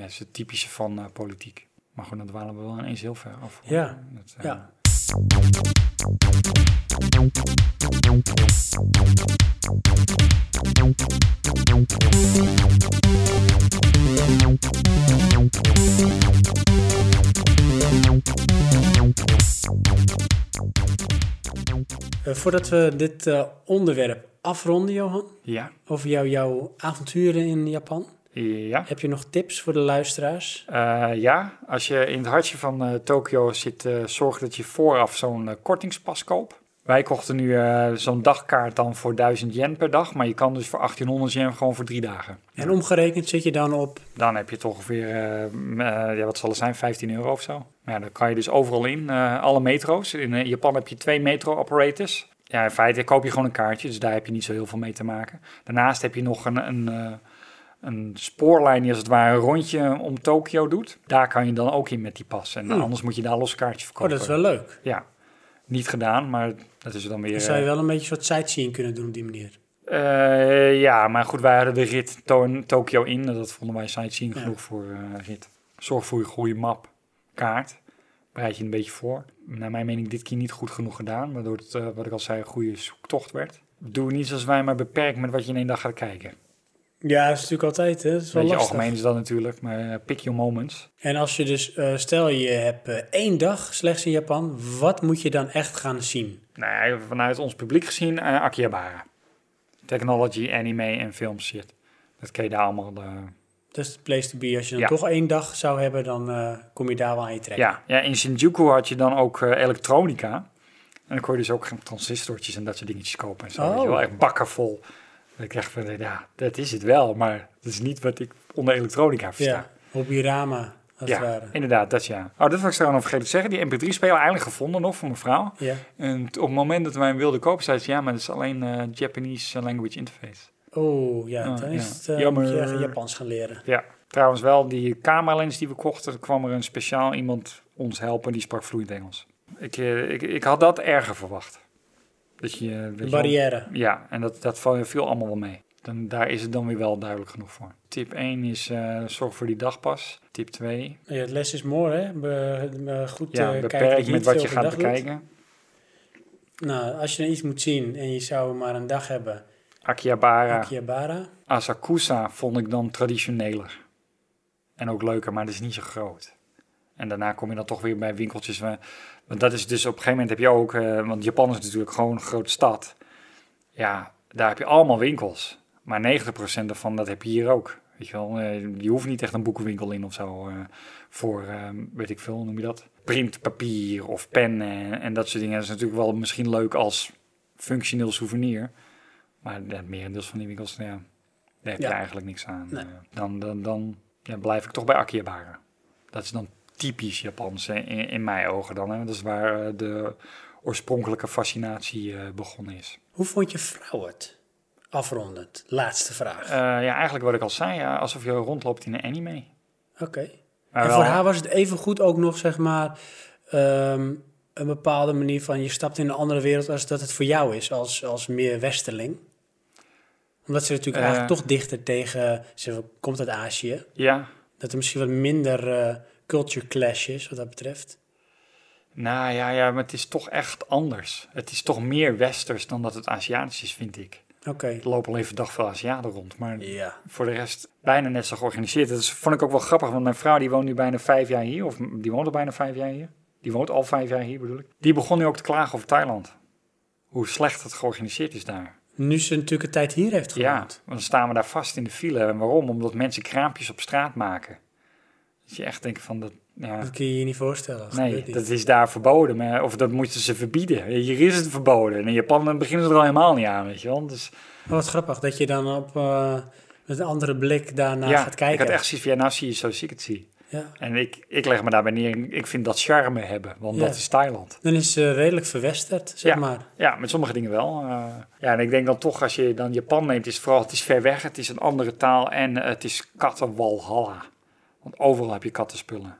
ja, is het typische van eh, politiek. Maar goed, dan dwalen we wel ineens heel ver af. Ja, Dat, eh, ja. Eh, voordat we dit eh, onderwerp afronden, Johan, Ja, over jou, jouw avonturen in Japan, ja. heb je nog tips voor de luisteraars? Eh, ja, als je in het hartje van eh, Tokio zit, eh, zorg dat je vooraf zo'n eh, kortingspas koopt. Wij kochten nu eh, zo'n dagkaart dan voor 1000 yen per dag, maar je kan dus voor 1800 yen gewoon voor drie dagen. En omgerekend zit je dan op, Dan heb je toch ongeveer, eh, m, eh, ja, wat zal het zijn, 15 euro of zo. Maar ja, dan kan je dus overal in, eh, alle metro's. In eh, Japan heb je twee metro-operators. Ja, in feite koop je gewoon een kaartje, dus daar heb je niet zo heel veel mee te maken. Daarnaast heb je nog een, een, eh, een spoorlijn die als het ware een rondje om Tokio doet. Daar kan je dan ook in met die pas. En Hmm. anders moet je daar los kaartje oh verkopen. dat is wel leuk. Ja, niet gedaan, maar dat is dan weer... Dan zou je eh, wel een beetje een soort sightseeing kunnen doen op die manier. eh, ja, maar goed, wij hadden de rit to- Tokio in. Dat vonden wij sightseeing Ja. genoeg voor eh, rit. Zorg voor je goede map, kaart. Bereid je een beetje voor. Naar mijn mening dit keer niet goed genoeg gedaan. Waardoor het, eh, wat ik al zei, een goede zoektocht werd. Doe niet zoals wij, maar beperk met wat je in één dag gaat kijken. Ja, dat is natuurlijk altijd, hè. Dat is wel Weet je, lastig. algemeen is dat natuurlijk, maar eh, pick your moments. En als je dus, eh, stel je hebt eh, één dag slechts in Japan, wat moet je dan echt gaan zien? Nee, vanuit ons publiek gezien, eh Akihabara. Technology, anime en films shit. Dat kun je daar allemaal... eh, Dat is de place to be. Als je dan Ja. toch één dag zou hebben, dan eh, kom je daar wel aan je trekken. Ja, ja, in Shinjuku had je dan ook eh, elektronica. En dan kon je dus ook gaan transistortjes en dat soort dingetjes kopen. En zo, Oh. weet je wel, echt bakken vol. En ik dacht van, ja, dat is het wel, maar dat is niet wat ik onder elektronica versta. Ja, Hobirama, als Ja, het ware. inderdaad, dat ja. Oh, dat was ik trouwens nog vergeten te zeggen. Die mp3-speler eigenlijk gevonden nog voor mijn vrouw. Ja. En t- op het moment dat wij hem wilden kopen, zei ze... ja, maar dat is alleen eh, Japanese Language Interface. Oh, ja, Ah, dan ja. is het eh, Jammer. moet je echt Japans gaan leren. Ja, trouwens wel die cameralens die we kochten, er kwam er een speciaal iemand ons helpen die sprak vloeiend Engels. Ik, eh, ik, ik had dat erger verwacht. Dat je, eh, weet je Een wel- barrière. Ja, en dat, dat val- viel allemaal wel mee. Dan, daar is het dan weer wel duidelijk genoeg voor. Tip 1 is eh, zorg voor die dagpas. Tip 2, Ja, het les is more, hè? Be- be- goed ja, eh, kijken beperk je met niet wat veel je per gaat dag doet. bekijken. Nou, als je dan iets moet zien en je zou maar een dag hebben, Akihabara. Akihabara. Asakusa vond ik dan traditioneler. En ook leuker, maar dat is niet zo groot. En daarna kom je dan toch weer bij winkeltjes. waar- Want dat is dus op een gegeven moment heb je ook... eh, want Japan is natuurlijk gewoon een grote stad. Ja, daar heb je allemaal winkels. Maar 90% daarvan, dat heb je hier ook. Weet je wel, eh, je hoeft niet echt een boekenwinkel in of zo. eh, voor, eh, weet ik veel, hoe noem je dat? Printpapier of pennen en, en dat soort dingen. Dat is natuurlijk wel misschien leuk als functioneel souvenir. Maar het merendeels van die winkels, ja, daar heb je Ja. eigenlijk niks aan. Nee. Eh, Dan, dan, dan ja, blijf ik toch bij Akihabara. Dat is dan typisch Japans eh, in, in mijn ogen dan. Hè? Dat is waar eh, de oorspronkelijke fascinatie eh, begonnen is. Hoe vond je vrouw het? Afrondend, laatste vraag. Eh, ja, eigenlijk wat ik al zei, ja, alsof je rondloopt in een anime. Oké. Maar nou en wel- voor haar was het even goed ook nog, zeg maar, ehm, een bepaalde manier van je stapt in een andere wereld als dat het voor jou is, als, als meer westerling. Omdat ze natuurlijk Eh. eigenlijk toch dichter tegen, ze komt uit Azië, Ja, dat er misschien wat minder eh, culture clash is wat dat betreft. nou ja, ja, maar het is toch echt anders. Het is toch meer westers dan dat het Aziatisch is, vind ik. Oké. Er lopen al even dag veel Aziaten rond, maar Ja. voor de rest bijna net zo georganiseerd. Dat is- vond ik ook wel grappig, want mijn vrouw die woont nu bijna vijf jaar hier, of die woont al bijna vijf jaar hier. Die woont al vijf jaar hier bedoel ik. Die begon nu ook te klagen over Thailand. Hoe slecht het georganiseerd is daar. Nu ze natuurlijk een tijd hier heeft Ja, gewoond. want dan staan we daar vast in de file. En waarom? Omdat mensen kraampjes op straat maken. Dat je echt denkt van, dat, ja, Dat kun je je niet voorstellen. Dat nee, gebeurt niet. dat is daar verboden. Maar, of dat moeten ze verbieden. Hier is het verboden. En in Japan eh, beginnen ze er al helemaal niet aan, weet je wel. Dus, Oh, wat grappig dat je dan op, eh, met een andere blik daarna ja, gaat kijken. ik had echt zoiets van, ja, nou zie je zoals ik het zie. ja. En ik, ik leg me daarbij neer, ik vind dat charme hebben, want Ja. dat is Thailand. Dan is ze redelijk verwesterd, zeg ja, maar. ja, met sommige dingen wel. eh. ja, en ik denk dan toch, als je dan Japan neemt, is het vooral, het is ver weg, het is een andere taal en eh, het is kattenwalhalla. Want overal heb je kattenspullen.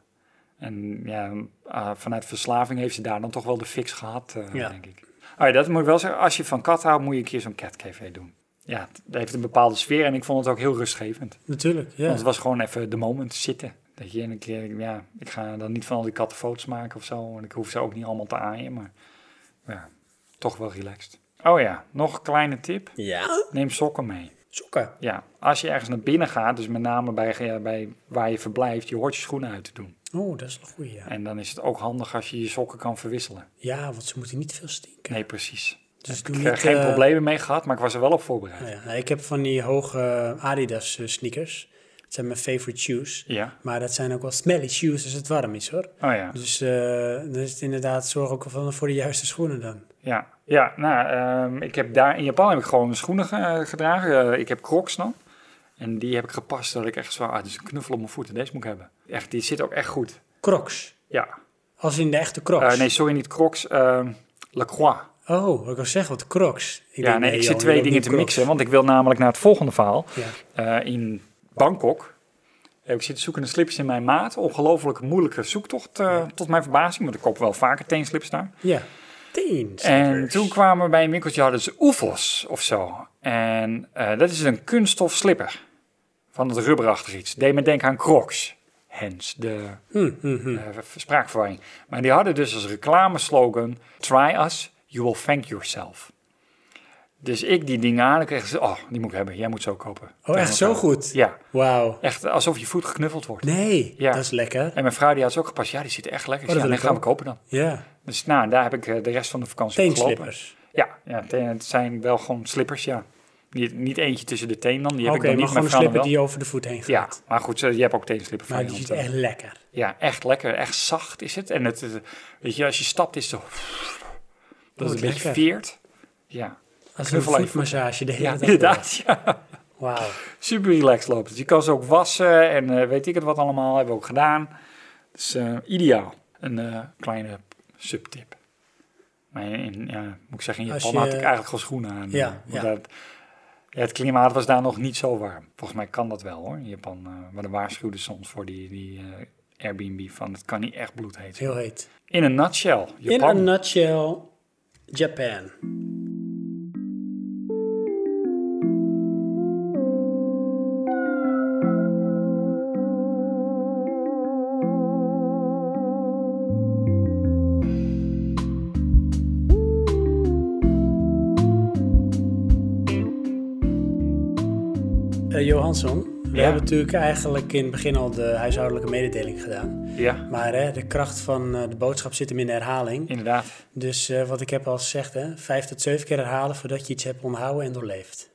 En ja, eh, vanuit verslaving heeft ze daar dan toch wel de fix gehad, eh, Ja. denk ik. Oh ja, dat moet ik wel zeggen, als je van kat houdt, moet je een keer zo'n catcafé doen. Ja, het dat heeft een bepaalde sfeer en ik vond het ook heel rustgevend. Natuurlijk, ja. Want het was gewoon even de moment zitten. Dat je een keer, ja, ik ga dan niet van al die katten foto's maken of zo. En ik hoef ze ook niet allemaal te aaien, maar ja, toch wel relaxed. Oh ja, nog een kleine tip. Ja. Neem sokken mee. Sokken. Ja, als je ergens naar binnen gaat, dus met name bij, ja, bij waar je verblijft, je hoort je schoenen uit te doen. Oh, dat is een goeie, ja. En dan is het ook handig als je je sokken kan verwisselen. Ja, want ze moeten niet veel stinken. Nee, precies. dus Ik doe heb er niet, geen eh, problemen mee gehad, maar ik was er wel op voorbereid. nou ja, nou, ik heb van die hoge eh, Adidas eh, sneakers. Dat zijn mijn favorite shoes. Ja, Maar dat zijn ook wel smelly shoes als het warm is, hoor. oh ja. Dus eh dan is het inderdaad zorg ook wel voor de juiste schoenen dan. Ja, ja nou, ehm, ik heb daar in Japan heb ik gewoon schoenen ge- eh, gedragen. Eh, ik heb crocs dan. En die heb ik gepast dat ik echt zo, ah, dit is een knuffel op mijn voeten. Deze moet ik hebben. Echt, die zit ook echt goed. Crocs. Ja. Als in de echte crocs. Eh, nee, sorry, niet crocs. ehm Lacroix. Oh, ik wil zeggen, wat crocs. Ik Ja, denk, nee, ik joh, zit je twee wilt dingen niet te Crocs. mixen. Want ik wil namelijk naar het volgende verhaal. Ja. Eh, in Bangkok. heb Ik zit zoekende slippers in mijn maat. Ongelooflijk moeilijke zoektocht, eh, tot mijn verbazing. Want ik koop wel vaker teenslips daar. ja. Teens. En toen kwamen we bij een winkeltje, hadden ze oefels of zo. En eh, dat is een kunststof slipper. Van het rubberachtig iets. Deed me denken aan Crocs. Hens, de Hmm, eh, spraakverwarring. Maar die hadden dus als reclameslogan... Try us, you will thank yourself. Dus ik die dingen aan, ik kreeg ze... Oh, die moet ik hebben, jij moet zo kopen. Oh, echt zo goed? Ja, Wauw. echt alsof je voet geknuffeld wordt. Nee, Ja. dat is lekker. En mijn vrouw die had ze ook gepast. Ja, die zit echt lekker. Ik Oh, zei, dat wil ja, ik dan gaan we ook. kopen dan. Ja, Dus nou, daar heb ik eh, de rest van de vakantie op gelopen. teenslippers. Ja, ja te- het zijn wel gewoon slippers, ja. Niet, niet eentje tussen de teen dan, die heb Oké, ik maar nog niet, gewoon maar een vrouwen slipper wel. die over de voet heen Ja, gaat. maar goed, eh, je hebt ook teenslippen van Maar je die hand, eh. ziet echt lekker. Ja, echt lekker, echt zacht is het. En het, eh, weet je, als je stapt is het zo... Dat Oh, het een beetje lekker. veert. Ja, Als een Knuffel even. voetmassage de hele ja dag. inderdaad, ja. door. Wauw. Super relaxed lopen. Dus je kan ze ook wassen en eh, weet ik het wat allemaal, hebben we ook gedaan. Dus eh, ideaal. Een eh, kleine subtip. Maar in, ja, moet ik zeggen, in Als Japan je- had ik eigenlijk gewoon schoenen aan. Ja, eh, want ja. daar- ja, het klimaat was daar nog niet zo warm. Volgens mij kan dat wel hoor, in Japan. eh, maar de waarschuwden soms voor die, die eh, Airbnb van het kan niet echt bloedheet zijn. Heel heet. In een nutshell, In Japan. a nutshell, Japan. Eh, Eh, Johansson, we Ja. hebben natuurlijk eigenlijk in het begin al de huishoudelijke mededeling gedaan. Ja, Maar hè, de kracht van eh, de boodschap zit hem in de herhaling. inderdaad. Dus eh, wat ik heb al gezegd, hè, vijf tot zeven keer herhalen voordat je iets hebt onthouden en doorleefd.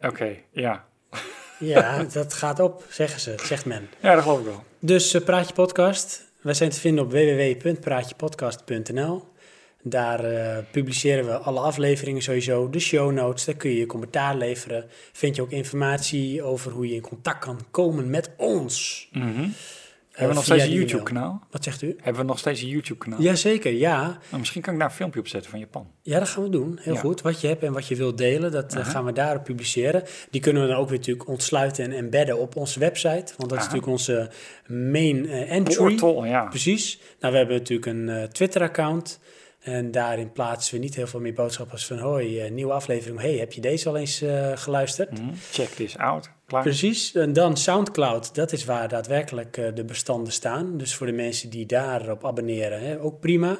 Oké, ja. Ja, dat gaat op, zeggen ze, zegt men. Ja, dat geloof ik wel. Dus eh, Praatje Podcast. Wij zijn te vinden op www.praatjepodcast.nl. Daar eh, publiceren we alle afleveringen sowieso, de show notes. Daar kun je je commentaar leveren. Vind je ook informatie over hoe je in contact kan komen met ons. Mhm. Eh, Hebben we nog via steeds een die eh, YouTube kanaal? e-mail. Wat zegt u? Hebben we nog steeds een YouTube kanaal? Jazeker, ja. Nou, misschien kan ik daar een filmpje op zetten van Japan. Ja, dat gaan we doen. Heel Ja. goed. Wat je hebt en wat je wilt delen, dat eh, gaan we daarop publiceren. Die kunnen we dan ook weer natuurlijk ontsluiten en embedden op onze website. Want dat is natuurlijk onze main eh, entry. Portal, ja. Precies. Nou, we hebben natuurlijk een eh, Twitter-account. En daarin plaatsen we niet heel veel meer boodschappen als van... hoi, eh, nieuwe aflevering. hey, heb je deze al eens eh, geluisterd? Mhm. Check this out. Klaar. Precies. En dan Soundcloud. Dat is waar daadwerkelijk eh, de bestanden staan. Dus voor de mensen die daarop abonneren, hè, ook prima.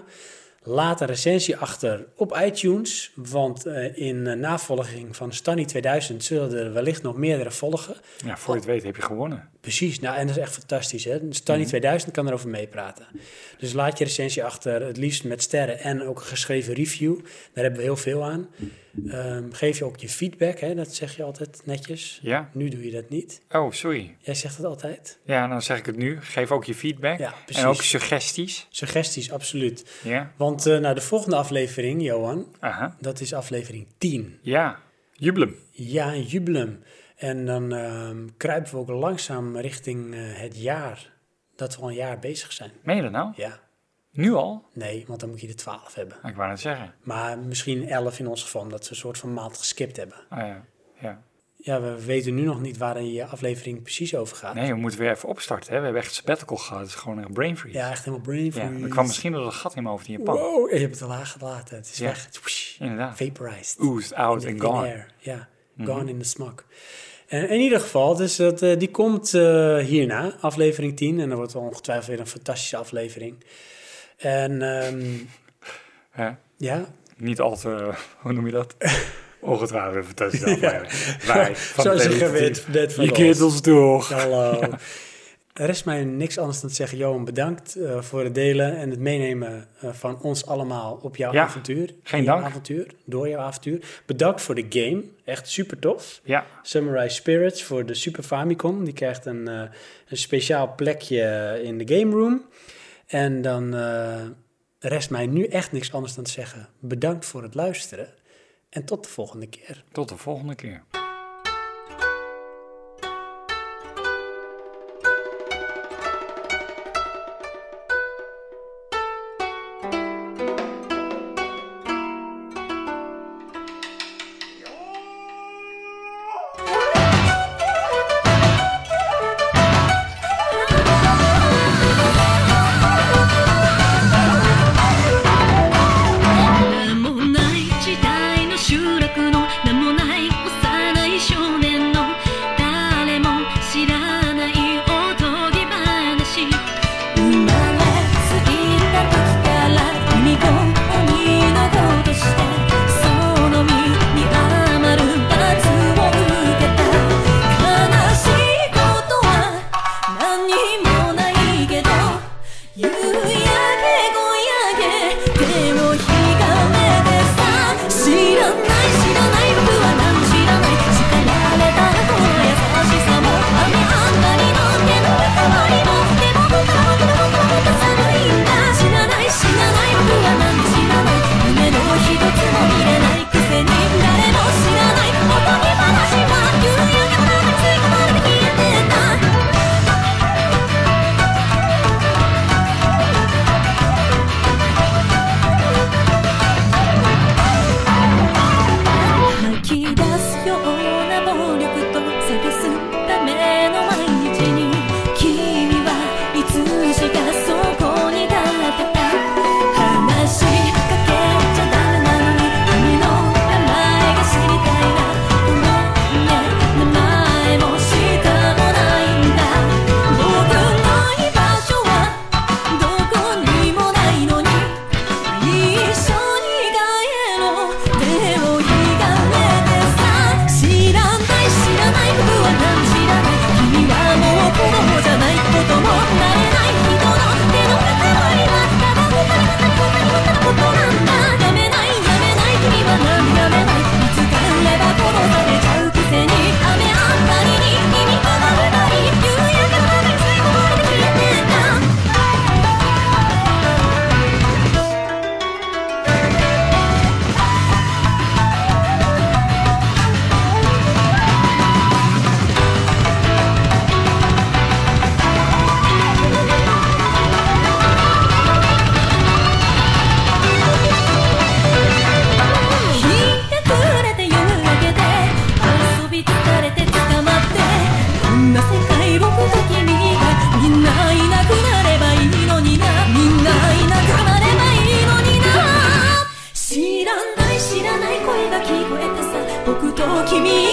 Laat een recensie achter op iTunes, want eh, in eh, navolging van Stanny 2000 zullen er wellicht nog meerdere volgen. Ja, voor je het weet heb je gewonnen. Precies, nou en dat is echt fantastisch. Hè? Stanny 2000 kan erover meepraten. Dus laat je recensie achter, het liefst met sterren en ook een geschreven review. Daar hebben we heel veel aan. Ehm, geef je ook je feedback, hè? dat zeg je altijd netjes. Ja? Nu doe je dat niet. Oh, sorry. Jij zegt dat altijd. Ja, dan zeg ik het nu. Geef ook je feedback. Ja, precies. en ook suggesties. Suggesties, absoluut. Ja. Want eh nou, de volgende aflevering, Johan, Aha. dat is aflevering 10. Ja. Jubelum. Ja, een jubileum. En dan ehm, kruipen we ook langzaam richting eh, het jaar dat we al een jaar bezig zijn. Meen je dat nou? Ja, Nu al? Ah, nee, want dan moet je de 12 hebben. Ik wou net zeggen. Maar misschien 11 in ons geval, omdat we een soort van maand geskipt hebben. Ah ja. ja. Ja, we weten nu nog niet waar je aflevering precies over gaat. Nee, we moeten weer even opstarten. Hè? We hebben echt sabbatical gehad. Het is gewoon echt brain freeze. Ja, echt helemaal brain Ja, freeze. er kwam misschien wel een gat in mijn hoofd in Japan. Wow, en je hebt het al aangelaten. Het is Ja. weg. Whoosh. Inderdaad. Vaporized. Oozed out In and the thin gone. Mhm. air. Ja, gone in the smog. En in ieder geval, dus dat, eh, die komt eh, hierna, aflevering 10. En dat wordt ongetwijfeld weer een fantastische aflevering. En ehm, Hè? ja, Niet al te, hoe noem je dat? Ongetwijfeld een fantastische aflevering. Wij van zo de zeggen we Definitief. het net van Je ons. keert ons door. Hallo. Er is mij niks anders dan te zeggen, Johan, bedankt eh, voor het delen en het meenemen eh, van ons allemaal op jouw Ja, avontuur. geen In jouw dank. avontuur, door jouw avontuur. Bedankt voor de game, echt super tof. Ja, Samurai Spirits voor de Super Famicom. Die krijgt een, eh, een speciaal plekje in de game room. En dan eh, rest mij nu echt niks anders dan te zeggen. Bedankt voor het luisteren. En tot de volgende keer. tot de volgende keer. 名もない時代の集落の名もない幼い少年の誰も知らないおとぎ話生まれすぎた時から海と鬼の子としてその身に余る罰を受けた悲しいことは何もないけど夕焼け小焼け手をひがめてさ知らない知らない僕は何も知らない叱られたらこの優しさも雨上がりの手の代わりもでも僕は僕は僕は僕は寒いんだ知らない知らない僕は何も知らない夢の一つも見れないくせに誰も知らないおとぎ話は夕焼けから吸い込まれて消えてた吐き出すような暴力と探すための毎日に君はいつしかそこに立ってた話しかけちゃダメなのに君の名前が知りたいなごめんね名前も下もないんだ僕の居場所はどこにもないのに「一緒に帰ろう」「手をひがめてさ」「知らない知らない僕は何知らない」「君はもう子供じゃないこともなれない」「人の手の関わりはただ二人二人二人二人のことなんだ」「やめないやめない君は何やめない」「見つかれば殺されちゃうくせに」「雨上がりに君は二人」「夕焼けまで吸い込まれて消えてた」ひねくれて夜明けて遊び疲れて捕まってこんな世界僕と君がみんないなくなればいいのになみんないなくなればいいのにな知らない知らない声が聞こえてさ僕と君